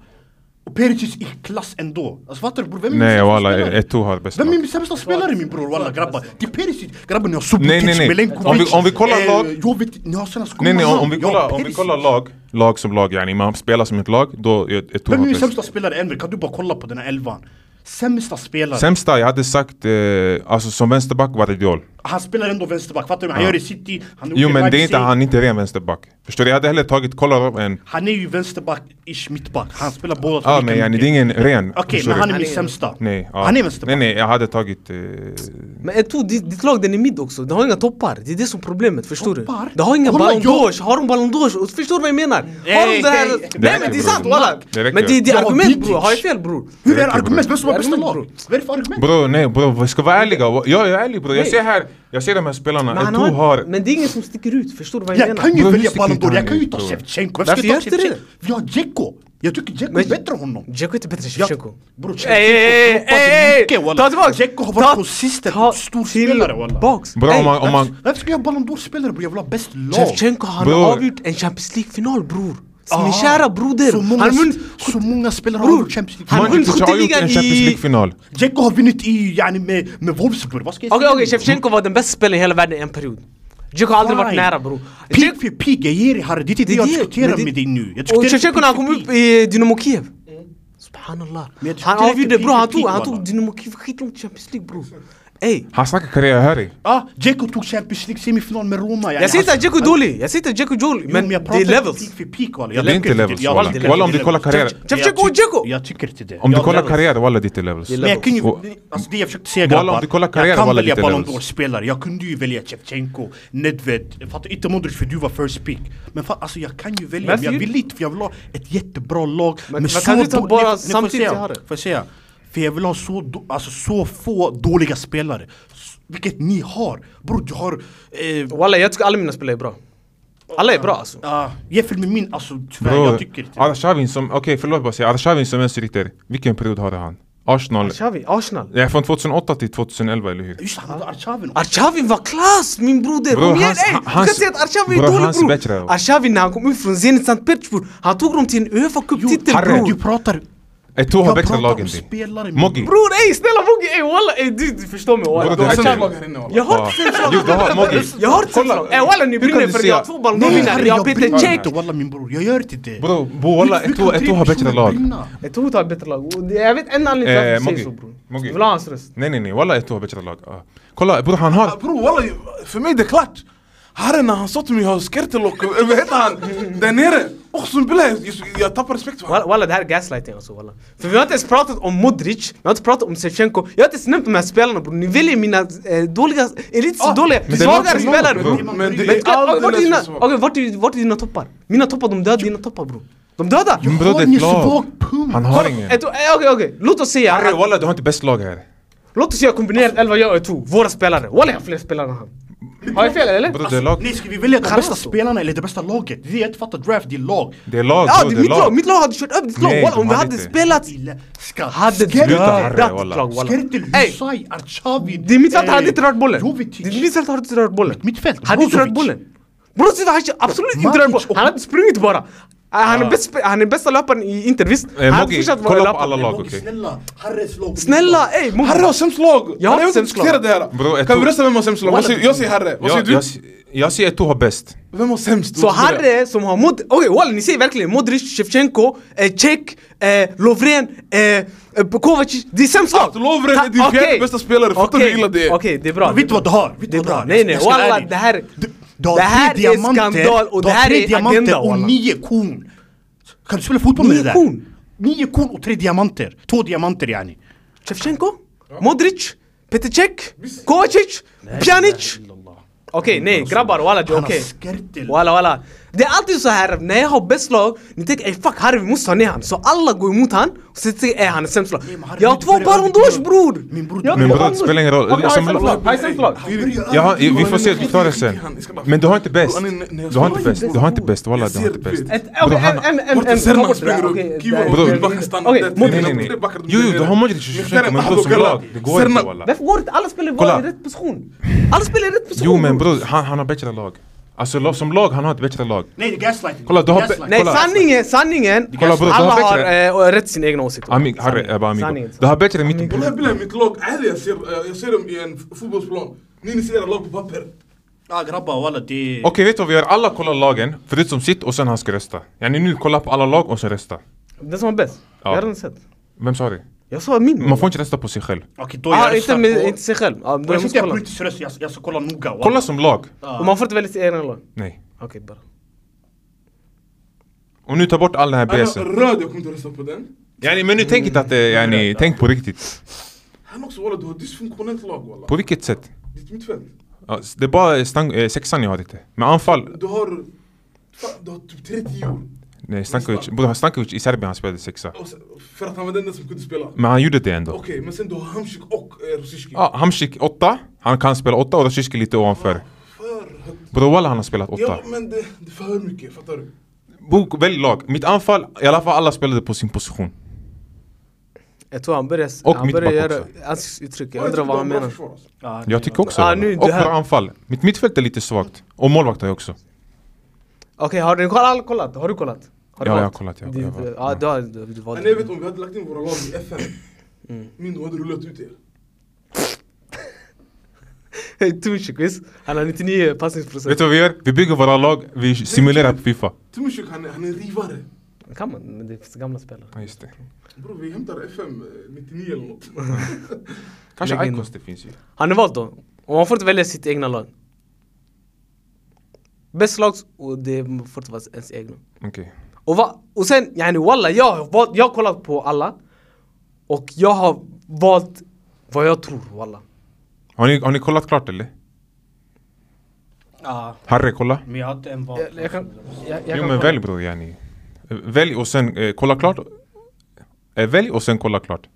Speaker 3: Och Perisic i klass ändå. Alltså fattar du bror? Vem är min
Speaker 2: Nej
Speaker 3: sämsta
Speaker 2: walla,
Speaker 3: spelare?
Speaker 2: Eto'o har bäst
Speaker 3: Vem är
Speaker 2: lag.
Speaker 3: min sämsta spelare min bror walla grabbar? Det är Perisic. Grabbar ni har Subotic,
Speaker 2: Nej, nej, nej.
Speaker 3: Milenkovic.
Speaker 2: Om vi- om vi kollar
Speaker 3: eh,
Speaker 2: lag-
Speaker 3: Jovetic, ni har såna skumma
Speaker 2: Nej nej, om, om, vi
Speaker 3: namn. Ja,
Speaker 2: kollar, om vi
Speaker 3: Perisic.
Speaker 2: kollar lag, lag som lag yani, man spelar som ett lag, då är Eto'o
Speaker 3: Vem är min
Speaker 2: har
Speaker 3: sämsta
Speaker 2: bäst.
Speaker 3: spelare än? Kan du bara kolla på den här elvan? Sämsta spelare.
Speaker 2: Sämsta, jag hade sagt, eh, alltså som vänsterback var det Diol.
Speaker 3: han spelar ändå vänsterback, fattar du? Han gör i city, han
Speaker 2: Jo
Speaker 3: gjorde
Speaker 2: men det är
Speaker 3: Leipzig.
Speaker 2: inte, han är inte ren vänsterback. Förstår du? Jag hade hellre tagit, kolla en...
Speaker 3: Han är ju vänsterback, ish mittback. Han spelar båda
Speaker 2: Ja
Speaker 3: lika
Speaker 2: men yani,
Speaker 3: mycket.
Speaker 2: det är ingen ren.
Speaker 3: Okej,
Speaker 2: förstår
Speaker 3: men
Speaker 2: du?
Speaker 3: han är min
Speaker 1: Han är-
Speaker 3: sämsta.
Speaker 2: Nej, ja.
Speaker 3: Han är vänsterback.
Speaker 2: Nej nej, jag hade tagit... Eh,
Speaker 1: Men Eto, ditt, ditt lag den är mid också, det har inga toppar. Det är det som är problemet, förstår
Speaker 3: Toppar?
Speaker 1: du? Det har inga
Speaker 3: Kolla,
Speaker 1: Ballon
Speaker 3: jag-
Speaker 1: d'Ors, har de Ballon d'Ors? Och Förstår du vad jag menar? Har de
Speaker 3: Nej,
Speaker 1: det här...
Speaker 3: nej. Det
Speaker 1: Nej
Speaker 2: räcker,
Speaker 1: men det är
Speaker 2: bror.
Speaker 1: sant walla!
Speaker 2: Det räcker.
Speaker 1: Men det, det är
Speaker 3: Jag har
Speaker 1: argument
Speaker 3: Vidic.
Speaker 1: bror, har jag fel bror?
Speaker 3: Hur är
Speaker 2: räcker,
Speaker 3: argument? Vem som har bästa
Speaker 1: Argument,
Speaker 3: lag?
Speaker 1: bror.
Speaker 3: Vad är det för argument?
Speaker 2: Bro, nej bro, vi ska vara ärliga. Jag är ärlig bro. Jag
Speaker 1: Nej.
Speaker 2: ser här, jag ser de här spelarna.
Speaker 1: Men, han
Speaker 2: Eto'o har...
Speaker 1: men det är ingen som sticker ut, förstår du vad jag
Speaker 3: Jag
Speaker 1: menar?
Speaker 3: kan ju
Speaker 2: Bror,
Speaker 3: välja
Speaker 2: hur
Speaker 3: Ballon
Speaker 2: sticker
Speaker 3: d'Or, jag kan ju
Speaker 2: inte
Speaker 3: ta
Speaker 2: han ut, bror?
Speaker 3: Shevchenko.
Speaker 1: Varför
Speaker 3: jag
Speaker 1: gör inte det?
Speaker 3: Vi har Dzeko. Jag tycker Dzeko är
Speaker 1: Men-
Speaker 3: bättre än honom.
Speaker 1: Dzeko är inte bättre än
Speaker 3: Jag-
Speaker 1: Shevchenko.
Speaker 3: Bror,
Speaker 1: Ey, ey,
Speaker 3: Shevchenko
Speaker 1: ey,
Speaker 3: droppade
Speaker 1: ey,
Speaker 3: mycket walla.
Speaker 1: Ta tillbaks!
Speaker 3: Dzeko har
Speaker 1: Ta-
Speaker 3: varit konsistent
Speaker 1: ta
Speaker 3: och stor spelare walla.
Speaker 1: tillbaks.
Speaker 2: Bro,
Speaker 1: Ey,
Speaker 2: om man, om man,
Speaker 3: Varför varför ska jag ha Ballon d'Or-spelare bror? Jag vill ha bäst lag.
Speaker 1: Shevchenko han
Speaker 2: Bror.
Speaker 1: har avgjort en Champions League-final bror!
Speaker 3: Ah,
Speaker 1: Min kära broder!
Speaker 3: Så många,
Speaker 1: Han har vunnit...
Speaker 3: så många spelare har
Speaker 1: Bror!
Speaker 3: gjort Champions League.
Speaker 1: Han har
Speaker 2: Mandzukic
Speaker 1: vunnit
Speaker 2: har gjort en
Speaker 1: skytteligan
Speaker 2: Champions
Speaker 1: i...
Speaker 2: League-final.
Speaker 3: Dzeko har vunnit i, yani med, med Wolfsburg, vad ska jag
Speaker 1: Okej
Speaker 3: säga?
Speaker 1: okej, Shevchenko var den bästa spelaren i hela världen i en period. Dzeko har aldrig varit
Speaker 3: Fine.
Speaker 1: nära bror.
Speaker 3: Pig för pig, jag ger dig Harry, det är inte det jag
Speaker 1: det- men
Speaker 3: diskuterar
Speaker 1: det-
Speaker 3: med dig nu. Jag
Speaker 1: Och
Speaker 3: diskuterar
Speaker 1: Shevchenko när han
Speaker 3: pig
Speaker 1: kom
Speaker 3: för
Speaker 1: upp
Speaker 3: pig.
Speaker 1: i Dynamo Kiev. Subhanallah.
Speaker 3: Men jag tycker
Speaker 1: Han
Speaker 3: det är
Speaker 1: avgjorde
Speaker 3: riktigt
Speaker 1: bro, han
Speaker 3: pig,
Speaker 1: tog, han
Speaker 3: walla.
Speaker 1: tog Dynamo Kiev skitlångt i Champions League bror. Ey.
Speaker 2: han snackar karriär Harry.
Speaker 3: Ja, Dzeko tog Champions League semifinal med Roma. yani.
Speaker 1: Jag säger inte
Speaker 3: Han-
Speaker 1: att Dzeko är dålig, jag säger inte att Dzeko är dålig.
Speaker 3: alltså- Jo,
Speaker 1: Men det
Speaker 3: jag
Speaker 1: är
Speaker 3: pratar
Speaker 1: levels.
Speaker 3: pig för pig walla.
Speaker 2: Det
Speaker 3: Jag
Speaker 2: är
Speaker 3: tycker
Speaker 2: inte levels
Speaker 3: jag-
Speaker 2: walla.
Speaker 3: det är
Speaker 2: Walla om du
Speaker 3: levels.
Speaker 2: kollar karriär.
Speaker 1: Shevchenko och
Speaker 3: Jag tycker-
Speaker 1: Dzeko!
Speaker 3: Jag tycker inte det.
Speaker 2: Om du
Speaker 3: Jag-
Speaker 2: kollar
Speaker 1: levels.
Speaker 2: karriär walla det är levels.
Speaker 1: Det är
Speaker 3: Men jag kunde ju,
Speaker 2: Och-
Speaker 3: alltså det jag försökte säga
Speaker 2: Walla, om
Speaker 3: grabbar,
Speaker 2: du kollar
Speaker 3: jag
Speaker 2: karriären,
Speaker 3: kan
Speaker 2: walla,
Speaker 3: välja
Speaker 2: lite
Speaker 3: Ballon
Speaker 2: levels.
Speaker 3: d'Or-spelare, jag kunde ju välja Shevchenko, Nedved, jag fattar inte Modric för du var first pick. Men fan, alltså jag kan ju välja, men
Speaker 1: Varför
Speaker 3: jag
Speaker 1: gjorde-
Speaker 3: vill inte för jag vill ha ett jättebra lag
Speaker 1: Men-
Speaker 3: med
Speaker 1: men kan du inte
Speaker 3: då-
Speaker 1: bara
Speaker 3: Nej, får- nej, får jag
Speaker 1: samtidigt
Speaker 3: säga?
Speaker 1: ha det?
Speaker 3: Får jag säga? För jag vill ha så, då, alltså, så få dåliga spelare, S- vilket ni har. Bror du har... Eh,
Speaker 1: Walla jag tycker alla mina spelare är bra. Alla är bra alltså.
Speaker 3: Ja, jämfört ah, med min, alltså tyvärr,
Speaker 2: Bro,
Speaker 3: jag tycker inte
Speaker 2: Arshavin som, okej förlåt bara säga, Arshavin som vänsterytter, vilken period hade han? Arsenal,
Speaker 1: Arshavin, Arsenal.
Speaker 2: ja, från 2008 till 2011 eller hur?
Speaker 3: Just han, Arshavin.
Speaker 1: Arshavin var klass min broder!
Speaker 2: Bro,
Speaker 1: Kom igen
Speaker 2: hans-
Speaker 1: ey! Du kan
Speaker 2: hans-
Speaker 1: inte säga att Arshavin är
Speaker 2: bro,
Speaker 1: dålig
Speaker 2: hans bättre,
Speaker 1: bror!
Speaker 2: bro.
Speaker 1: Arshavin när han kom ut från Zenit Sankt Petersburg, han tog dem till en Uefa Cup-titel
Speaker 2: Harry,
Speaker 1: bror!
Speaker 3: Du pratar...
Speaker 2: Eto'o har
Speaker 3: Jag
Speaker 2: bättre lag
Speaker 3: pratar
Speaker 2: än
Speaker 3: om
Speaker 2: dig.
Speaker 3: spelare. min
Speaker 2: Moggi.
Speaker 1: Bror ey snälla Mogge ey walla ey du, du förstår mig
Speaker 2: Bro,
Speaker 1: walla!
Speaker 4: Du har
Speaker 2: här
Speaker 4: sämst
Speaker 2: är-
Speaker 4: lag här inne walla.
Speaker 1: Jag har inte sämst lag!
Speaker 2: Du, du har Moggi.
Speaker 1: Jag har inte sämst lag! Ey walla ni
Speaker 2: hur kan
Speaker 1: brinner
Speaker 2: du
Speaker 1: för att
Speaker 2: säga-
Speaker 1: jag har två Ballon
Speaker 3: Nej,
Speaker 1: d'Or-vinnare,
Speaker 3: Harry,
Speaker 1: jag har Peter
Speaker 3: brinner
Speaker 1: Cech!
Speaker 3: inte, Walla min bror, jag gör inte det.
Speaker 2: Bro, bo walla,
Speaker 3: Hur kan
Speaker 2: Eto'o
Speaker 3: tre
Speaker 2: Eto'o har bättre
Speaker 3: personer
Speaker 2: lag.
Speaker 3: brinna?
Speaker 1: Jag tror du har bättre lag, Och det- jag vet en anledning till
Speaker 2: Eh,
Speaker 1: varför du säger
Speaker 2: Moggi.
Speaker 1: så bror.
Speaker 2: Moggi.
Speaker 1: Jag vill ha hans röst.
Speaker 2: Nej nej nej, walla Eto'o har bättre lag. Ah. Kolla bror han har,
Speaker 4: Bror walla, för mig det är klart. Harry när han sa till mig jag har skärtelock, eh, vad heter han? Där nere. Oxen billah, jag- jag tappar respekt för honom.
Speaker 1: Walla, walla det här är gaslighting alltså walla. För vi har inte ens pratat om Modric, vi har inte pratat om Shevchenko, jag har inte ens nämnt de här spelarna bror. Ni väljer mina eh, dåliga, elitiskt
Speaker 4: Ah,
Speaker 1: dåliga,
Speaker 2: det
Speaker 1: svagare
Speaker 2: låter som
Speaker 1: spelare
Speaker 2: något,
Speaker 1: bror.
Speaker 2: bro.
Speaker 1: Men
Speaker 4: Men det
Speaker 1: kolla,
Speaker 4: är
Speaker 1: vart är
Speaker 4: alldeles
Speaker 1: dina,
Speaker 4: för svagt.
Speaker 1: okej, vart är- vart är dina toppar? Mina toppar de dödar dina toppar bror. De dödar!
Speaker 2: men bror det är
Speaker 3: Har ni
Speaker 2: ett lag.
Speaker 3: svag pump?
Speaker 2: Han har
Speaker 1: Kolla,
Speaker 2: ingen.
Speaker 1: ett- eh, Okej okej, låt oss säga,
Speaker 2: Harry walla du har inte bäst lag här.
Speaker 1: låt oss säga
Speaker 2: Alltså-
Speaker 1: kombinerat 11 jag och 2, våra spelare. Walla jag har fler spelare än han. Har jag fel eller?
Speaker 2: Bror det är lag,
Speaker 3: Nej, ska vi välja de
Speaker 1: Kalas
Speaker 3: bästa
Speaker 1: då?
Speaker 3: spelarna eller det bästa laget? Det är det jag inte fattar, draft, det är lag.
Speaker 2: det är lag
Speaker 1: Alltså, Ja
Speaker 2: bror
Speaker 1: det är
Speaker 2: det är
Speaker 1: mitt lag,
Speaker 2: lag.
Speaker 1: mitt lag hade kört över ditt lag
Speaker 2: Nej,
Speaker 1: walla
Speaker 2: de
Speaker 1: om vi
Speaker 2: hade
Speaker 1: hade
Speaker 2: inte.
Speaker 1: spelat
Speaker 3: Illa. Ska...
Speaker 1: Hade
Speaker 3: Skertel-
Speaker 2: Sluta, Harry,
Speaker 1: dödat ditt
Speaker 2: walla.
Speaker 1: lag walla.
Speaker 3: Skertel,
Speaker 1: Ey,
Speaker 3: Husay, Arshavin...
Speaker 1: Din mittfältare
Speaker 3: eh,
Speaker 1: hade inte rört bollen.
Speaker 3: Jovetic.
Speaker 1: Din mittfältare hade inte rört bollen.
Speaker 3: Mittfält,
Speaker 1: Hade inte
Speaker 3: Brozovic.
Speaker 1: rört bollen. Brozovic hade inte- absolut inte
Speaker 3: Matic
Speaker 1: rört bollen.
Speaker 3: och-
Speaker 1: Han hade sprungit bara. Äh, Han är, bäst, spe- han är bästa löparen i Inter visst?
Speaker 2: Eh,
Speaker 1: Han hade
Speaker 2: Moggi,
Speaker 1: fortsatt vara
Speaker 2: kolla på
Speaker 1: löpare.
Speaker 2: alla lag
Speaker 3: Moggi,
Speaker 2: okej.
Speaker 3: Snälla, Harrys lag.
Speaker 1: Snälla ey Moggi.
Speaker 4: Harry har sämst lag!
Speaker 1: Jag har
Speaker 4: vill inte
Speaker 1: sämst lag.
Speaker 4: diskutera det här.
Speaker 2: Bro, jag
Speaker 4: Kan vi
Speaker 2: tror-
Speaker 4: rösta vem har sämst lag? Vad säger- Jag säger Harry, vad säger
Speaker 2: Jag,
Speaker 4: du?
Speaker 2: jag, jag säger Eto'o har bäst.
Speaker 4: Vem har sämst?
Speaker 1: Så Harry som har Mod... Okej walla ni säger verkligen Modric, Shevchenko, eh, Cech, eh, Lovren, eh, eh, Kovacic. Det är sämst lag.
Speaker 4: Att Lovren är din
Speaker 1: Ah, okej.
Speaker 4: fjärde bästa spelare, fattar du hur
Speaker 1: Okej,
Speaker 4: illa det är?
Speaker 1: Okej det är bra.
Speaker 3: Vet du vad du har? Vet du
Speaker 1: Det är
Speaker 3: vad du
Speaker 1: bra.
Speaker 3: har?
Speaker 1: Nej nej
Speaker 3: Jag ska vara
Speaker 1: walla
Speaker 3: ärlig.
Speaker 1: det här...
Speaker 3: Du- du har
Speaker 1: Det
Speaker 3: tre
Speaker 1: här är
Speaker 3: diamanter,
Speaker 1: skandal och
Speaker 3: du
Speaker 1: det
Speaker 3: har
Speaker 1: här
Speaker 3: tre
Speaker 1: är
Speaker 3: diamanter
Speaker 1: agenda
Speaker 3: och
Speaker 1: walla.
Speaker 3: nio korn. Kan du spela fotboll med
Speaker 1: Nio
Speaker 3: det där?
Speaker 1: korn?
Speaker 3: Nio korn och tre diamanter. Två diamanter yani.
Speaker 1: Shevchenko, Modric, Peter Cech, Kovacic, Pjanic. Okej, nej grabbar walla det är
Speaker 3: Han har
Speaker 1: okej.
Speaker 3: skärtel.
Speaker 1: Walla walla. Det är alltid så här när jag har bäst lag, ni tänker ey fuck Harry vi måste ta ner han. Så alla går emot han, och så tänker ey han är sämst lag.
Speaker 3: Nej, men Harry,
Speaker 1: Jag har
Speaker 3: du
Speaker 1: två
Speaker 3: börjar
Speaker 1: Ballon d'Ors
Speaker 3: överdriva.
Speaker 1: bror!
Speaker 3: Min bror,
Speaker 1: Jag har
Speaker 3: min
Speaker 1: två
Speaker 2: bror, det
Speaker 1: Ballon d'Ors.
Speaker 2: spelar ingen roll.
Speaker 1: Okej, har jag
Speaker 2: Som
Speaker 1: sämst
Speaker 2: lag-
Speaker 1: lag? Har jag sämst lag?
Speaker 2: Jag har, vi får se, du klarar det sen. Men du har inte bäst. Du har inte bäst, du har inte bäst, walla du har inte bäst.
Speaker 1: Ett-
Speaker 2: Bror,
Speaker 1: Okej, en,
Speaker 2: han-
Speaker 1: en, en,
Speaker 4: Borta
Speaker 1: en. ta
Speaker 4: Serna
Speaker 1: bort det där,
Speaker 4: springer
Speaker 1: okej,
Speaker 4: upp, Kiva
Speaker 1: där-
Speaker 2: Bror.
Speaker 1: där-
Speaker 4: och backar stannar.
Speaker 1: Okej,
Speaker 4: där.
Speaker 1: Modric.
Speaker 2: Nej nej nej. Jo jo, du har Modric och Shevchenko men bror som lag, det går inte walla.
Speaker 1: Varför går det inte? Alla spelar
Speaker 2: Kolla.
Speaker 1: bara i rätt position. Alla spelar i rätt position.
Speaker 2: Jo men bror, han, han har bättre lag. Alltså lo- som lag, han har ett bättre lag.
Speaker 3: Nej, det är gaslighting.
Speaker 2: Kolla, du har-
Speaker 3: Gaslighting.
Speaker 1: Nej
Speaker 2: Kolla.
Speaker 1: sanningen, sanningen.
Speaker 2: Kolla, bror, du
Speaker 1: alla
Speaker 2: har
Speaker 1: har
Speaker 2: bättre-
Speaker 1: eh, rätt till sina egna åsikter.
Speaker 2: Ami, Harry, jag bara amigo.
Speaker 1: Sanningen.
Speaker 2: Du har bättre mitt...
Speaker 4: Walla billah mitt lag, ärligt jag ser, eh, jag ser dem i en f- fotbollsplan. Ni ni ser era lag på papper.
Speaker 3: Ja Ah, grabbar walla det... är-
Speaker 2: Okej vet du vad vi gör? Alla kollar lagen, förutom sitt och sen han ska rösta. Yani nu, kolla på alla lag och sen rösta.
Speaker 1: Den som var bäst. Jag har redan sett.
Speaker 2: Vem sa det?
Speaker 1: Jag sa min.
Speaker 2: Man får inte rösta på sig själv.
Speaker 3: Okej, då
Speaker 1: ah,
Speaker 3: jag
Speaker 1: inte,
Speaker 3: röstar
Speaker 1: med,
Speaker 3: på-
Speaker 1: inte sig själv. Ah, då jag
Speaker 3: Jag ska
Speaker 1: måste
Speaker 3: inte göra
Speaker 1: kolla.
Speaker 3: politisk röst, jag- jag ska kolla noga walla.
Speaker 2: Kolla som lag.
Speaker 1: Och man får inte välja sitt egna lag.
Speaker 2: Nej.
Speaker 1: Okej bara.
Speaker 2: Och nu ta bort all den här
Speaker 4: Alla
Speaker 2: BSen.
Speaker 4: Röd, jag kommer inte rösta på den.
Speaker 2: Yani, men nu tänk inte att det, yani, tänk på riktigt.
Speaker 4: Han också walla, du har dysfunktionellt lag walla.
Speaker 2: På vilket sätt?
Speaker 4: Ditt mittfält.
Speaker 2: Ja, s- Det är bara stang, eh, sexan jag har inte. Men anfall,
Speaker 4: Du har, fan, du har typ 30 år.
Speaker 2: nej Stankovic, bror Stankovic i Serbien han spelade sexa.
Speaker 4: Och sen- För att han var den enda som kunde spela.
Speaker 2: Men han gjorde det ändå.
Speaker 4: Okej, men sen du har Hamsik och eh, Rosicki.
Speaker 2: Ja, Hamsik åtta, han kan spela åtta och Rashishki lite ovanför.
Speaker 4: För högt.
Speaker 2: Bror walla han har spelat åtta.
Speaker 4: Ja, men det, det är för mycket, fattar du?
Speaker 2: Bok, välj lag. Mitt anfall, i alla fall alla spelade på sin position.
Speaker 1: Jag tror han börjar...
Speaker 2: Och
Speaker 1: han
Speaker 2: mitt
Speaker 1: börjar
Speaker 2: back
Speaker 1: göra
Speaker 2: också.
Speaker 1: ansiktsuttryck. Jag undrar vad han
Speaker 4: de har
Speaker 1: menar.
Speaker 4: försvar, alltså.
Speaker 3: Ja,
Speaker 2: Jag tycker också
Speaker 1: Ah,
Speaker 2: walla.
Speaker 1: nu, det
Speaker 2: Och
Speaker 1: här-
Speaker 2: bra anfall. Mitt mittfält är lite svagt. Och målvakter också.
Speaker 1: Okej, har du alla kollat? Har du kollat? Har du
Speaker 2: Ja, jag har kollat, jag har
Speaker 1: Din-
Speaker 2: kollat.
Speaker 1: Ja, du har... du- du var-
Speaker 4: Men jag vet om vi hade lagt in våra lag i FN. Min, då hade rullat ut er.
Speaker 1: Tumchik visst? Han har 99 passningsprocent.
Speaker 2: Vet du vad vi gör? Vi bygger våra lag, vi simulerar på Fifa.
Speaker 4: Timushuk han, är- han är rivare.
Speaker 1: Kan man? Men det finns gamla spelare.
Speaker 2: Ja, just det.
Speaker 4: Bror vi hämtar FM eh, 99 eller något.
Speaker 2: Kanske
Speaker 1: Lägg in
Speaker 2: Icos det finns ju.
Speaker 1: Har ni valt då? Och man får inte välja sitt egna lag. Bäst lag och det får inte vara ens egna.
Speaker 2: Okej.
Speaker 1: Och, va, och sen, yani walla, jag, har valt- jag har kollat på alla och jag har valt vad jag tror walla.
Speaker 2: Har ni, har ni kollat klart eller?
Speaker 3: Ja,
Speaker 2: Harry, kolla.
Speaker 3: ah, men jag har inte en val.
Speaker 1: Jag, jag kan, jag, jag kan
Speaker 2: Jo men
Speaker 1: kolla.
Speaker 2: välj bror yani. Eh, Välj och sen eh, kolla klart. Eh, välj och sen kolla klart.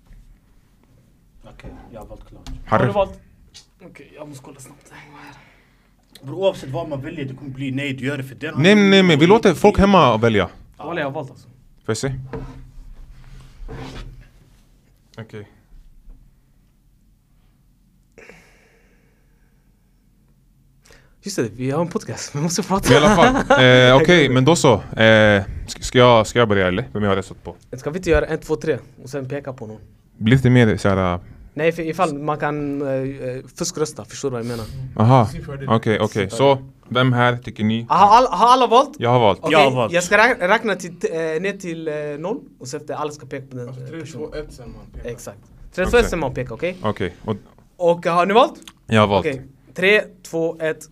Speaker 3: Okej, jag har valt klart.
Speaker 1: Har du
Speaker 2: Harry.
Speaker 1: valt? Okej, jag måste kolla snabbt.
Speaker 3: Bro, oavsett vad man väljer, det kommer bli nej, du gör det för den.
Speaker 2: Nej, nej, nej, men vi låter folk hemma välja.
Speaker 1: Walla jag har valt alltså.
Speaker 2: Får jag se? Okej.
Speaker 1: Just det, vi har en podcast. Vi måste prata.
Speaker 2: I alla fall. Eh, Okej, men då så. Eh, ska, ska, jag, ska jag börja eller? Vem jag har röstat på?
Speaker 1: Ska vi inte göra en, två, tre och sen peka på någon?
Speaker 2: Lite mer eh, såhär...
Speaker 1: Nej, för ifall man kan uh, fuskrösta. Förstår du vad jag menar?
Speaker 2: Aha. Okej, okej. Så, vem här tycker ni?
Speaker 1: Har alla, har alla valt?
Speaker 2: Jag har valt.
Speaker 1: Okej,
Speaker 3: Jag har valt.
Speaker 1: jag ska räk- räkna till, eh, ner till eh, noll och så efter alla ska peka på den eh,
Speaker 4: Alltså, Tre,
Speaker 1: personen.
Speaker 4: två, ett sen man. pekar.
Speaker 1: Exakt. Tre, två,
Speaker 2: Okej.
Speaker 1: ett, sen man pekar, okej?
Speaker 2: Okej, och
Speaker 1: Och eh, har ni valt?
Speaker 2: jag har valt.
Speaker 1: Okej. Tre, två, ett.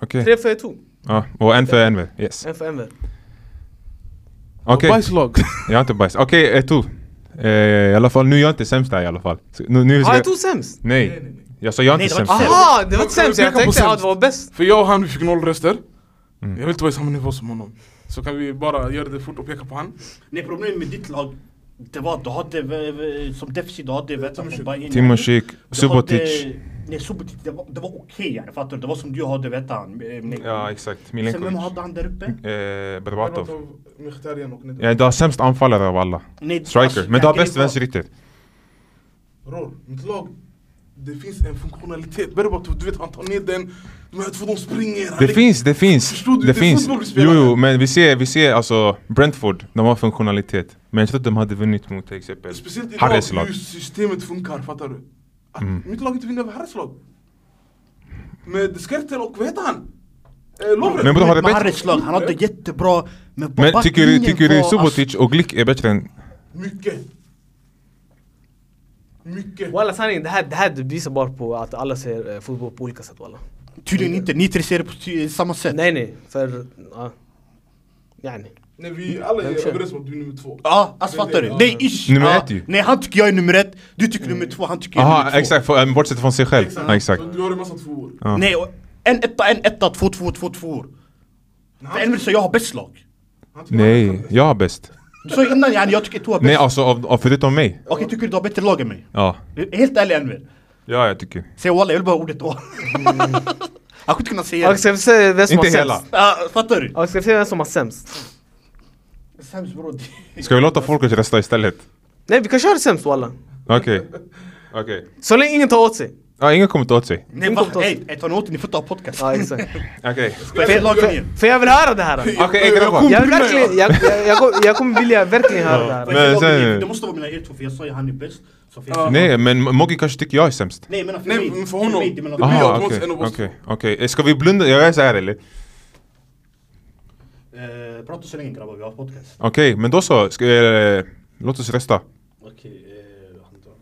Speaker 2: Okej.
Speaker 1: Tre för två.
Speaker 2: Ja, och en för Enver. Yes.
Speaker 1: En för Enver.
Speaker 2: Okej,
Speaker 4: Bajslag.
Speaker 2: jag har inte bajs. Okej, okay, Etu. Eh, I alla fall, nu är jag inte sämst där i alla fall. Så, nu, nu
Speaker 1: Har
Speaker 2: ska
Speaker 1: Ah, jag två sämst?
Speaker 2: Nej. Jag sa jag är
Speaker 3: Nej,
Speaker 2: inte
Speaker 3: det var
Speaker 2: sämst.
Speaker 3: inte
Speaker 1: Aha, det var inte
Speaker 4: Kan vi
Speaker 1: sämst. Jag
Speaker 4: peka på
Speaker 1: tänkte att
Speaker 4: sämst?
Speaker 1: det var bäst.
Speaker 4: För jag och han vi fick noll röster.
Speaker 2: Mm.
Speaker 4: Jag vill inte vara i samma nivå som honom. Så kan vi bara göra det fort och peka på han.
Speaker 3: Nej, problemet med ditt lag, det var att du hade, eh, som defensiv, du hade Veta från Bayern.
Speaker 2: Timosik,
Speaker 3: Du
Speaker 2: Subotic.
Speaker 3: hade- Nej, Subotic, det var, det var okej, yani, fattar du? Det var som du hade Veta. eh, nej.
Speaker 2: Ja, exakt.
Speaker 3: Sen vem
Speaker 2: Milenkovic.
Speaker 3: hade han där uppe?
Speaker 2: Eh, Berbatov.
Speaker 4: Mkhitaryan och Nedved.
Speaker 2: Ja, du har sämst anfallare av alla.
Speaker 3: Nej,
Speaker 2: Striker.
Speaker 3: alltså,
Speaker 2: Men du har
Speaker 3: Jacqueline
Speaker 2: bäst
Speaker 3: var-
Speaker 2: vänsterytter.
Speaker 4: Bror, mitt lag. Det finns en funktionalitet. Berbatov, du vet han tar ner den. De här två de springer. Han
Speaker 2: Det
Speaker 4: lägger-
Speaker 2: finns, det finns.
Speaker 4: Förstod du?
Speaker 2: Det
Speaker 4: Det är
Speaker 2: finns.
Speaker 4: fotboll vi
Speaker 2: Jo,
Speaker 4: spelar.
Speaker 2: jo, men vi ser, vi ser alltså Brentford, de har funktionalitet. Men jag tror att de hade vunnit mot till exempel
Speaker 4: Speciellt idag
Speaker 2: Harrys lag. Mm.
Speaker 4: hur systemet funkar, fattar du? Att Mitt lag inte vinner över Harrys lag. Med Skertel och vad heter han? Eh, Lovren.
Speaker 2: Men bror, har det
Speaker 3: Men
Speaker 2: bättre?
Speaker 3: Harrys lag, han hade jättebra... Men, på Alltså,
Speaker 2: Men tycker du,
Speaker 3: backlinjen
Speaker 2: tycker du
Speaker 3: var-
Speaker 2: Subotic och Glick är bättre än...
Speaker 4: Mycket. Mycket.
Speaker 1: Walla sanningen, det här, det här bevisar bara på att alla ser eh, fotboll på olika sätt walla.
Speaker 3: Alltså, tydligen inte, ni tre ser det på ty- samma sätt.
Speaker 1: Nej nej, för... Ja. Yani.
Speaker 4: Nej, vi alla
Speaker 1: Vem kör?
Speaker 4: är överens om att du är nummer två.
Speaker 3: Ja, alltså fattar du?
Speaker 4: Ja.
Speaker 3: Nej ish!
Speaker 2: Nummer
Speaker 3: ja.
Speaker 2: ett ju.
Speaker 3: Nej han tycker jag är nummer ett, du tycker nummer två, han tycker jag är
Speaker 2: Aha,
Speaker 3: nummer två.
Speaker 2: exakt, för, äm, bortsett från sig själv. Ja, Exakt.
Speaker 4: Du har en massa tvåor.
Speaker 2: Ja.
Speaker 3: Nej, och en etta, en etta, två, två, två, två. För en vill säga jag har bäst lag.
Speaker 4: Han tycker han
Speaker 2: Nej,
Speaker 4: är-
Speaker 2: jag har bäst.
Speaker 3: Du sa innan yani, jag tycker du har
Speaker 2: Nej,
Speaker 3: bäst.
Speaker 2: alltså av, av förutom mig.
Speaker 3: Okej, tycker du du har bättre lag än mig?
Speaker 2: Ja.
Speaker 3: Helt ärlig Enver.
Speaker 2: Ja, jag tycker.
Speaker 3: Säg walla, jag vill bara ha ordet då.
Speaker 1: Mm.
Speaker 3: Han skulle kunna säga
Speaker 1: Och
Speaker 3: det.
Speaker 1: ska vi se vem som har
Speaker 2: Inte
Speaker 1: sämst?
Speaker 2: hela.
Speaker 3: Ja, fattar du?
Speaker 1: Och ska vi se vem som har sämst?
Speaker 3: Sämst bror.
Speaker 2: Ska vi låta folket rösta istället?
Speaker 1: Nej vi kan köra sämst walla.
Speaker 2: Okej. Okej.
Speaker 1: Så länge ingen tar åt sig.
Speaker 2: Ja, ingen kommer ta åt sig.
Speaker 3: Nej va? Ey, ey, tar ni åt er, ni får ta podcast.
Speaker 1: Ja exakt.
Speaker 2: Okej.
Speaker 3: Bästa lagen igen.
Speaker 1: För jag vill höra det här.
Speaker 2: Okej, okay, grabbar.
Speaker 1: Jag vill verkligen, jag, jag, jag, kom- jag kommer vilja verkligen höra det här.
Speaker 2: Men sen-
Speaker 3: Men sen... Det måste vara mellan er två för jag sa ju han är bäst. Så finns det-
Speaker 2: Nej, men Moggi kanske tycker jag är sämst.
Speaker 3: Nej men för
Speaker 4: Nej,
Speaker 3: mig.
Speaker 4: men för honom.
Speaker 3: mig, det är mellan-
Speaker 4: Det blir
Speaker 2: Aha,
Speaker 4: automatiskt
Speaker 2: okej,
Speaker 4: en av
Speaker 2: okej,
Speaker 4: oss
Speaker 2: okej. Eh, Ska vi blunda? Jag är såhär eller?
Speaker 3: Eh, Prata så länge grabbar, vi har podcast.
Speaker 2: Okej, men då så. Ska, eh, låt oss rösta.
Speaker 3: Okej, eh, han tar-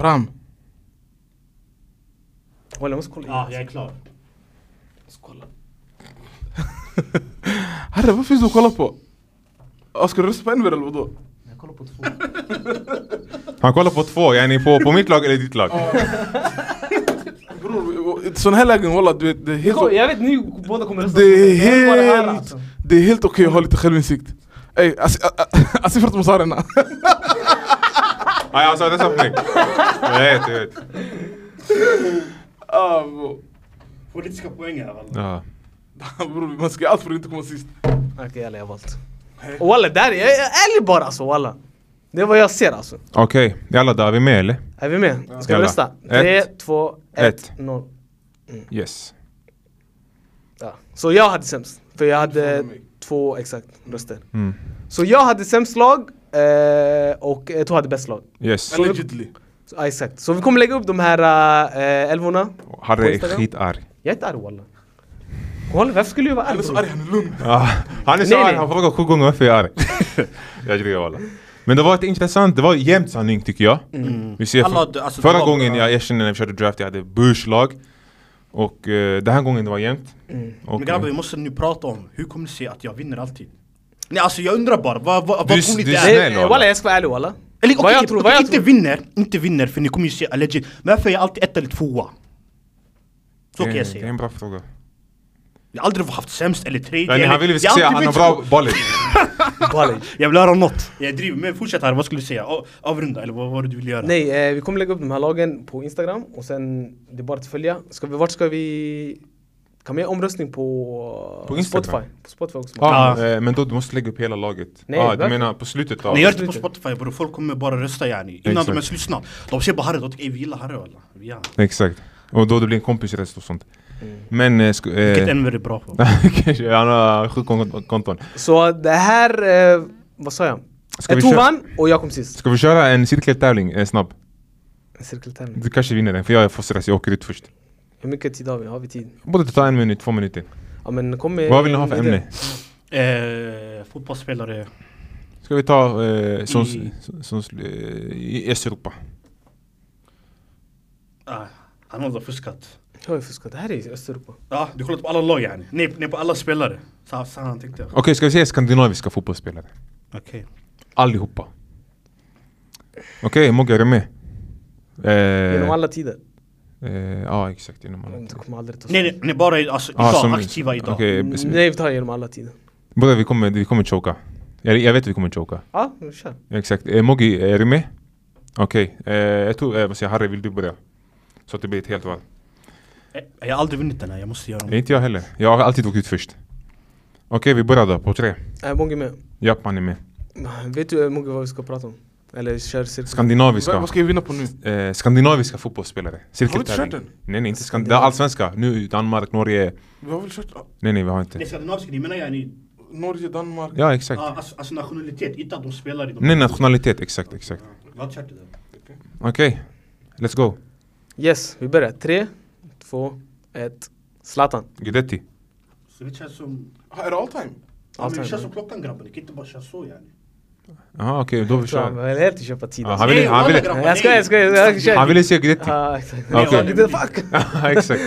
Speaker 4: Bram.
Speaker 1: Walla jag måste kolla.
Speaker 3: Ja, jag är klar.
Speaker 4: Herre, vad finns det att kolla på? Ja, Ska du rösta på Enver eller vadå?
Speaker 3: Jag kollar på två.
Speaker 2: Han kollar på två, är ni på, på mitt lag eller ditt lag?
Speaker 4: Bror, i sådana här lägen walla, du vet, det är helt...
Speaker 1: Jag, jag vet ni båda kommer rösta
Speaker 4: Det
Speaker 1: på
Speaker 4: är
Speaker 1: mig. Jag vill bara höra,
Speaker 4: helt,
Speaker 1: alltså.
Speaker 4: det är helt okej att ha lite självinsikt. Ey, alltså, ä- ä- alltså förutom Sarena.
Speaker 2: Nej, han sa rösta på mig. Jag vet, jag vet.
Speaker 4: Ah, bro.
Speaker 3: Politiska poäng här walla.
Speaker 2: Ja.
Speaker 4: Bror, man ska allt för att inte komma sist.
Speaker 1: Okej jalla jag har valt. Och Walla där, jag jag är ärlig bara alltså walla. Det är vad jag ser alltså.
Speaker 2: Okej, jalla då är vi med eller?
Speaker 1: Är vi med? Ska vi
Speaker 2: Jalla.
Speaker 1: rösta?
Speaker 2: Ett.
Speaker 1: 3, 2, 1,
Speaker 2: Ett.
Speaker 1: 0.
Speaker 2: Yes.
Speaker 1: Ja. Så jag hade sämst. För jag hade
Speaker 4: Fan, mig.
Speaker 1: två exakt röster.
Speaker 2: Mm.
Speaker 1: Så jag hade sämst lag eh, och eh, två hade bäst lag.
Speaker 2: Yes.
Speaker 4: Allegedly.
Speaker 1: Så, ja, exakt. Så vi kommer lägga upp de här eh, älvorna. På
Speaker 2: Harry är
Speaker 1: Instagram?
Speaker 2: skitarg.
Speaker 1: Jag är inte arg walla. Walla varför skulle jag vara
Speaker 4: Han
Speaker 1: arg?
Speaker 4: är så
Speaker 1: bror?
Speaker 4: arg, han är lugn.
Speaker 2: Ah, han är så
Speaker 1: Nej,
Speaker 2: arg,
Speaker 1: nej.
Speaker 2: han frågar sju gånger varför jag är arg. jag driver walla. Men det var ett intressant, det var jämnt sanning tycker jag. Vi ser
Speaker 3: Alla
Speaker 2: för,
Speaker 3: hade- alltså, det
Speaker 2: förra
Speaker 3: var
Speaker 2: gången
Speaker 3: bra.
Speaker 2: jag erkände när vi körde draft, jag hade Bush-lag. Och eh, den här gången det var jämnt. Och,
Speaker 3: Mm. Men grabbar vi
Speaker 2: eh,
Speaker 3: måste nu prata om hur kommer det sig att jag vinner alltid? Nej alltså jag undrar bara, vad, vad, vad
Speaker 2: Du-
Speaker 3: tror ni
Speaker 2: du-
Speaker 3: det
Speaker 2: Nej,
Speaker 3: är?
Speaker 2: snäll,
Speaker 1: Eh,
Speaker 2: walla.
Speaker 1: Walla jag ska vara ärlig walla.
Speaker 3: Eller okej,
Speaker 1: vad jag
Speaker 3: okej,
Speaker 1: tror, vad jag
Speaker 3: inte
Speaker 1: tror.
Speaker 3: vinner, inte vinner för ni kommer ju se alleged Men varför är jag alltid ett eller tvåa? Så
Speaker 2: det,
Speaker 3: kan jag
Speaker 2: är- det är
Speaker 3: säga
Speaker 2: en bra fråga.
Speaker 3: Jag har aldrig haft sämst eller tredje.
Speaker 2: يعني
Speaker 3: eller-
Speaker 2: han vill vi
Speaker 3: jag
Speaker 2: ska
Speaker 3: har
Speaker 2: säga
Speaker 3: alltid
Speaker 2: han har
Speaker 3: bytt
Speaker 2: bra bollen.
Speaker 1: College.
Speaker 3: Jag vill höra något. Jag driver, men fortsätt här. Vad skulle du säga? Av- Avrunda, eller vad var det du ville göra?
Speaker 1: Nej, eh, vi kommer lägga upp de här lagen på Instagram och sen det är bara att följa. Ska vi, vart ska vi... Kan vi göra omröstning på,
Speaker 2: På Instagram?
Speaker 1: Spotify? På Spotify också.
Speaker 2: Ja,
Speaker 3: Ja.
Speaker 2: eh, men då du måste lägga upp hela laget.
Speaker 1: Nej,
Speaker 2: Ja, du
Speaker 1: varför?
Speaker 2: menar på slutet av...
Speaker 3: Ni gör det på
Speaker 1: Absolut.
Speaker 3: Spotify bror, folk kommer bara rösta yani. Innan
Speaker 2: Exakt. Eh.
Speaker 3: de ens lyssnar. De ser bara Harry, de tycker "Ey, vi gillar Harry walla. Vi gillar honom."
Speaker 2: Exakt. Och då det blir en kompisröst och sånt. Men... Eh, sku,
Speaker 3: Mm. Vilket
Speaker 2: eh,
Speaker 3: Enver är bra på.
Speaker 2: kanske, han har sju kon- konton.
Speaker 1: Så det här... Eh, vad sa jag?
Speaker 2: Ska
Speaker 1: Eh,
Speaker 2: vi
Speaker 1: Tor
Speaker 2: köra-
Speaker 1: vann och jag kom sist.
Speaker 2: Ska vi köra en cirkeltävling eh, snabb?
Speaker 1: En cirkeltävling.
Speaker 2: Du kanske vinner den, för jag får stress, jag åker ut först.
Speaker 1: Hur mycket tid har vi? Har vi tid?
Speaker 2: Borde ta en minut, två minuter.
Speaker 1: Ja men kom med...
Speaker 2: Vad vill ni ha för
Speaker 1: idé.
Speaker 2: ämne?
Speaker 3: eh, fotbollsspelare.
Speaker 2: Ska vi ta eh, som,
Speaker 3: I-
Speaker 2: som, som, eh, i Östeuropa?
Speaker 3: Ah, han har fuskat.
Speaker 1: Jag har ju fuskat. Det här är ju Östeuropa.
Speaker 3: Ja, ah, du kollat på alla lag yani. Nej, nej på alla spelare. Så, så han tänkte jag.
Speaker 2: Okej, ska vi säga skandinaviska fotbollsspelare?
Speaker 3: Okej.
Speaker 2: Allihopa. Okej, Mogge, är du med?
Speaker 1: Genom
Speaker 2: Eh,
Speaker 1: alla tider.
Speaker 2: eh, ja, exakt. Genom alla.
Speaker 1: Men Du kommer aldrig ta
Speaker 3: Nej, nej, nej, bara i- alltså,
Speaker 2: Ah,
Speaker 3: idag.
Speaker 2: som-
Speaker 3: aktiva idag.
Speaker 2: Okej,
Speaker 1: Mm,
Speaker 2: bes-
Speaker 1: Nej vi tar genom alla tider.
Speaker 2: Bror vi kommer, vi kommer choka. Jag, jag vet att vi kommer choka.
Speaker 1: Ja, vi kör.
Speaker 2: Exakt. Eh, Moggi, är du med? Okej. Eh, jag tror, eh, vad säger jag, Harry, vill du börja? Så att det blir ett helt varv.
Speaker 3: Eh, Jag har aldrig vunnit den här, jag måste göra
Speaker 2: Eh,
Speaker 3: den.
Speaker 2: inte jag heller. Jag har alltid åkt ut först. Okej, vi börjar då. På tre.
Speaker 1: Är Mogge Eh, med?
Speaker 2: Japp, han är med.
Speaker 1: Vet du eh, Mogge vad vi ska prata om? Eller kör cirkel?
Speaker 4: Vad
Speaker 2: Skandinaviska.
Speaker 4: vad ska vi vinna på nu?
Speaker 2: Eh, skandinaviska fotbollsspelare.
Speaker 4: Har du inte
Speaker 2: Cirkeltävling.
Speaker 4: kört
Speaker 2: Nej, nej, inte skandinaviska. Det är allsvenska. Nu Danmark, Norge.
Speaker 4: Vi har väl kört ah,
Speaker 2: Nej, nej, vi har inte.
Speaker 3: Nej, skandinaviska, ni menar yani
Speaker 4: Norge, Danmark?
Speaker 2: Ja, exakt.
Speaker 3: ah, alltså, alltså nationalitet, inte att de spelar i de...
Speaker 2: Nej, nationalitet. Exakt, exakt.
Speaker 3: Jag har inte kört det där.
Speaker 2: Okej, let's go.
Speaker 1: Yes, vi börjar. Tre, två, ett. Zlatan.
Speaker 2: Guidetti.
Speaker 3: Så det känns som...
Speaker 4: Ah, Är det all time?
Speaker 3: Ja, men
Speaker 1: Allt
Speaker 3: Det
Speaker 1: här.
Speaker 3: känns som klockan grabben, ni kan inte bara köra så yani.
Speaker 2: Jaha, okej, då vi
Speaker 1: Så Han
Speaker 2: kör.
Speaker 1: vill helt köpa tid.
Speaker 2: Ja,
Speaker 1: alltså.
Speaker 2: han vill-
Speaker 3: Nej,
Speaker 2: han vill-
Speaker 3: alla grabbar,
Speaker 1: Nej, Jag skojar,
Speaker 3: nej.
Speaker 1: jag skojar. Jag skojar.
Speaker 2: Han ville se Guidetti.
Speaker 1: Ja, exakt.
Speaker 2: Okej.
Speaker 1: Ja, det- Fuck!
Speaker 2: Ja, exakt.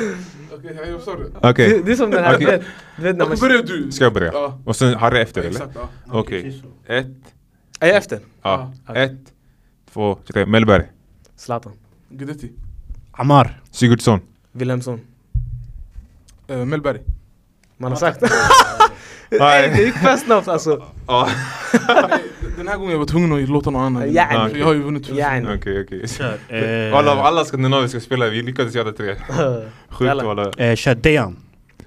Speaker 4: Okej, jag gör sorry.
Speaker 2: Okej.
Speaker 1: Det- Det är som den här, du
Speaker 2: Okej.
Speaker 1: vet, du vet när man...
Speaker 4: Börja du!
Speaker 2: Ah. Ska jag börja?
Speaker 4: Ja.
Speaker 2: Och sen Harry efter eller?
Speaker 4: Exakt, ja.
Speaker 2: Okej.
Speaker 3: precis så.
Speaker 2: Ett,
Speaker 1: Är jag efter?
Speaker 2: ja.
Speaker 1: Ja.
Speaker 2: Ett, två, tre. Mellberg.
Speaker 1: Zlatan.
Speaker 4: Guidetti.
Speaker 3: Amar.
Speaker 2: Sigurdsson.
Speaker 1: Wilhelmsson.
Speaker 4: Eh, Mellberg.
Speaker 1: Man har sagt. Nej, det gick för snabbt alltså.
Speaker 2: Ja.
Speaker 4: Eh, Den här gången jag var tvungen att låta någon annan vinna.
Speaker 1: Ja,
Speaker 4: För
Speaker 2: okej.
Speaker 4: Jag har ju vunnit förut.
Speaker 1: Yani.
Speaker 2: Okej, okej.
Speaker 3: Kör. Eh,
Speaker 2: Alla, alla skandinaviska spelare, vi lyckades göra tre. Sjukt
Speaker 1: Jalla.
Speaker 2: walla.
Speaker 3: Eh, kör Dejan.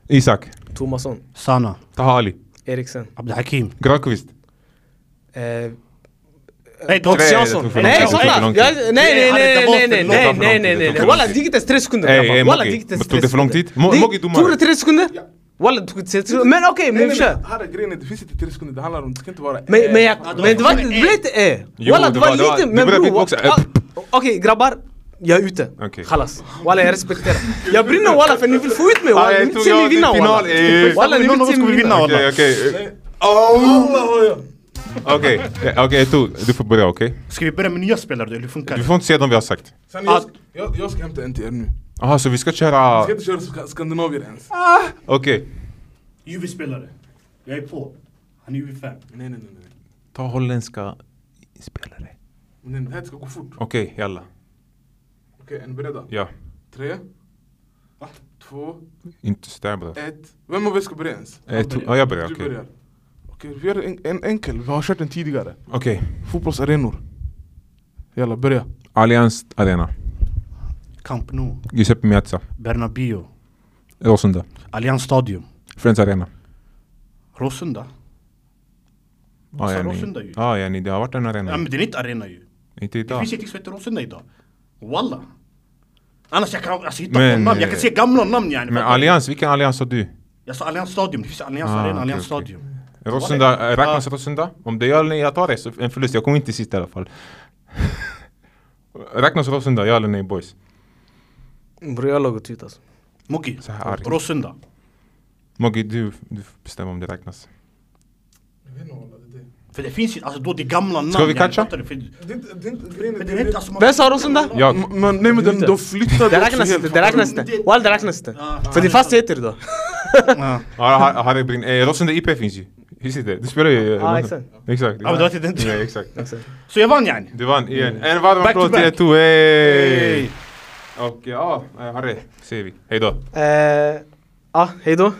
Speaker 2: Isak.
Speaker 1: Tomasson.
Speaker 3: Sana.
Speaker 2: Taha Ali.
Speaker 1: Eriksen.
Speaker 3: Abdelhakim.
Speaker 2: Granqvist.
Speaker 1: Eh,
Speaker 2: Tre,
Speaker 3: Nej, Dogs
Speaker 2: det
Speaker 3: Jansson.
Speaker 2: tog för
Speaker 1: Nej,
Speaker 2: lång tid.
Speaker 1: såklart!
Speaker 2: lång
Speaker 1: Jag-
Speaker 2: tid.
Speaker 1: Nej, nej, nej, nej, nej, nej, nej, nej, nej, nej, nej.
Speaker 2: lång
Speaker 1: Walla,
Speaker 2: tid.
Speaker 1: det gick inte ens tre sekunder
Speaker 2: Ey,
Speaker 1: grabbar.
Speaker 2: ey,
Speaker 1: Walla,
Speaker 2: Moggi,
Speaker 1: det gick inte ens
Speaker 2: tog
Speaker 1: tre
Speaker 2: det för lång
Speaker 1: sekunder.
Speaker 2: tid? Mo-
Speaker 1: Det-
Speaker 2: Moggi, domare.
Speaker 1: Tog det tre sekunder?
Speaker 4: Ja.
Speaker 1: Walla, det tog tre sekunder. Men okej,
Speaker 4: Nej,
Speaker 1: men vi
Speaker 4: nej,
Speaker 1: kör.
Speaker 4: nej. Här är grejen, det finns inte tre sekunder. Det handlar om, det ska inte vara
Speaker 1: Men, men, jag,
Speaker 3: Ja, det var
Speaker 1: men det var inte,
Speaker 3: fortfarande
Speaker 1: det blev inte E.
Speaker 2: Jo,
Speaker 1: Walla,
Speaker 2: det
Speaker 1: det
Speaker 2: var-
Speaker 1: var
Speaker 2: det var-
Speaker 1: lite,
Speaker 2: det
Speaker 1: men
Speaker 2: började
Speaker 1: bror.
Speaker 2: beatboxa.
Speaker 1: ah, Okej grabbar, jag är ute.
Speaker 2: Okej.
Speaker 1: Chalas. Walla jag respekterar. Jag brinner walla för ni vill få ut mig
Speaker 2: Ah,
Speaker 1: walla. Ni
Speaker 2: jag
Speaker 1: vill
Speaker 2: tog
Speaker 1: se mig
Speaker 2: jag till
Speaker 1: vinna walla.
Speaker 2: final, eh.
Speaker 1: Walla ni
Speaker 3: Någon
Speaker 1: vill
Speaker 3: av oss
Speaker 1: se mig
Speaker 3: kommer
Speaker 1: vinna.
Speaker 3: vinna walla.
Speaker 2: Okej, okej. Okej, ja, okej, Tor, du får börja okej?
Speaker 3: Ska vi börja med nya spelare då, eller hur funkar
Speaker 2: Du
Speaker 3: det?
Speaker 2: får inte säga de vi har sagt.
Speaker 4: Sen jag, ska- jag, jag ska hämta en till er nu.
Speaker 2: Jaha, så vi ska
Speaker 4: Jag
Speaker 2: köra...
Speaker 4: ska inte köra ska, skandinavier ens.
Speaker 2: Okej.
Speaker 3: Juve-spelare. Jag är på. Han är Juve-fan.
Speaker 4: Nej, nej, nej. nej.
Speaker 2: Ta holländska spelare.
Speaker 4: nej det här ska gå fort.
Speaker 2: Okej, jalla.
Speaker 4: Okej, är ni beredda?
Speaker 2: Ja.
Speaker 4: Tre, två,
Speaker 2: Inte sådär bror.
Speaker 4: ett. Vem av er ska börja ens?
Speaker 2: Eh, to- Ja, jag börjar.
Speaker 4: Du
Speaker 2: Okej.
Speaker 4: börjar. Okej, vi gör en, en enkel. Vi har kört den tidigare.
Speaker 2: Okej.
Speaker 4: Fotbollsarenor. Jalla, börja.
Speaker 2: Allianz Arena.
Speaker 3: Camp Nou.
Speaker 2: Giuseppe Miazza.
Speaker 3: Bernabéu.
Speaker 2: Råsunda.
Speaker 3: Allianz Stadium.
Speaker 2: Friends Arena.
Speaker 3: Råsunda.
Speaker 2: Ja,
Speaker 3: sa
Speaker 2: yani.
Speaker 3: Råsunda ju.
Speaker 2: Ja, yani. Det har varit en
Speaker 3: Ja,
Speaker 2: arena.
Speaker 3: men det är inte arena ju.
Speaker 2: Inte
Speaker 3: Det
Speaker 2: idag.
Speaker 3: finns ingenting som heter Råsunda idag. Walla. Annars jag kan alltså, hitta
Speaker 2: Men,
Speaker 3: på namn. Jag kan
Speaker 2: eh,
Speaker 3: se gamla namn yani.
Speaker 2: Men
Speaker 3: Fattar du?
Speaker 2: Allianz, vilken Allianz har du?
Speaker 3: Jag sa Allianz Stadium. Det finns Allianz
Speaker 2: Ah,
Speaker 3: Arena,
Speaker 2: okej, okej.
Speaker 3: Allianz Stadium.
Speaker 2: Råsunda, eh, räknas Råsunda? Om det gör eller nej, jag tar det. Så en förlust. Jag kommer inte sist i alla fall. Räknas Råsunda, ja eller nej boys?
Speaker 1: Bror jag har loggat ut alltså.
Speaker 3: Moggi.
Speaker 2: Så här arg.
Speaker 3: Råsunda.
Speaker 2: Moggi, du, du får bestämma om det räknas.
Speaker 4: Jag vet inte walla, det är
Speaker 3: För det finns ju, alltså då det är gamla namn.
Speaker 2: Ska vi
Speaker 3: yani,
Speaker 2: catcha?
Speaker 3: fattar du? För-
Speaker 4: det. Det är inte- det är inte grejen. är-
Speaker 3: Men
Speaker 4: det
Speaker 3: det är
Speaker 4: är-
Speaker 3: inte alltså... man-
Speaker 1: Vem sa Rosunda?
Speaker 2: Ja,
Speaker 4: M- Men nej men den, de flyttade
Speaker 1: Det
Speaker 4: också
Speaker 1: räknas
Speaker 4: helt.
Speaker 1: inte, det räknas inte.
Speaker 3: det-
Speaker 1: Walla det räknas inte.
Speaker 3: Ah,
Speaker 1: För det är fastigheter idag.
Speaker 3: Ja.
Speaker 2: Ja, Har- Harry Brin, eh, Råsunda IP finns ju. Hur sitter det? Du spelar ju... eh,
Speaker 1: Ja,
Speaker 2: Råsunda. Exakt.
Speaker 3: Ja, men det var till den
Speaker 2: Ja, exakt.
Speaker 3: Så jag vann yani.
Speaker 2: Du vann igen. En varm
Speaker 3: Back to
Speaker 2: applåd till er
Speaker 3: back.
Speaker 2: två. Hey.
Speaker 3: Hey.
Speaker 2: Och ja, eh, Harry, säger vi. Hejdå.
Speaker 1: Eh, Ja, hejdå.